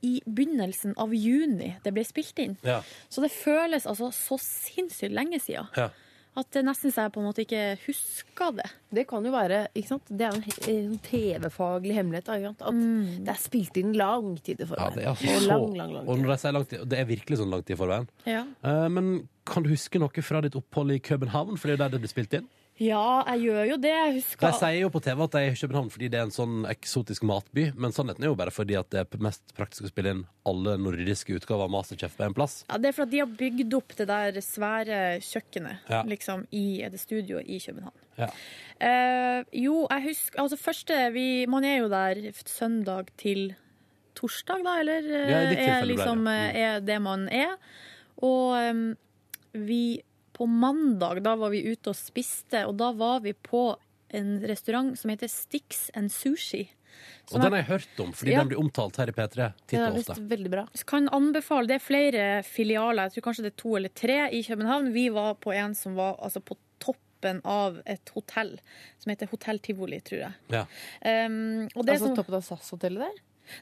[SPEAKER 3] i begynnelsen av juni det ble spilt inn.
[SPEAKER 1] Ja.
[SPEAKER 3] Så det føles altså så sinnssykt lenge siden.
[SPEAKER 1] Ja.
[SPEAKER 3] At det nesten så jeg på en måte ikke husker det.
[SPEAKER 2] Det kan jo være ikke sant? Det er jo en he- en TV-faglig hemmelighet. da, Ikke sant? At det er spilt inn lang tid i
[SPEAKER 1] Ja,
[SPEAKER 2] forveien.
[SPEAKER 1] det er altså
[SPEAKER 2] og
[SPEAKER 1] så
[SPEAKER 2] lang, lang, lang
[SPEAKER 1] Og når jeg sier langt, i- det er virkelig sånn langt i forveien.
[SPEAKER 3] Ja.
[SPEAKER 1] Eh, men kan du huske noe fra ditt opphold i København? For det er jo der det ble spilt inn.
[SPEAKER 3] Ja, jeg gjør jo det. Jeg
[SPEAKER 1] De
[SPEAKER 3] husker
[SPEAKER 1] sier jo på TV at de er i København fordi det er en sånn eksotisk matby, men sannheten er jo bare fordi at det er mest praktisk å spille inn alle nordiske utgaver av Masterchef på én plass.
[SPEAKER 3] ja, Det er for at de har bygd opp det der svære kjøkkenet
[SPEAKER 1] Ja.
[SPEAKER 3] liksom, i det studioet i København.
[SPEAKER 1] Ja.
[SPEAKER 3] Eh, jo, jeg husker Altså, første vi, Man er jo der f- søndag til torsdag, da, eller? eh,
[SPEAKER 5] Ja, i ditt tilfelle
[SPEAKER 3] er
[SPEAKER 5] ble det.
[SPEAKER 3] liksom eh, er det man er. Og em, vi På mandag, da var vi ute og spiste, og da var vi på en restaurant som heter Stix and Sushi.
[SPEAKER 1] Og
[SPEAKER 3] Som
[SPEAKER 1] den
[SPEAKER 3] er-
[SPEAKER 1] har jeg hørt om, fordi
[SPEAKER 3] Ja.
[SPEAKER 1] den blir omtalt her i P3 titt og ofte.
[SPEAKER 2] veldig bra.
[SPEAKER 3] Kan anbefale, Det er flere filialer, jeg tror kanskje det er to eller tre i København. Vi var på en som var altså, på toppen av et hotell, som heter Hotell Tivoli, tror jeg.
[SPEAKER 1] Ja.
[SPEAKER 3] Um, og det
[SPEAKER 2] altså
[SPEAKER 3] som,
[SPEAKER 2] toppen av SAS-hotellet der?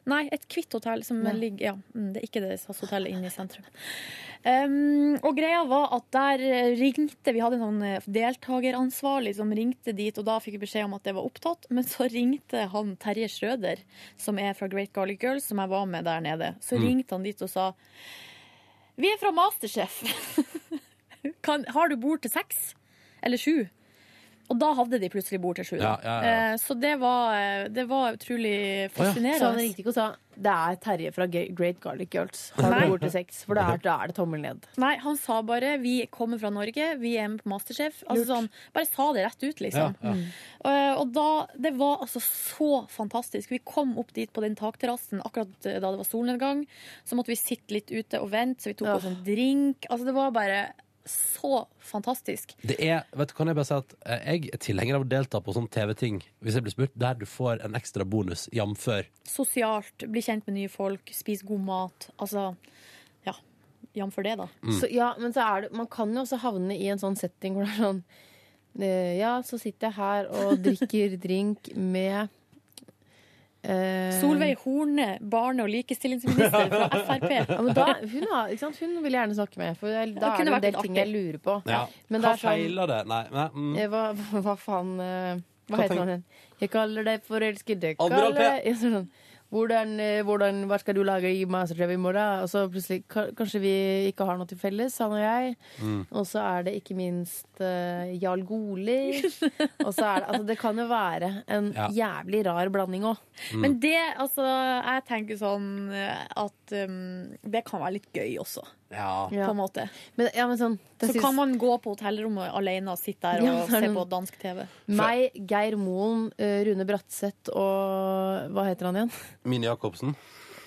[SPEAKER 3] nei, et hvitt hotell som
[SPEAKER 2] Nei.
[SPEAKER 3] ligger Ja, mm, det er ikke det SAS-hotellet inne i sentrum. Um, og greia var at der eh, ringte Vi hadde en sånn eh, deltakeransvarlig som ringte dit, og da fikk vi beskjed om at det var opptatt. Men så ringte han Terje Schrøder, som er fra Great Garlic Girls, som jeg var med der nede. Så
[SPEAKER 5] Mm.
[SPEAKER 3] ringte han dit og sa Vi er fra Masterchef. [laughs] kan, har du bord til seks? Eller sju? Og da hadde de plutselig bord til sju. da.
[SPEAKER 2] Ja, ja, ja.
[SPEAKER 3] Eh, Så det var, eh, det var utrolig fascinerende.
[SPEAKER 2] Så han ringte ikke og sa det er Terje fra Ge- Great Garlic Girls. Har
[SPEAKER 3] Nei.
[SPEAKER 2] du bord til sex? For da er, da er det tommel ned.
[SPEAKER 3] Nei, han sa bare 'vi kommer fra Norge, vi er med på Masterchef'. Altså,
[SPEAKER 2] Lurt.
[SPEAKER 3] sånn, bare sa det rett ut, liksom.
[SPEAKER 2] Ja, ja.
[SPEAKER 3] Eh, og da, Det var altså så fantastisk. Vi kom opp dit på den takterrassen akkurat eh, da det var solnedgang. Så måtte vi sitte litt ute og vente, så vi tok oss en drink. Altså Det var bare så fantastisk.
[SPEAKER 1] Det er, vet du, kan jeg bare si at eh, Jeg er tilhenger av å delta på sånne TV-ting hvis jeg blir spurt, der du får en ekstra bonus, jamfør
[SPEAKER 3] Sosialt, bli kjent med nye folk, spise god mat. Altså, ja. Jamfør det, da.
[SPEAKER 1] Mm.
[SPEAKER 2] Så, ja, men så er det, man kan jo også havne i en sånn setting hvor det er sånn eh, Ja, så sitter jeg her og drikker drink med eh,
[SPEAKER 3] Solveig Horne, barne- og likestillingsminister fra Frp.
[SPEAKER 2] Ja, men da, hun, har, ikke sant? hun vil jeg gjerne snakke med, for jeg, da
[SPEAKER 3] Det
[SPEAKER 2] er det
[SPEAKER 3] kunne
[SPEAKER 2] en del
[SPEAKER 3] vært
[SPEAKER 2] ting jeg lurer på.
[SPEAKER 1] Ja.
[SPEAKER 2] Men
[SPEAKER 1] Hva
[SPEAKER 2] det er sånn-
[SPEAKER 1] feiler det? Nei, nei mm.
[SPEAKER 2] Eh, Hva, [laughs] hva faen eh, Hva,
[SPEAKER 1] Hva tenk-
[SPEAKER 2] heter han igjen? Jeg kaller deg forelsket. [laughs] Jeg
[SPEAKER 1] Admiral
[SPEAKER 2] kaller
[SPEAKER 1] P.
[SPEAKER 2] Ja, sånn. hvordan, eh, hvordan, hva skal du lage i Masterchef i morgen? Og så plutselig, ka- Kanskje vi ikke har noe til felles, han og jeg.
[SPEAKER 15] Mm.
[SPEAKER 2] Og så er det ikke minst eh, Jarl Goli. og så er det, altså, det kan jo være en
[SPEAKER 3] Ja.
[SPEAKER 2] jævlig rar blanding òg.
[SPEAKER 3] Mm. Men det, altså, jeg tenker sånn eh, at um, det kan være litt gøy også.
[SPEAKER 1] Ja.
[SPEAKER 3] På en måte.
[SPEAKER 2] Men, ja, men sånn,
[SPEAKER 3] Så
[SPEAKER 2] det synes-
[SPEAKER 3] kan man gå på hotellrommet alene og sitte der
[SPEAKER 2] Ja,
[SPEAKER 3] og
[SPEAKER 2] det er
[SPEAKER 3] se
[SPEAKER 2] noen-
[SPEAKER 3] på dansk TV.
[SPEAKER 2] Meg, Geir Moen, eh, Rune Bratseth og Hva heter han igjen? [laughs]
[SPEAKER 1] Mini Jacobsen.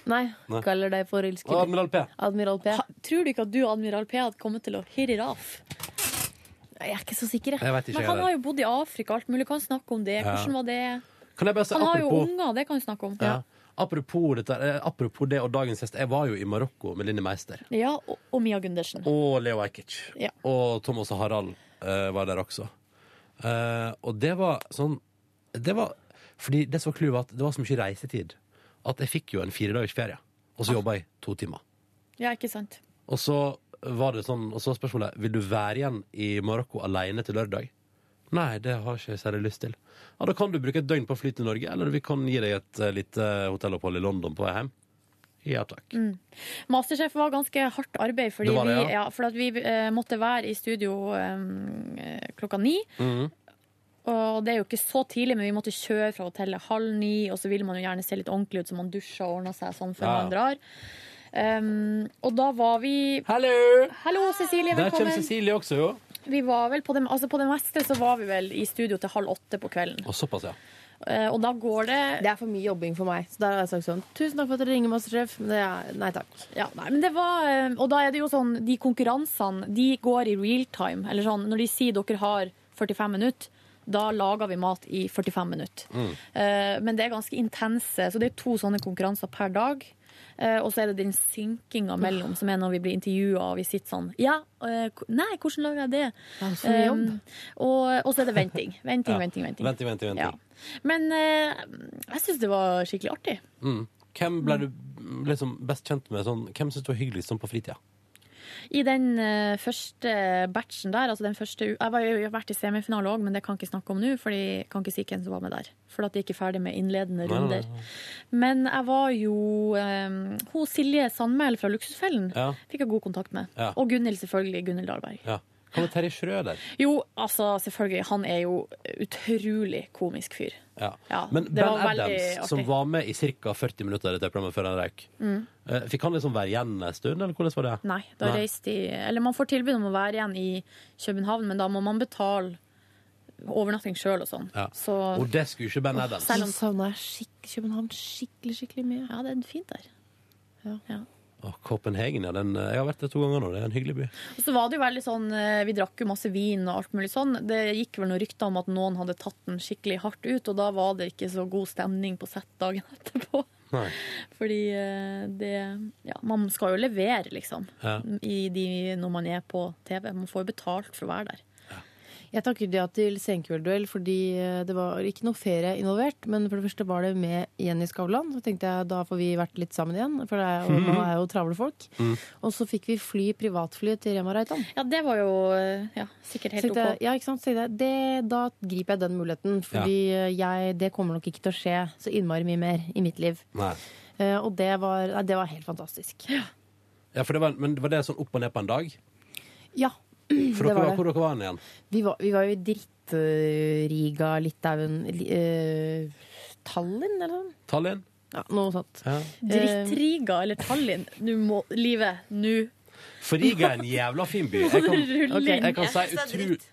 [SPEAKER 2] Nei,
[SPEAKER 1] Nei.
[SPEAKER 2] kaller deg forelsket.
[SPEAKER 1] Og Admiral P.
[SPEAKER 2] Admiral P.
[SPEAKER 3] Tror du ikke at du og Admiral P hadde kommet til å hirre raff?
[SPEAKER 2] Jeg er ikke så sikker,
[SPEAKER 1] Jeg vet ikke,
[SPEAKER 3] Men
[SPEAKER 1] jeg
[SPEAKER 3] han
[SPEAKER 1] heller.
[SPEAKER 3] har jo bodd i Afrika, alt mulig. Kan snakke om det.
[SPEAKER 1] Ja.
[SPEAKER 3] Hvordan var det?
[SPEAKER 1] Kan jeg bare si
[SPEAKER 3] Han har jo
[SPEAKER 1] apropos-
[SPEAKER 3] unger, det kan han snakke om.
[SPEAKER 1] Ja. Apropos, dette, eh, apropos det og dagens gjest. Jeg var jo i Marokko med Linni Meister.
[SPEAKER 3] Ja, og, og Mia Gundersen.
[SPEAKER 1] Og Leo Ajkic.
[SPEAKER 3] Ja.
[SPEAKER 1] Og Thomas og Harald eh, var der også. Eh, og det var sånn Det var Fordi det som var clouet, var at det var så mye reisetid at jeg fikk jo en fire dagers ferie. Og så
[SPEAKER 3] Ah.
[SPEAKER 1] jobba jeg to timer.
[SPEAKER 3] Ja, ikke sant?
[SPEAKER 1] Og så var det sånn, og så var spørsmålet Vil du være igjen i Marokko alene til lørdag? Nei, det har ikke jeg særlig lyst til. Ja, Da kan du bruke et døgn på å fly til Norge, eller vi kan gi deg et eh, lite hotellopphold i London på vei hjem. Ja takk.
[SPEAKER 3] Mm. Masterchef var ganske hardt arbeid, fordi
[SPEAKER 1] Det var det,
[SPEAKER 3] vi,
[SPEAKER 1] ja.
[SPEAKER 3] ja, for at vi eh, måtte være i studio eh, klokka ni.
[SPEAKER 1] Mhm.
[SPEAKER 3] Og det er jo ikke så tidlig, men vi måtte kjøre fra hotellet halv ni, og så vil man jo gjerne se litt ordentlig ut, så man dusjer og ordner seg sånn før
[SPEAKER 1] Ja.
[SPEAKER 3] man drar. Um, og da var vi
[SPEAKER 1] Hallo!
[SPEAKER 3] Hallo, Cecilie,
[SPEAKER 1] Der kommer
[SPEAKER 3] velkommen.
[SPEAKER 1] Cecilie også, jo.
[SPEAKER 3] Vi var vel på det, altså på det meste så var vi vel i studio til halv åtte på kvelden.
[SPEAKER 1] Og såpass, ja.
[SPEAKER 3] Eh, og da går det
[SPEAKER 2] Det er for mye jobbing for meg. Så der har jeg sagt sånn Tusen takk for at dere ringer, Masterchef, men det er nei takk.
[SPEAKER 3] Ja, nei, men det var, eh, og da er det jo sånn, de konkurransene, de går i real time. Eller sånn, når de sier dere har 45 minutter, da lager vi mat i 45 minutter. Eh, Men det er ganske intense, så det er to sånne konkurranser per dag. Eh, Og så er det den synkinga mellom, som er når vi blir intervjua og vi sitter sånn Ja, eh, ko- nei, hvordan lager jeg det?
[SPEAKER 2] for mye jobb.
[SPEAKER 3] Eh, og, og så er det venting. Venting,
[SPEAKER 1] Ja.
[SPEAKER 3] venting, venting.
[SPEAKER 1] Venting, venting, venting.
[SPEAKER 3] Men eh, jeg syns det var skikkelig artig.
[SPEAKER 1] Mm. Hvem ble du liksom best kjent med? Sånn, hvem syns du var hyggeligst sånn på fritida?
[SPEAKER 3] I den eh, første batchen der, altså den første u- Jeg var jo jeg har vært i semifinale òg, men det kan jeg ikke snakke om nå, for jeg kan ikke si hvem som var med der. For at jeg ikke er ferdig med
[SPEAKER 1] Nei,
[SPEAKER 3] innledende
[SPEAKER 1] nei, nei.
[SPEAKER 3] runder. Men jeg var jo eh, Hun Silje Sandmæl fra Luksusfellen
[SPEAKER 1] Ja.
[SPEAKER 3] fikk jeg god kontakt med.
[SPEAKER 1] Ja.
[SPEAKER 3] Og Gunhild, selvfølgelig. Gunhild Dahlberg.
[SPEAKER 1] Ja. Hva med Terje Schrøder?
[SPEAKER 3] Jo, altså, selvfølgelig. Han er jo utrolig komisk fyr.
[SPEAKER 1] Ja.
[SPEAKER 3] Ja,
[SPEAKER 1] Men
[SPEAKER 3] det
[SPEAKER 1] Ben
[SPEAKER 3] var veldig
[SPEAKER 1] Adams, som
[SPEAKER 3] artig.
[SPEAKER 1] var med i ca. 40 minutter av dette programmet før han røyk,
[SPEAKER 3] Mm.
[SPEAKER 1] eh, fikk han liksom være igjen en stund, eller hvordan var det?
[SPEAKER 3] Nei, da
[SPEAKER 1] Nei.
[SPEAKER 3] reiste de Eller man får tilbud om å være igjen i København, men da må man betale overnatting sjøl og sånn.
[SPEAKER 1] Ja.
[SPEAKER 3] Så
[SPEAKER 1] Og det skulle ikke Ben Adams.
[SPEAKER 2] Selv om savna jeg skikk- København skikkelig, skikkelig mye.
[SPEAKER 3] Ja, det er fint der. Ja.
[SPEAKER 1] Å, Copenhagen, ja. Den, eh, jeg har vært der to ganger nå. Det er en hyggelig by.
[SPEAKER 3] Og så var det jo veldig sånn eh, Vi drakk jo masse vin og alt mulig sånn. Det gikk vel noen rykter om at noen hadde tatt den skikkelig hardt ut, og da var det ikke så god stemning på sett dagen [laughs] etterpå.
[SPEAKER 1] Nei.
[SPEAKER 3] Fordi eh, det Ja, man skal jo levere, liksom.
[SPEAKER 1] Ja.
[SPEAKER 3] I de, når man er på TV. Man får jo betalt for å være der.
[SPEAKER 2] Jeg takker ja til Senkveldduell fordi eh, det var ikke noe ferie involvert. Men for det første var det med Jenny Skavlan. Så tenkte jeg da får vi vært litt sammen igjen, for det er, og nå er jo travle folk. Og så fikk vi fly privatfly til Rema Reitan.
[SPEAKER 3] Ja, det var jo eh, ja, sikkert helt
[SPEAKER 2] Så tenkte jeg-
[SPEAKER 3] OK.
[SPEAKER 2] Ja, ikke sant? Så tenkte jeg, det, da griper jeg den muligheten, fordi eh, jeg, det kommer nok ikke til å skje så innmari mye mer i mitt liv.
[SPEAKER 1] Nei.
[SPEAKER 2] Eh, og det var, nei, det var helt fantastisk. Ja,
[SPEAKER 1] Ja, for det var, men var det sånn opp og ned på en dag? For
[SPEAKER 2] det
[SPEAKER 1] dere
[SPEAKER 2] var
[SPEAKER 1] var,
[SPEAKER 2] det.
[SPEAKER 1] hvor dere var igjen?
[SPEAKER 2] Vi var, vi var jo i Drittriga, Litauen li- eh, Tallinn, eller noe sånt?
[SPEAKER 1] Tallinn?
[SPEAKER 2] Ja, noe sånt.
[SPEAKER 1] Ja.
[SPEAKER 3] eh, Drittriga eller Tallinn? Nå må Livet, nå
[SPEAKER 1] For Riga er en jævla fin by.
[SPEAKER 2] [laughs]
[SPEAKER 1] Jeg kan,
[SPEAKER 3] Rull inn.
[SPEAKER 1] jeg kan si
[SPEAKER 16] Jeg synes det er
[SPEAKER 1] utru...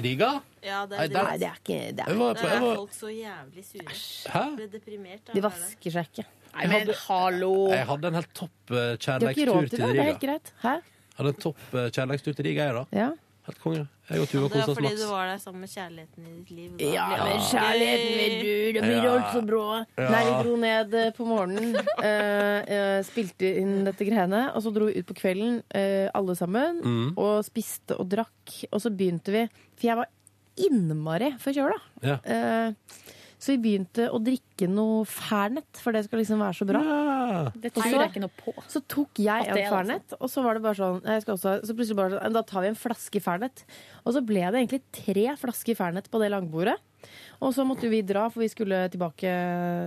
[SPEAKER 1] Riga?
[SPEAKER 16] Ja, det
[SPEAKER 1] Nei, der-
[SPEAKER 16] er dritt.
[SPEAKER 1] Nei, det er ikke- det er- Jeg var på-
[SPEAKER 16] Der
[SPEAKER 1] jeg
[SPEAKER 16] er
[SPEAKER 1] var-
[SPEAKER 16] folk så jævlig sure.
[SPEAKER 1] Hæ?
[SPEAKER 16] Jeg Ble deprimert av
[SPEAKER 2] De
[SPEAKER 16] å være der.
[SPEAKER 2] vasker seg ikke.
[SPEAKER 1] Nei, men
[SPEAKER 3] hallo!
[SPEAKER 1] Jeg hadde en helt topp eh,
[SPEAKER 2] De har ikke råd
[SPEAKER 1] kjærleikstur
[SPEAKER 2] til
[SPEAKER 1] til
[SPEAKER 2] det. Det er helt
[SPEAKER 1] Riga.
[SPEAKER 2] greit. Hæ?
[SPEAKER 1] Hadde en topp eh, kjærleikstur til Riga, jeg, da.
[SPEAKER 2] Ja.
[SPEAKER 1] Helt konge. Jeg og Tuva
[SPEAKER 16] Det
[SPEAKER 1] kosa
[SPEAKER 16] var
[SPEAKER 1] oss
[SPEAKER 16] fordi
[SPEAKER 1] maks.
[SPEAKER 16] du var der sammen med kjærligheten i ditt liv.
[SPEAKER 2] Ja, men
[SPEAKER 1] kjærligheten
[SPEAKER 2] min du,
[SPEAKER 1] det blir Ja. alt så
[SPEAKER 2] bra.
[SPEAKER 1] Ja.
[SPEAKER 2] Nei, vi dro ned eh, på
[SPEAKER 1] [laughs]
[SPEAKER 2] morgenen, eh, eh, spilte inn dette greiene, og så dro vi ut på kvelden eh, alle sammen,
[SPEAKER 1] Mm.
[SPEAKER 2] og spiste og drakk, og så begynte vi, for jeg var innmari forkjøla.
[SPEAKER 1] Ja.
[SPEAKER 2] Eh, Så vi begynte å drikke noe Fernet, for det skal liksom være så bra.
[SPEAKER 3] Det tror jeg ikke noe på.
[SPEAKER 2] Så tok jeg
[SPEAKER 3] At det
[SPEAKER 2] en
[SPEAKER 3] er
[SPEAKER 2] Fernet, og så var det bare sånn jeg skal også, ha- Så plutselig bare sånn, da tar vi en flaske Fernet. Og så ble det egentlig tre flasker Fernet på det langbordet. Og så måtte vi dra, for vi skulle tilbake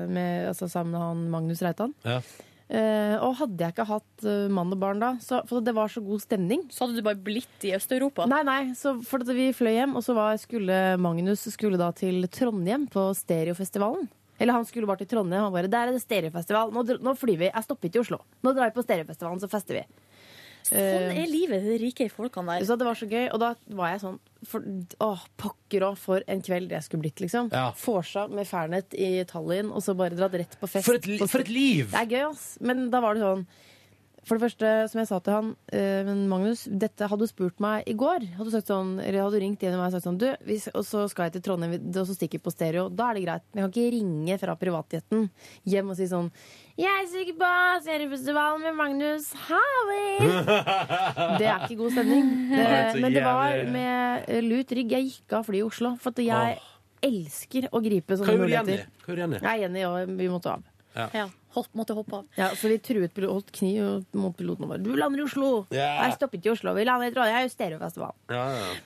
[SPEAKER 2] med, altså, sammen med han Magnus Reitan.
[SPEAKER 1] Ja.
[SPEAKER 2] Eh, og hadde jeg ikke hatt eh, mann og barn da, så, for det var så god stemning Så hadde du bare blitt i Øst-Europa? Nei, nei, så for at vi fløy hjem, og så var, skulle Magnus skulle da til Trondheim på Stereofestivalen. Eller han skulle bare til Trondheim, han bare, der er det Stereofestival, nå, dr- nå flyr vi, jeg stopper ikke i Oslo. Nå drar vi på Stereofestivalen, så fester vi.
[SPEAKER 3] Sånn
[SPEAKER 2] Eh,
[SPEAKER 3] er livet, de rike folkene der.
[SPEAKER 2] så det var så gøy, og da var jeg sånn for, Åh, pokker òg, for en kveld det skulle blitt, liksom.
[SPEAKER 1] Ja.
[SPEAKER 2] Forsa med Fernet i Tallinn, og så bare dratt rett på fest.
[SPEAKER 1] For et li-
[SPEAKER 2] på-
[SPEAKER 1] for et liv!
[SPEAKER 2] Det er gøy, ass. Men da var det sånn For det første, som jeg sa til han, eh, men Magnus, dette hadde du spurt meg i går. Hadde du, sagt sånn, eller hadde du ringt igjen til meg og sagt sånn Du, hvis, og så skal jeg til Trondheim, vi- og så stikker vi på stereo. Da er det greit. Men jeg kan ikke ringe fra privatjeten hjem og si sånn Jeg stikker på seriefestivalen med Magnus Harley! Det er ikke god stemning.
[SPEAKER 1] [laughs] Nei,
[SPEAKER 2] Eh,
[SPEAKER 1] så
[SPEAKER 2] Men det var
[SPEAKER 1] jævlig.
[SPEAKER 2] med eh, lut rygg. Jeg gikk av flyet i Oslo. For at jeg elsker å gripe
[SPEAKER 1] Hva
[SPEAKER 2] sånne
[SPEAKER 1] gjorde Jenny?
[SPEAKER 2] muligheter.
[SPEAKER 1] Hva gjorde Jenny?
[SPEAKER 2] Nei, Jenny og vi måtte av.
[SPEAKER 1] Ja.
[SPEAKER 2] Hopp, måtte hoppe av. Ja, For de truet pil- holdt kniv og- mot piloten og bare 'Du lander i Oslo!'
[SPEAKER 3] Ja.
[SPEAKER 2] Jeg stoppet ikke i Oslo. Vi lander i Trondheim. Jeg er jo stereofestival.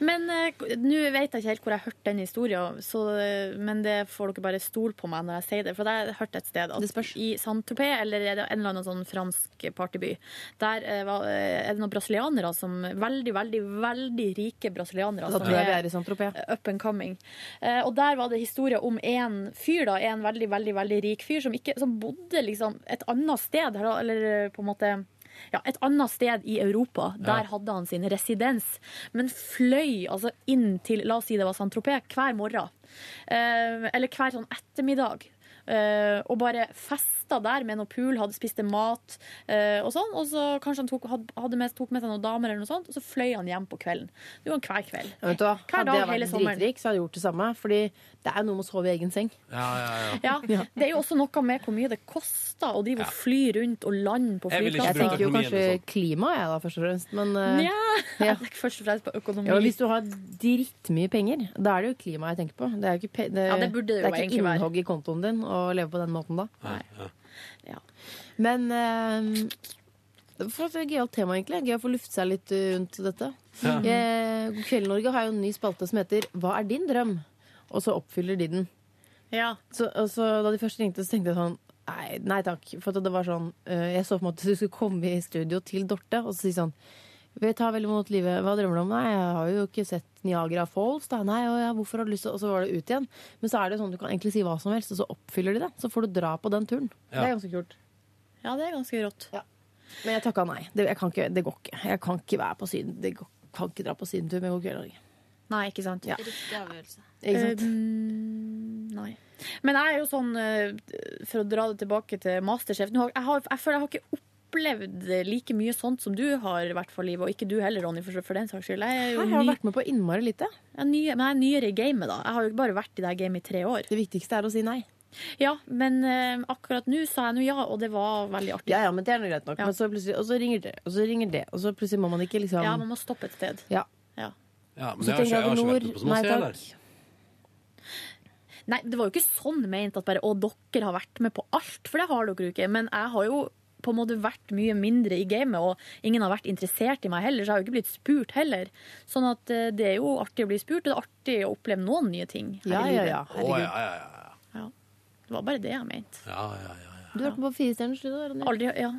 [SPEAKER 3] Men eh, k- nå vet jeg ikke helt hvor jeg hørte den historien, så, eh, men det får dere bare stole på meg når jeg sier det. For det har jeg hørt et sted at i Saint-Tropez, eller er det en eller annen sånn fransk partyby, der eh, var- eh, er det noen brasilianere som Veldig, veldig, veldig rike brasilianere. som
[SPEAKER 2] Da tror jeg vi er i Saint-Tropez.
[SPEAKER 3] Up and coming. Eh, Og der var det historie om en fyr, da, en veldig, veldig veldig rik fyr, som, ikke, som bodde liksom et annet sted, eller- eller på en måte ja, et annet sted i Europa. Der
[SPEAKER 5] Ja.
[SPEAKER 3] hadde han sin residens. Men fløy altså inn til, la oss si det var Saint-Tropez, hver morgen. Eh, Eller hver sånn ettermiddag. Eh, og bare festa der med noe pool, hadde spiste mat eh, og sånn. Og så kanskje han tok, hadde- hadde med, tok med seg noen damer, eller noe sånt, og så fløy han hjem på kvelden. Det var hver kveld.
[SPEAKER 2] Ja, Vet du hva?
[SPEAKER 3] Hver
[SPEAKER 2] Hadde
[SPEAKER 3] dag,
[SPEAKER 2] jeg
[SPEAKER 3] hele
[SPEAKER 2] vært
[SPEAKER 3] sommeren.
[SPEAKER 2] dritrik, så hadde jeg gjort det samme. Fordi det er noe med å sove i egen seng.
[SPEAKER 1] Ja, ja, ja.
[SPEAKER 2] [laughs]
[SPEAKER 3] Ja, Det er jo også noe med hvor mye det koster å drive og fly rundt og lande på
[SPEAKER 2] Jeg vil ikke
[SPEAKER 3] flyplasser.
[SPEAKER 2] bruke Jeg tenker jo økonomien kanskje og klima, jeg da, først og fremst. Men eh,
[SPEAKER 3] Nja, jeg tenker først og fremst på økonomi.
[SPEAKER 2] Ja, men hvis du har drittmye penger, da er det jo klima jeg tenker på. Det er jo ikke, pe det,
[SPEAKER 3] Ja, det burde det jo
[SPEAKER 2] er ikke
[SPEAKER 3] egentlig være.
[SPEAKER 2] innhogg i kontoen din å leve på den måten da.
[SPEAKER 1] ja.
[SPEAKER 2] Men eh, for et gøyalt tema, egentlig. Gøy å få lufte seg litt eh, rundt dette.
[SPEAKER 1] Ja.
[SPEAKER 2] Eh, God kveld, Norge har jo en ny spalte som heter Hva er din drøm? Og så oppfyller de den. Så, og så, da de først ringte, så tenkte jeg sånn Nei, nei takk. For at det var sånn eh, Jeg så for meg at du skulle komme i studio til Dorte og så si sånn vi tar veldig mot livet. Hva drømmer du om? Nei, jeg har jo ikke sett Niagara Falls. Da. Nei, og ja, hvorfor har du lyst til Og så var det ut igjen. Men så er det jo sånn du kan egentlig si hva som helst, og så oppfyller de det. Så får du dra på den turen.
[SPEAKER 3] Ja.
[SPEAKER 2] Det er ganske kult.
[SPEAKER 3] Ja, det er ganske rått.
[SPEAKER 2] Men jeg takka nei. Det, jeg kan ikke, det går ikke. Jeg kan ikke være på syden. Det går, kan ikke dra på sydentur med God kveld, Norge.
[SPEAKER 3] Nei, ikke sant?
[SPEAKER 2] Ja.
[SPEAKER 16] Riktig avgjørelse.
[SPEAKER 2] Ikke sant?
[SPEAKER 3] Eh, Um, nei. Men jeg er jo sånn, eh, for å dra det tilbake til Masterchef nå har, jeg, har, jeg føler jeg har ikke opplevd like mye sånt som du har, i hvert fall, Liv. Og ikke du heller, Ronny, for, for den saks skyld. Jeg er jo
[SPEAKER 2] Her har jeg
[SPEAKER 3] ny-
[SPEAKER 2] vært med på innmari lite.
[SPEAKER 3] Jeg er nye, men jeg er nyere i gamet, da. Jeg har jo ikke bare vært i det her gamet i tre år.
[SPEAKER 2] Det viktigste er å si nei.
[SPEAKER 3] Ja, men eh, akkurat nå sa jeg nå ja, og det var veldig artig.
[SPEAKER 2] Ja, ja, men det er noe greit nok. Men så plutselig, og så ringer det, og så ringer det, og så plutselig må man ikke liksom
[SPEAKER 3] Ja, man må stoppe et sted.
[SPEAKER 2] Ja.
[SPEAKER 3] Ja.
[SPEAKER 1] Ja, men
[SPEAKER 2] Så
[SPEAKER 1] jeg har ikke, jeg har ikke
[SPEAKER 2] tenker jeg
[SPEAKER 1] vært på så masse
[SPEAKER 2] Nord, nei,
[SPEAKER 1] heller.
[SPEAKER 3] Nei, det var jo ikke sånn ment at bare å, dere har vært med på alt, for det har dere jo ikke. Men jeg har jo på en måte vært mye mindre i gamet, og ingen har vært interessert i meg heller, så jeg har jo ikke blitt spurt heller. Sånn at eh, det er jo artig å bli spurt, og det er artig å oppleve noen nye ting. her
[SPEAKER 2] Ja,
[SPEAKER 3] i
[SPEAKER 2] ja,
[SPEAKER 3] livet.
[SPEAKER 2] ja.
[SPEAKER 1] Å, ja, ja, ja.
[SPEAKER 3] Det var bare det jeg mente.
[SPEAKER 1] Ja, ja, ja.
[SPEAKER 2] Du har vært med på Firestjerners studio? Ronny.
[SPEAKER 3] Aldri, ja.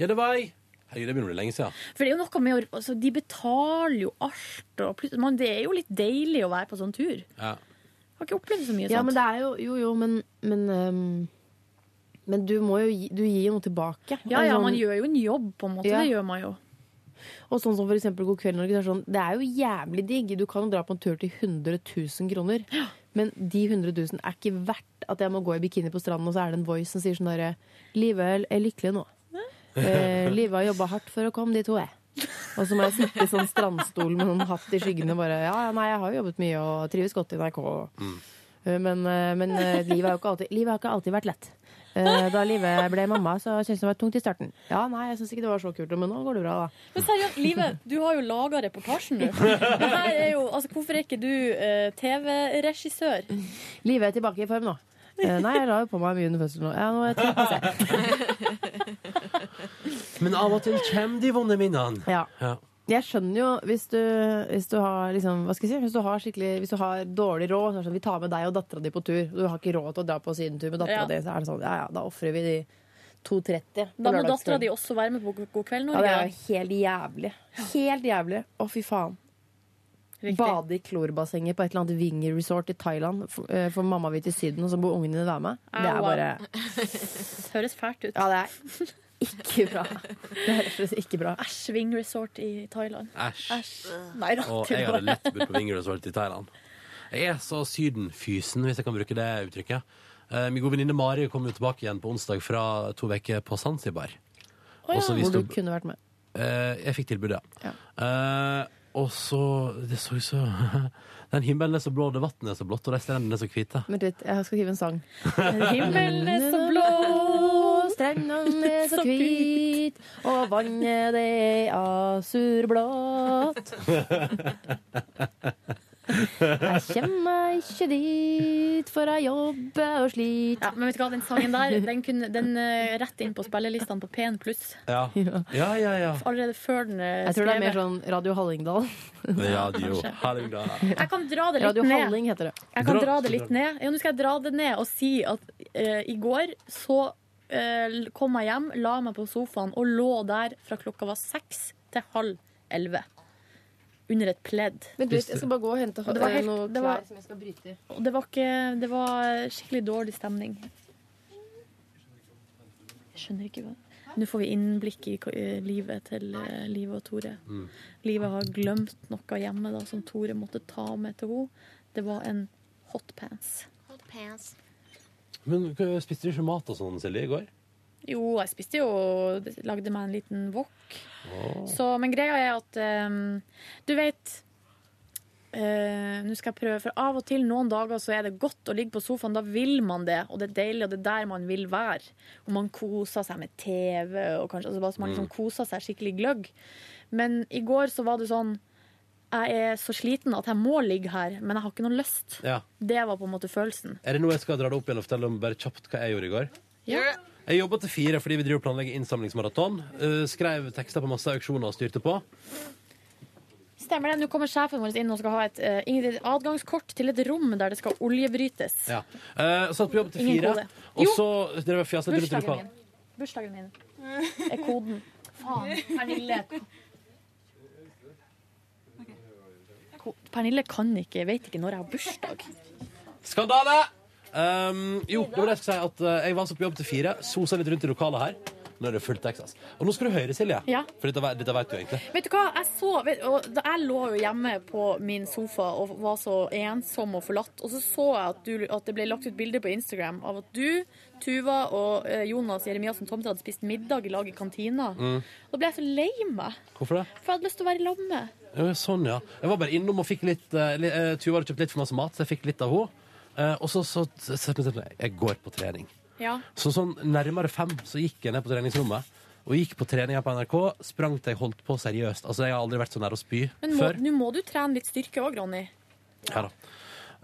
[SPEAKER 1] ja, det var jeg. Herregud, det begynner å bli lenge siden.
[SPEAKER 3] For det er jo noe med å altså, De betaler jo alt, og plutselig man, Det er jo litt deilig å være på sånn tur.
[SPEAKER 1] Ja.
[SPEAKER 3] Jeg har ikke opplevd så mye
[SPEAKER 2] Ja,
[SPEAKER 3] sånt.
[SPEAKER 2] men det er jo Jo, jo, men Men, ehm, men du må jo gi, du gir jo noe tilbake.
[SPEAKER 3] Ja, ja,
[SPEAKER 2] Altså,
[SPEAKER 3] man gjør jo en jobb, på en måte.
[SPEAKER 2] Ja.
[SPEAKER 3] Det gjør man jo.
[SPEAKER 2] Og sånn som for eksempel God kveld, Norge. Det er, sånn, det er jo jævlig digg. Du kan jo dra på en tur til 100 000 kroner. Men de 100 000 er ikke verdt at jeg må gå i bikini på stranden, og så er det en voice som sier sånn derre Live er lykkelig nå. Eh, Live har jobba hardt for å komme dit hun er. Og så må jeg sitte i sånn strandstol med noen hatt i skyggene og bare Ja, ja, nei, jeg har jo jobbet mye og trives godt i NRK. Eh, Men, eh, men eh, livet har jo ikke alltid, livet har ikke alltid vært lett. Eh, Da livet ble mamma, så syntes jeg det var tungt i starten. Ja, nei, jeg syns ikke det var så kult, men nå går det bra, da.
[SPEAKER 3] Men seriøst, Live, du har jo laga reportasjen, du. Det her er jo, altså, hvorfor er ikke du eh, TV-regissør?
[SPEAKER 2] Mm. Livet er tilbake i form nå. Eh, Nei, jeg la jo på meg mye under fødselen. og- Ja, nå er jeg trøtt, altså.
[SPEAKER 1] Men av og til kommer de vonde minnene.
[SPEAKER 2] Ja. Jeg skjønner jo hvis du, hvis du har liksom, hva skal jeg si, hvis du har, skikkelig- hvis du har dårlig råd så er det sånn, Vi tar med deg og dattera di på tur. Du har ikke råd til å dra på sydentur med dattera
[SPEAKER 3] Ja.
[SPEAKER 2] di. Så er det sånn, ja ja, da ofrer vi de 2,30 på
[SPEAKER 3] Da må
[SPEAKER 2] lørdagskvelden.
[SPEAKER 3] dattera di også være med på God- God kveld
[SPEAKER 2] Ja,
[SPEAKER 3] Norge.
[SPEAKER 2] det er jo helt jævlig. Helt jævlig. Å, fy faen. Bade i klorbassenget på et eller annet Winger resort i Thailand. For, eh, for mamma vil til Syden, og så må ungene dine være med. Det er
[SPEAKER 3] Au, au.
[SPEAKER 2] bare
[SPEAKER 3] Høres fælt ut.
[SPEAKER 2] Ja, det er ikke bra. Det er rett og slett ikke bra.
[SPEAKER 3] Æsj, Wing Resort i Thailand.
[SPEAKER 1] Æsj.
[SPEAKER 3] Nei da.
[SPEAKER 1] Og jeg hadde lett bodd på Vinger Resort i Thailand. Jeg er så sydenfysen, hvis jeg kan bruke det uttrykket. Eh, Min gode venninne Mari kom jo tilbake igjen på onsdag fra to uker på Zanzibar. Og så
[SPEAKER 2] Hvor
[SPEAKER 1] viste
[SPEAKER 2] du
[SPEAKER 1] hun-
[SPEAKER 2] kunne vært med.
[SPEAKER 1] Eh, Jeg fikk tilbudet, ja. Eh, og så Det så jo så [laughs] Den himmelen er så blå, det vannet er så blått, og de strendene er så hvite.
[SPEAKER 2] Vent litt, jeg skal skrive en sang.
[SPEAKER 3] Himmelen er så blå,
[SPEAKER 2] strendene er [laughs] så hvit, og vannet det er asurblått. Jeg kommer meg ikke dit, for jeg jobber og
[SPEAKER 3] Ja,
[SPEAKER 2] sliter.
[SPEAKER 3] men vet du hva, den sangen der, den, kunne, den eh, rett inn på spillelistene på P1 pluss.
[SPEAKER 1] Ja, ja, ja. ja.
[SPEAKER 3] Allerede før den eh, er
[SPEAKER 2] Jeg tror det er mer sånn Radio Hallingdal.
[SPEAKER 1] Radio Hallingdal.
[SPEAKER 3] Jeg kan dra det litt
[SPEAKER 2] Radio
[SPEAKER 3] ned.
[SPEAKER 2] Halling heter det.
[SPEAKER 3] Jeg kan
[SPEAKER 1] Dra-
[SPEAKER 3] dra det litt ned. Ja, nå skal jeg dra det ned og si at eh, i går så eh, kom jeg hjem, la meg på sofaen og lå der fra klokka var seks til halv elleve. Under et pledd.
[SPEAKER 2] Vent litt, jeg skal bare gå og hente
[SPEAKER 3] Og det var helt-
[SPEAKER 2] noe
[SPEAKER 3] det var-
[SPEAKER 2] klær som jeg skal bryte i.
[SPEAKER 3] Og det var ikke Det var skikkelig dårlig stemning. Jeg skjønner ikke hva Nå får vi innblikk i hva- eh, livet til eh, Live og Tore.
[SPEAKER 1] Mm.
[SPEAKER 3] Live har glemt noe hjemme da som Tore måtte ta med til henne. Det var en hotpants.
[SPEAKER 1] Men hva- spiste du ikke mat og sånn, Silje, i går?
[SPEAKER 3] Jo, jeg spiste jo Lagde meg en liten wok. Så, men greia er at eh, Du vet eh, Nå skal jeg prøve, for av og til noen dager så er det godt å ligge på sofaen. Da vil man det, og det er deilig, og det er der man vil være. Og man koser seg med TV, og kanskje altså bare så man liksom
[SPEAKER 5] Mm.
[SPEAKER 3] koser seg skikkelig gløgg. Men i går så var det sånn Jeg er så sliten at jeg må ligge her, men jeg har ikke noe lyst.
[SPEAKER 1] Ja.
[SPEAKER 3] Det var på en måte følelsen.
[SPEAKER 1] Er det nå jeg skal dra det opp igjen og fortelle om bare kjapt hva jeg gjorde i går? Jeg jobba til fire fordi vi driver og planlegger innsamlingsmaraton. Eh, skrev tekster på masse auksjoner og styrte på.
[SPEAKER 3] Stemmer det. Nå kommer sjefen vår inn og skal ha et eh, Ingrid, adgangskort til et rom der det skal oljebrytes.
[SPEAKER 1] Ja. Eh, satt på jobb til
[SPEAKER 3] Ingen
[SPEAKER 1] fire,
[SPEAKER 3] kode.
[SPEAKER 1] og
[SPEAKER 3] Jo!
[SPEAKER 1] så drev jeg fjaset rundt i
[SPEAKER 3] Bursdagen
[SPEAKER 1] lokalet.
[SPEAKER 3] min. Bursdagen min er koden. Faen. Pernille. Ko- Pernille kan ikke, vet ikke når jeg har bursdag.
[SPEAKER 1] Skandale! Um, jo, det var det jeg skulle si at eh, jeg var så på jobb til fire, sosa litt rundt i lokalet her. Nå er det fullt Texas. Og nå skal du høre, Silje.
[SPEAKER 3] Ja.
[SPEAKER 1] For dette, ve- dette vet du egentlig.
[SPEAKER 3] Vet du hva, jeg så vet, og da Jeg lå jo hjemme på min sofa og var så ensom og forlatt. Og så så jeg at, du, at det ble lagt ut bilder på Instagram av at du, Tuva og eh, Jonas Jeremiassen Tomter hadde spist middag i lag i kantina.
[SPEAKER 1] Mm.
[SPEAKER 3] Da ble jeg så lei meg,
[SPEAKER 1] Hvorfor det?
[SPEAKER 3] for jeg hadde lyst til å være i lag med.
[SPEAKER 1] Ja, sånn, ja. Jeg var bare innom og fikk litt eh, li- eh, Tuva hadde kjøpt litt for masse mat, så jeg fikk litt av henne. Eh, og så så så- så- så- Jeg går på trening.
[SPEAKER 3] Ja.
[SPEAKER 1] Så sånn nærmere fem så gikk jeg ned på treningsrommet. Og gikk på trening her på NRK. Sprang til jeg holdt på seriøst. Altså, jeg har aldri vært så nær å spy
[SPEAKER 3] Men må-
[SPEAKER 1] før.
[SPEAKER 3] nå må du trene litt styrke òg, Ronny.
[SPEAKER 1] Ja da.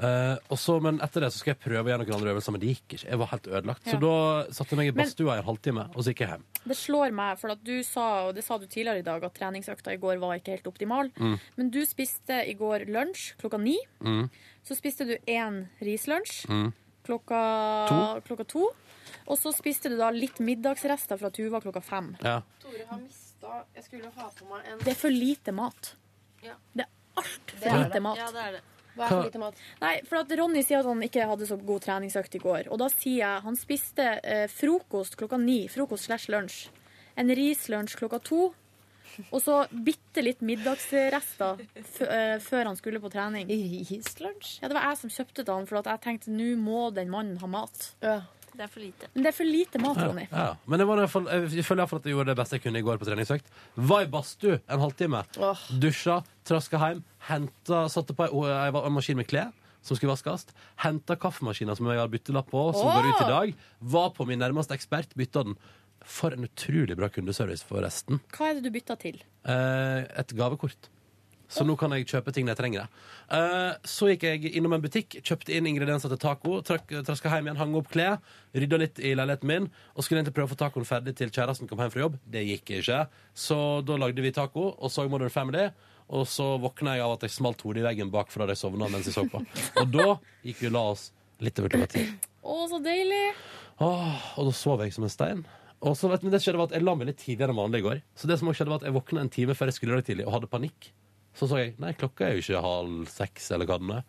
[SPEAKER 1] Eh, og så, men etter det så skal jeg prøve å gjøre noen andre øvelser, men det gikk ikke. Jeg var helt ødelagt.
[SPEAKER 3] Ja.
[SPEAKER 1] Så da satte jeg meg i
[SPEAKER 3] Men-
[SPEAKER 1] badstua i en halvtime, og så gikk jeg hjem.
[SPEAKER 3] Det slår meg, for at du sa, og det sa du tidligere i dag, at treningsøkta i går var ikke helt optimal.
[SPEAKER 1] Mm.
[SPEAKER 3] Men du spiste i går lunsj klokka ni.
[SPEAKER 1] Mm.
[SPEAKER 3] Så spiste du én rislunsj
[SPEAKER 1] Mm.
[SPEAKER 3] klokka to. klokka to. Og så spiste du da litt middagsrester fra Tuva klokka fem.
[SPEAKER 1] Ja.
[SPEAKER 13] Tore har mista Jeg skulle ha på meg en
[SPEAKER 3] Det er for lite mat. Det er altfor
[SPEAKER 13] er
[SPEAKER 3] lite
[SPEAKER 13] det.
[SPEAKER 3] mat.
[SPEAKER 13] Ja, det er det. Hva er for lite mat?
[SPEAKER 3] Nei, for at Ronny sier at han ikke hadde så god treningsøkt i går. Og da sier jeg han spiste eh, frokost klokka ni. Frokost slash lunsj. En rislunsj klokka to. Og så bitte litt middagsrester f eh, før han skulle på trening. Rislunsj? Ja, det var jeg som kjøpte til han, for at jeg tenkte nå må den mannen ha mat.
[SPEAKER 16] Det er for lite.
[SPEAKER 3] Men det er for lite mat,
[SPEAKER 1] Ja,
[SPEAKER 3] Ronny.
[SPEAKER 1] ja. Men jeg, var i hvert fall, jeg føler iallfall at jeg gjorde det beste jeg kunne i går på treningsøkt. Var i badstue en halvtime. Dusja, traska hjem, henta, satte på ei, og jeg var- en maskin med klær som skulle vaskes. Henta kaffemaskinen som jeg har byttelapp på, som går ut i dag. Var på min nærmeste ekspert, bytta den. For en utrolig bra kundeservice, forresten.
[SPEAKER 3] Hva er det du bytta til?
[SPEAKER 1] Eh, et gavekort. så nå kan jeg kjøpe ting når jeg trenger det. Eh, så gikk jeg innom en butikk, kjøpte inn ingredienser til taco, trakk- traska hjem igjen, hang opp klær, rydda litt i leiligheten min, og skulle egentlig prøve å få tacoen ferdig til kjæresten kom hjem fra jobb. Det gikk ikke. Så da lagde vi taco, og så Modern Family. Og så våkna jeg av at jeg smalt hodet i veggen bakfra da jeg sovna mens jeg så på. Og da gikk vi og la oss litt over klokka ti.
[SPEAKER 3] Å, så deilig!
[SPEAKER 1] Åh, og da sov jeg som en stein. Og så vet, men det skjedde var at Jeg la meg litt tidligere enn vanlig i går. Så det som også skjedde var at jeg våkna en time før jeg skulle i dag tidlig og hadde panikk. Så så jeg nei, klokka er jo ikke halv seks. eller hva den er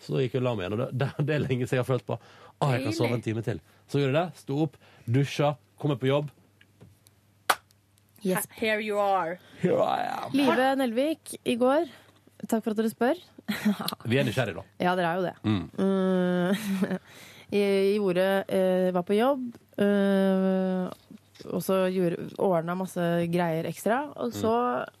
[SPEAKER 1] Så da gikk jeg og la meg igjen. Og det, det, det er lenge siden jeg har følt på ah, jeg kan sove en time til. Så gjorde jeg det. Sto opp, dusja, kom meg på jobb.
[SPEAKER 3] He- Here you are.
[SPEAKER 1] Here I am.
[SPEAKER 2] Live Nelvik, i går Takk for at dere spør.
[SPEAKER 1] Vi er nysgjerrige, da.
[SPEAKER 2] Ja, dere er jo det.
[SPEAKER 1] Mm.
[SPEAKER 2] Mm. [laughs] jeg gjorde eh, Var på jobb. eh, og så ordna masse greier ekstra. Og så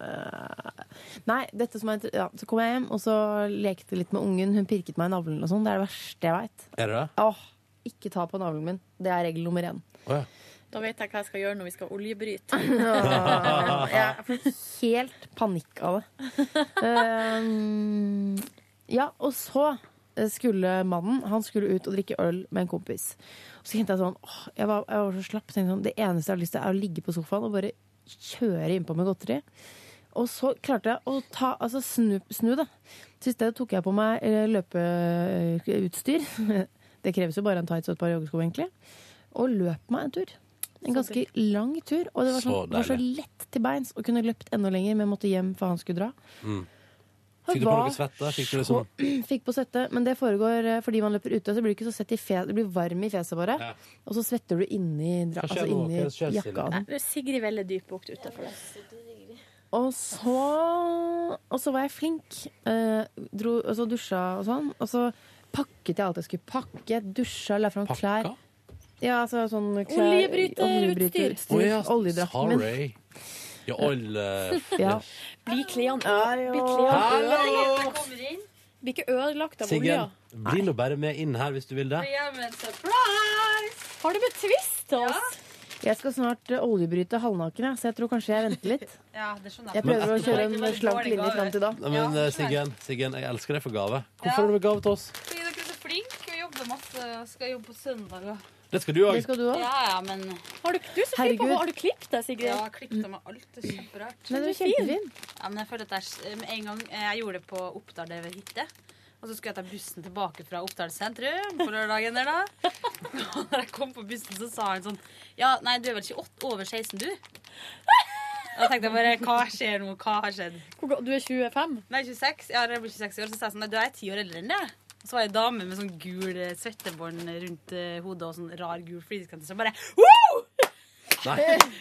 [SPEAKER 2] eh, Nei, dette som er, inter- ja, så kom jeg hjem, og så lekte litt med ungen. Hun pirket meg i navlen og sånn. Det er det verste jeg veit.
[SPEAKER 1] Er det det?
[SPEAKER 2] Åh, ikke ta på navlen min. Det er regel nummer én.
[SPEAKER 1] Å, ja.
[SPEAKER 3] Da vet jeg hva jeg skal gjøre når vi skal oljebryte.
[SPEAKER 2] Jeg får helt panikk av det. Ehm, ja, og så eh, skulle mannen Han skulle ut og drikke øl med en kompis. Og så kjente jeg sånn åh, jeg, var, jeg var så slapp. Tenkte sånn, det eneste jeg har lyst til, er å ligge på sofaen og bare kjøre innpå med godteri. Og så klarte jeg å ta, altså snu, snu det. Så i stedet tok jeg på meg eh, løpeutstyr. [laughs] Det kreves jo bare en tights og et par joggesko, egentlig. Og løp meg en tur. En ganske lang tur. Og det var,
[SPEAKER 1] Så
[SPEAKER 2] sånn, det var så
[SPEAKER 1] deilig.
[SPEAKER 2] lett til beins og kunne løpt enda lenger, men måtte hjem for han skulle dra.
[SPEAKER 1] Mm.
[SPEAKER 2] Han
[SPEAKER 1] Fikk du på
[SPEAKER 2] var
[SPEAKER 1] noe svette? Fikk du liksom
[SPEAKER 2] [clears throat] Fikk på svette, men det foregår eh, fordi man løper ute. Så blir du ikke så svett i fjeset, du blir varm i fjeset bare. Og så svetter du inni, dra-
[SPEAKER 1] Hva skjer nå?
[SPEAKER 2] altså inni
[SPEAKER 1] Hva skjer, Silje?
[SPEAKER 2] jakka.
[SPEAKER 3] Nei, det er Sigrid Velle Dybbukt utenfor det.
[SPEAKER 2] Og så, og så var jeg flink. Eh, dro, og så dusja og sånn. Og så pakket jeg alt jeg skulle pakke. Dusja, la fram klær. Ja, altså sånn klær
[SPEAKER 3] Oljebryter,
[SPEAKER 2] oljebryterutstyr.
[SPEAKER 3] utstyr.
[SPEAKER 1] Å ja,
[SPEAKER 2] Oljedrakten min.
[SPEAKER 1] sorry. Ja, oil eh,
[SPEAKER 2] [laughs] Ja.
[SPEAKER 3] Blir
[SPEAKER 16] Ah.
[SPEAKER 3] klærne ødelagt? Blir ikke ødelagt av olja?
[SPEAKER 1] Siggen, bli nå bare med inn her hvis du vil det.
[SPEAKER 3] Har du betvist oss?
[SPEAKER 2] Jeg skal snart eh, oljebryte halvnaken, jeg, så jeg tror kanskje jeg venter litt.
[SPEAKER 16] Ja, det skjønner
[SPEAKER 2] Jeg prøver å kjøre en slank linje fram til da.
[SPEAKER 1] Nei, men eh, Siggen, Siggen, jeg elsker deg for gave. Hvorfor har du med gave til oss?
[SPEAKER 16] Fordi dere er så flinke og jobber masse. Jeg Skal jobbe på søndager.
[SPEAKER 1] Det skal du òg.
[SPEAKER 16] Ja, ja, men
[SPEAKER 3] Har du, du er så flink på
[SPEAKER 16] Herregud.
[SPEAKER 3] hår. Har du klippet deg, Sigrid?
[SPEAKER 16] Ja, klippet meg alt. Det er kjemperart.
[SPEAKER 3] Nei, du er kjempefin.
[SPEAKER 16] Ja, men jeg føler at det er s- med en gang eh, jeg gjorde det på Oppdal der ved hytte. Og så skulle jeg ta bussen tilbake fra Oppdal sentrum på lørdagen. der da. [laughs] Og når jeg kom på bussen, så sa han sånn Ja, nei, du er vel ikke åt- over 16, du? Og Da tenkte jeg bare Hva skjer nå? Hva har skjedd?
[SPEAKER 3] Du er 25?
[SPEAKER 16] Nei, 26. Ja, jeg blir 26 i år. Så sa jeg sånn Nei, du er 10 år eldre enn det. Og så var det ei dame med sånn gul eh, svettebånd rundt eh, hodet og sånn rar gul flisekant. Så bare Woo! [laughs]
[SPEAKER 1] Nei.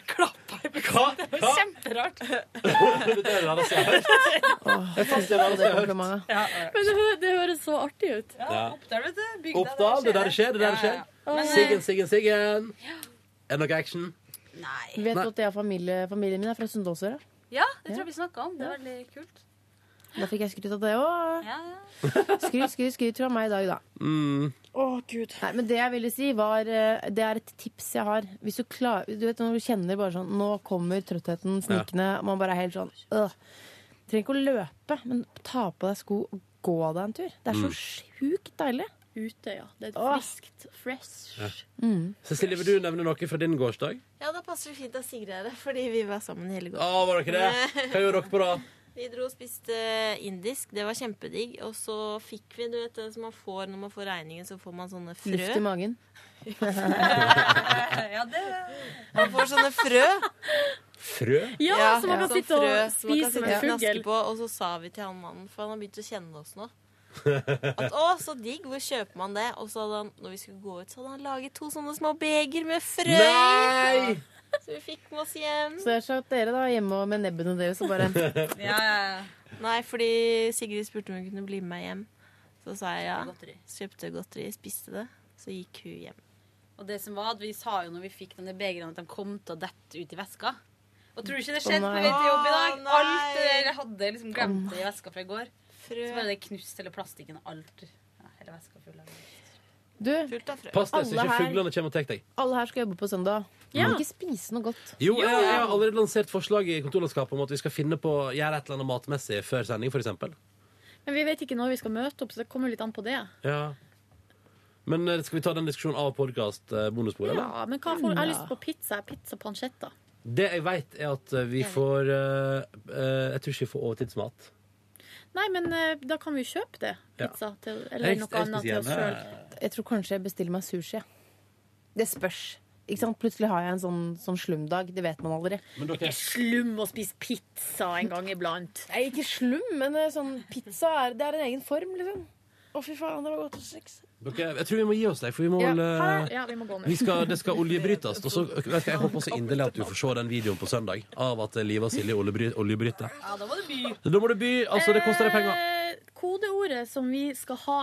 [SPEAKER 16] Klappa i bussen. Det var kjemperart.
[SPEAKER 1] Det er det rareste jeg har hørt. Det er faktisk det rareste jeg har hørt.
[SPEAKER 16] Ja,
[SPEAKER 3] Men det, hø- det høres så artig ut.
[SPEAKER 1] Ja.
[SPEAKER 16] Oppdal, vet du. Bygda,
[SPEAKER 1] Oppdal, det der skjer, det der
[SPEAKER 16] Ja, ja,
[SPEAKER 1] skjer.
[SPEAKER 16] ja. Men, eh,
[SPEAKER 1] Siggen, Siggen, Siggen. Er det noe action?
[SPEAKER 2] Du vet
[SPEAKER 1] Nei.
[SPEAKER 2] at jeg har familie, familien min er fra Sunndalsøra.
[SPEAKER 16] Ja, det tror jeg vi snakka om. Det er veldig kult.
[SPEAKER 2] Da fikk jeg skryt av det òg. Skryt, skryt, skryt fra meg i dag, da.
[SPEAKER 1] Mm.
[SPEAKER 2] Nei, men det jeg ville si var eh, Det er et tips jeg har. Hvis du, klar, du vet når du kjenner bare sånn Nå kommer trøttheten snikende, og man bare er helt sånn øh. Trenger ikke å løpe, men ta på deg sko og gå deg en tur. Det er så
[SPEAKER 1] Mm.
[SPEAKER 2] sjukt deilig.
[SPEAKER 3] Ute, ja. Det er friskt. Fresh.
[SPEAKER 1] Ja. Cecilie, vil du nevne noe fra din gårsdag?
[SPEAKER 15] Ja, da passer det fint at Sigrid er her, fordi vi var sammen hele går.
[SPEAKER 1] Å, var dere det? Hva gjorde dere på da?
[SPEAKER 15] Vi dro og spiste
[SPEAKER 16] eh,
[SPEAKER 15] indisk. Det var kjempedigg. Og så fikk vi, du vet det som man får når man får regningen, så får man sånne frø.
[SPEAKER 2] Luft i magen.
[SPEAKER 15] ja, det Man får sånne frø.
[SPEAKER 1] Frø?
[SPEAKER 3] Ja, så man kan sitte og
[SPEAKER 15] som man kan
[SPEAKER 3] spise
[SPEAKER 15] sitte
[SPEAKER 3] med
[SPEAKER 15] og knaske
[SPEAKER 3] fugl.
[SPEAKER 15] På, og så sa vi til han mannen, for han har begynt å kjenne oss nå. At, å, så digg, hvor kjøper man det? Og så hadde han, når vi skulle gå ut, så hadde han laget to sånne små beger med frø.
[SPEAKER 2] Nei!
[SPEAKER 15] Så vi fikk med oss hjem.
[SPEAKER 2] Så jeg sa at dere da er hjemme og med nebbene deres og bare
[SPEAKER 1] [laughs]
[SPEAKER 15] Nei, fordi Sigrid spurte om hun kunne bli med meg hjem. Så sa jeg ja. Så Kjøpte godteri, spiste det. Så gikk hun hjem.
[SPEAKER 16] Og det som var at Vi sa jo når vi fikk denne begeren, at de kom til å dette ut i veska. Og tror du ikke det skjedde på
[SPEAKER 15] Å, nei.
[SPEAKER 16] vei til jobb i dag?
[SPEAKER 15] Å, nei.
[SPEAKER 16] Alt det der jeg hadde liksom glemt det i veska fra i går.
[SPEAKER 15] Frø.
[SPEAKER 16] Så bare det knust hele plastikken og alt. Ja, hele veska full av
[SPEAKER 2] Du,
[SPEAKER 1] Pass deg, så
[SPEAKER 2] alle
[SPEAKER 1] ikke
[SPEAKER 2] her,
[SPEAKER 1] fuglene kommer og tar deg.
[SPEAKER 2] alle her skal jobbe på søndag.
[SPEAKER 1] Ja.
[SPEAKER 2] Kan vi ikke spise noe godt?
[SPEAKER 1] Jo, jeg, jeg har allerede lansert forslag i kontorlandskapet om at vi skal finne på gjøre et eller annet matmessig før sending, for eksempel.
[SPEAKER 3] Men vi vet ikke når vi skal møte opp, så det kommer jo litt an på det.
[SPEAKER 1] Ja. Men eh, skal vi ta den diskusjonen av podkast bonusbordet, eller?
[SPEAKER 3] Ja, men hva får, Jeg har lyst på pizza. Pizza pancetta.
[SPEAKER 1] Det jeg vet, er at eh, vi får eh, eh, Jeg tror ikke vi får overtidsmat.
[SPEAKER 3] Nei, men eh, da kan vi jo kjøpe det.
[SPEAKER 1] Ja.
[SPEAKER 3] Pizza til, eller noe annet til oss sjøl.
[SPEAKER 2] Jeg tror kanskje jeg bestiller meg sushi. Det spørs. Ikke sant? Plutselig har jeg en sånn, sånn slumdag. Det vet man aldri.
[SPEAKER 1] Men dere-
[SPEAKER 3] Ikke slum å spise pizza en gang iblant.
[SPEAKER 2] Nei, ikke slum, men eh, sånn pizza er, det er en egen form, liksom. Å, fy faen, det var godt å sex.
[SPEAKER 1] Dere, jeg tror vi må gi oss deg, for vi må
[SPEAKER 2] Ja.
[SPEAKER 1] vel
[SPEAKER 2] Ha
[SPEAKER 1] eh,
[SPEAKER 2] det. Ja, vi må gå nå.
[SPEAKER 1] vi skal, Det skal oljebrytes. Og så, vet du hva, jeg håper så inderlig at du får se den videoen på søndag av at Live og Silje oljebry- oljebryter.
[SPEAKER 3] Ja, da må du by. Eh,
[SPEAKER 1] Da må du by. Altså, det koster deg penger.
[SPEAKER 3] Kodeordet som vi skal ha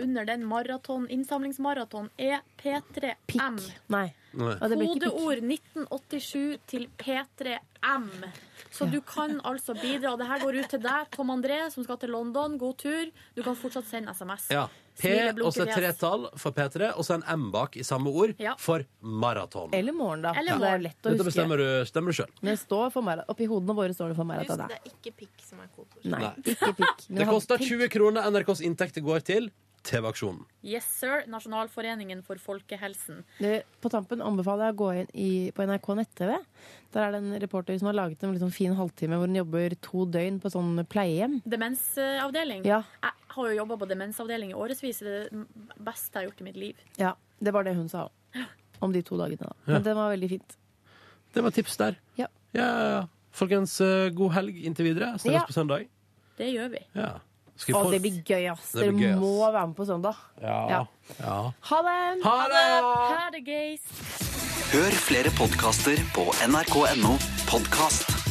[SPEAKER 3] under den maraton, innsamlingsmaraton, er P3M.
[SPEAKER 2] Nei.
[SPEAKER 1] Nei.
[SPEAKER 2] Ja, det blir ikke pikk.
[SPEAKER 3] Kodeord 1987 til P3M. Så du kan altså bidra. Og det her går ut til deg, Tom André, som skal til London. God tur. Du kan fortsatt sende SMS.
[SPEAKER 1] Ja. P
[SPEAKER 3] Smil og
[SPEAKER 1] og så
[SPEAKER 3] blunke
[SPEAKER 1] tre
[SPEAKER 3] fjes.
[SPEAKER 1] tall for P3, og så en M bak i samme ord
[SPEAKER 2] Ja.
[SPEAKER 1] for maraton.
[SPEAKER 2] Eller morgen, da.
[SPEAKER 1] Ja.
[SPEAKER 2] Det er lett å
[SPEAKER 1] Dette
[SPEAKER 2] huske.
[SPEAKER 1] bestemmer du, stemmer du sjøl.
[SPEAKER 2] Men det står for meg, oppi hodene våre står det for meg at det
[SPEAKER 15] det
[SPEAKER 2] er
[SPEAKER 15] er ikke pikk som er kodeord.
[SPEAKER 2] Nei, ikke pikk. Men
[SPEAKER 1] [laughs] Det
[SPEAKER 2] han-
[SPEAKER 1] koster 20 kroner NRKs inntekter går til TV-aksjonen.
[SPEAKER 3] Yes, sir. Nasjonalforeningen for folkehelsen.
[SPEAKER 2] Det- På tampen anbefaler jeg å gå inn i, på NRK nett-TV. Der er det en reporter som har laget en liksom fin halvtime hvor hun jobber to døgn på sånn pleiehjem.
[SPEAKER 3] Demensavdeling.
[SPEAKER 2] Ja.
[SPEAKER 3] Jeg har jo jobba på demensavdeling i årevis. Det er det beste jeg har gjort i mitt liv.
[SPEAKER 2] Ja, Det var det hun sa også. om de to dagene. Da.
[SPEAKER 1] Ja.
[SPEAKER 2] Men det var veldig fint.
[SPEAKER 1] Det var tips der.
[SPEAKER 2] Ja.
[SPEAKER 1] Ja, ja, ja. Folkens, eh, god helg inntil videre. Snakkes
[SPEAKER 2] Ja.
[SPEAKER 1] på søndag.
[SPEAKER 3] Det gjør vi.
[SPEAKER 1] Ja. Skal vi
[SPEAKER 2] Og
[SPEAKER 1] få-
[SPEAKER 2] det blir gøy, ass.
[SPEAKER 1] Det
[SPEAKER 2] Dere
[SPEAKER 1] blir gøy, ass.
[SPEAKER 2] må være med på søndag.
[SPEAKER 1] Ja.
[SPEAKER 2] Ja.
[SPEAKER 1] ja.
[SPEAKER 2] Ha det!
[SPEAKER 1] Ha
[SPEAKER 3] det! Ha det, gays!
[SPEAKER 17] Hør flere podkaster på nrk.no podkast.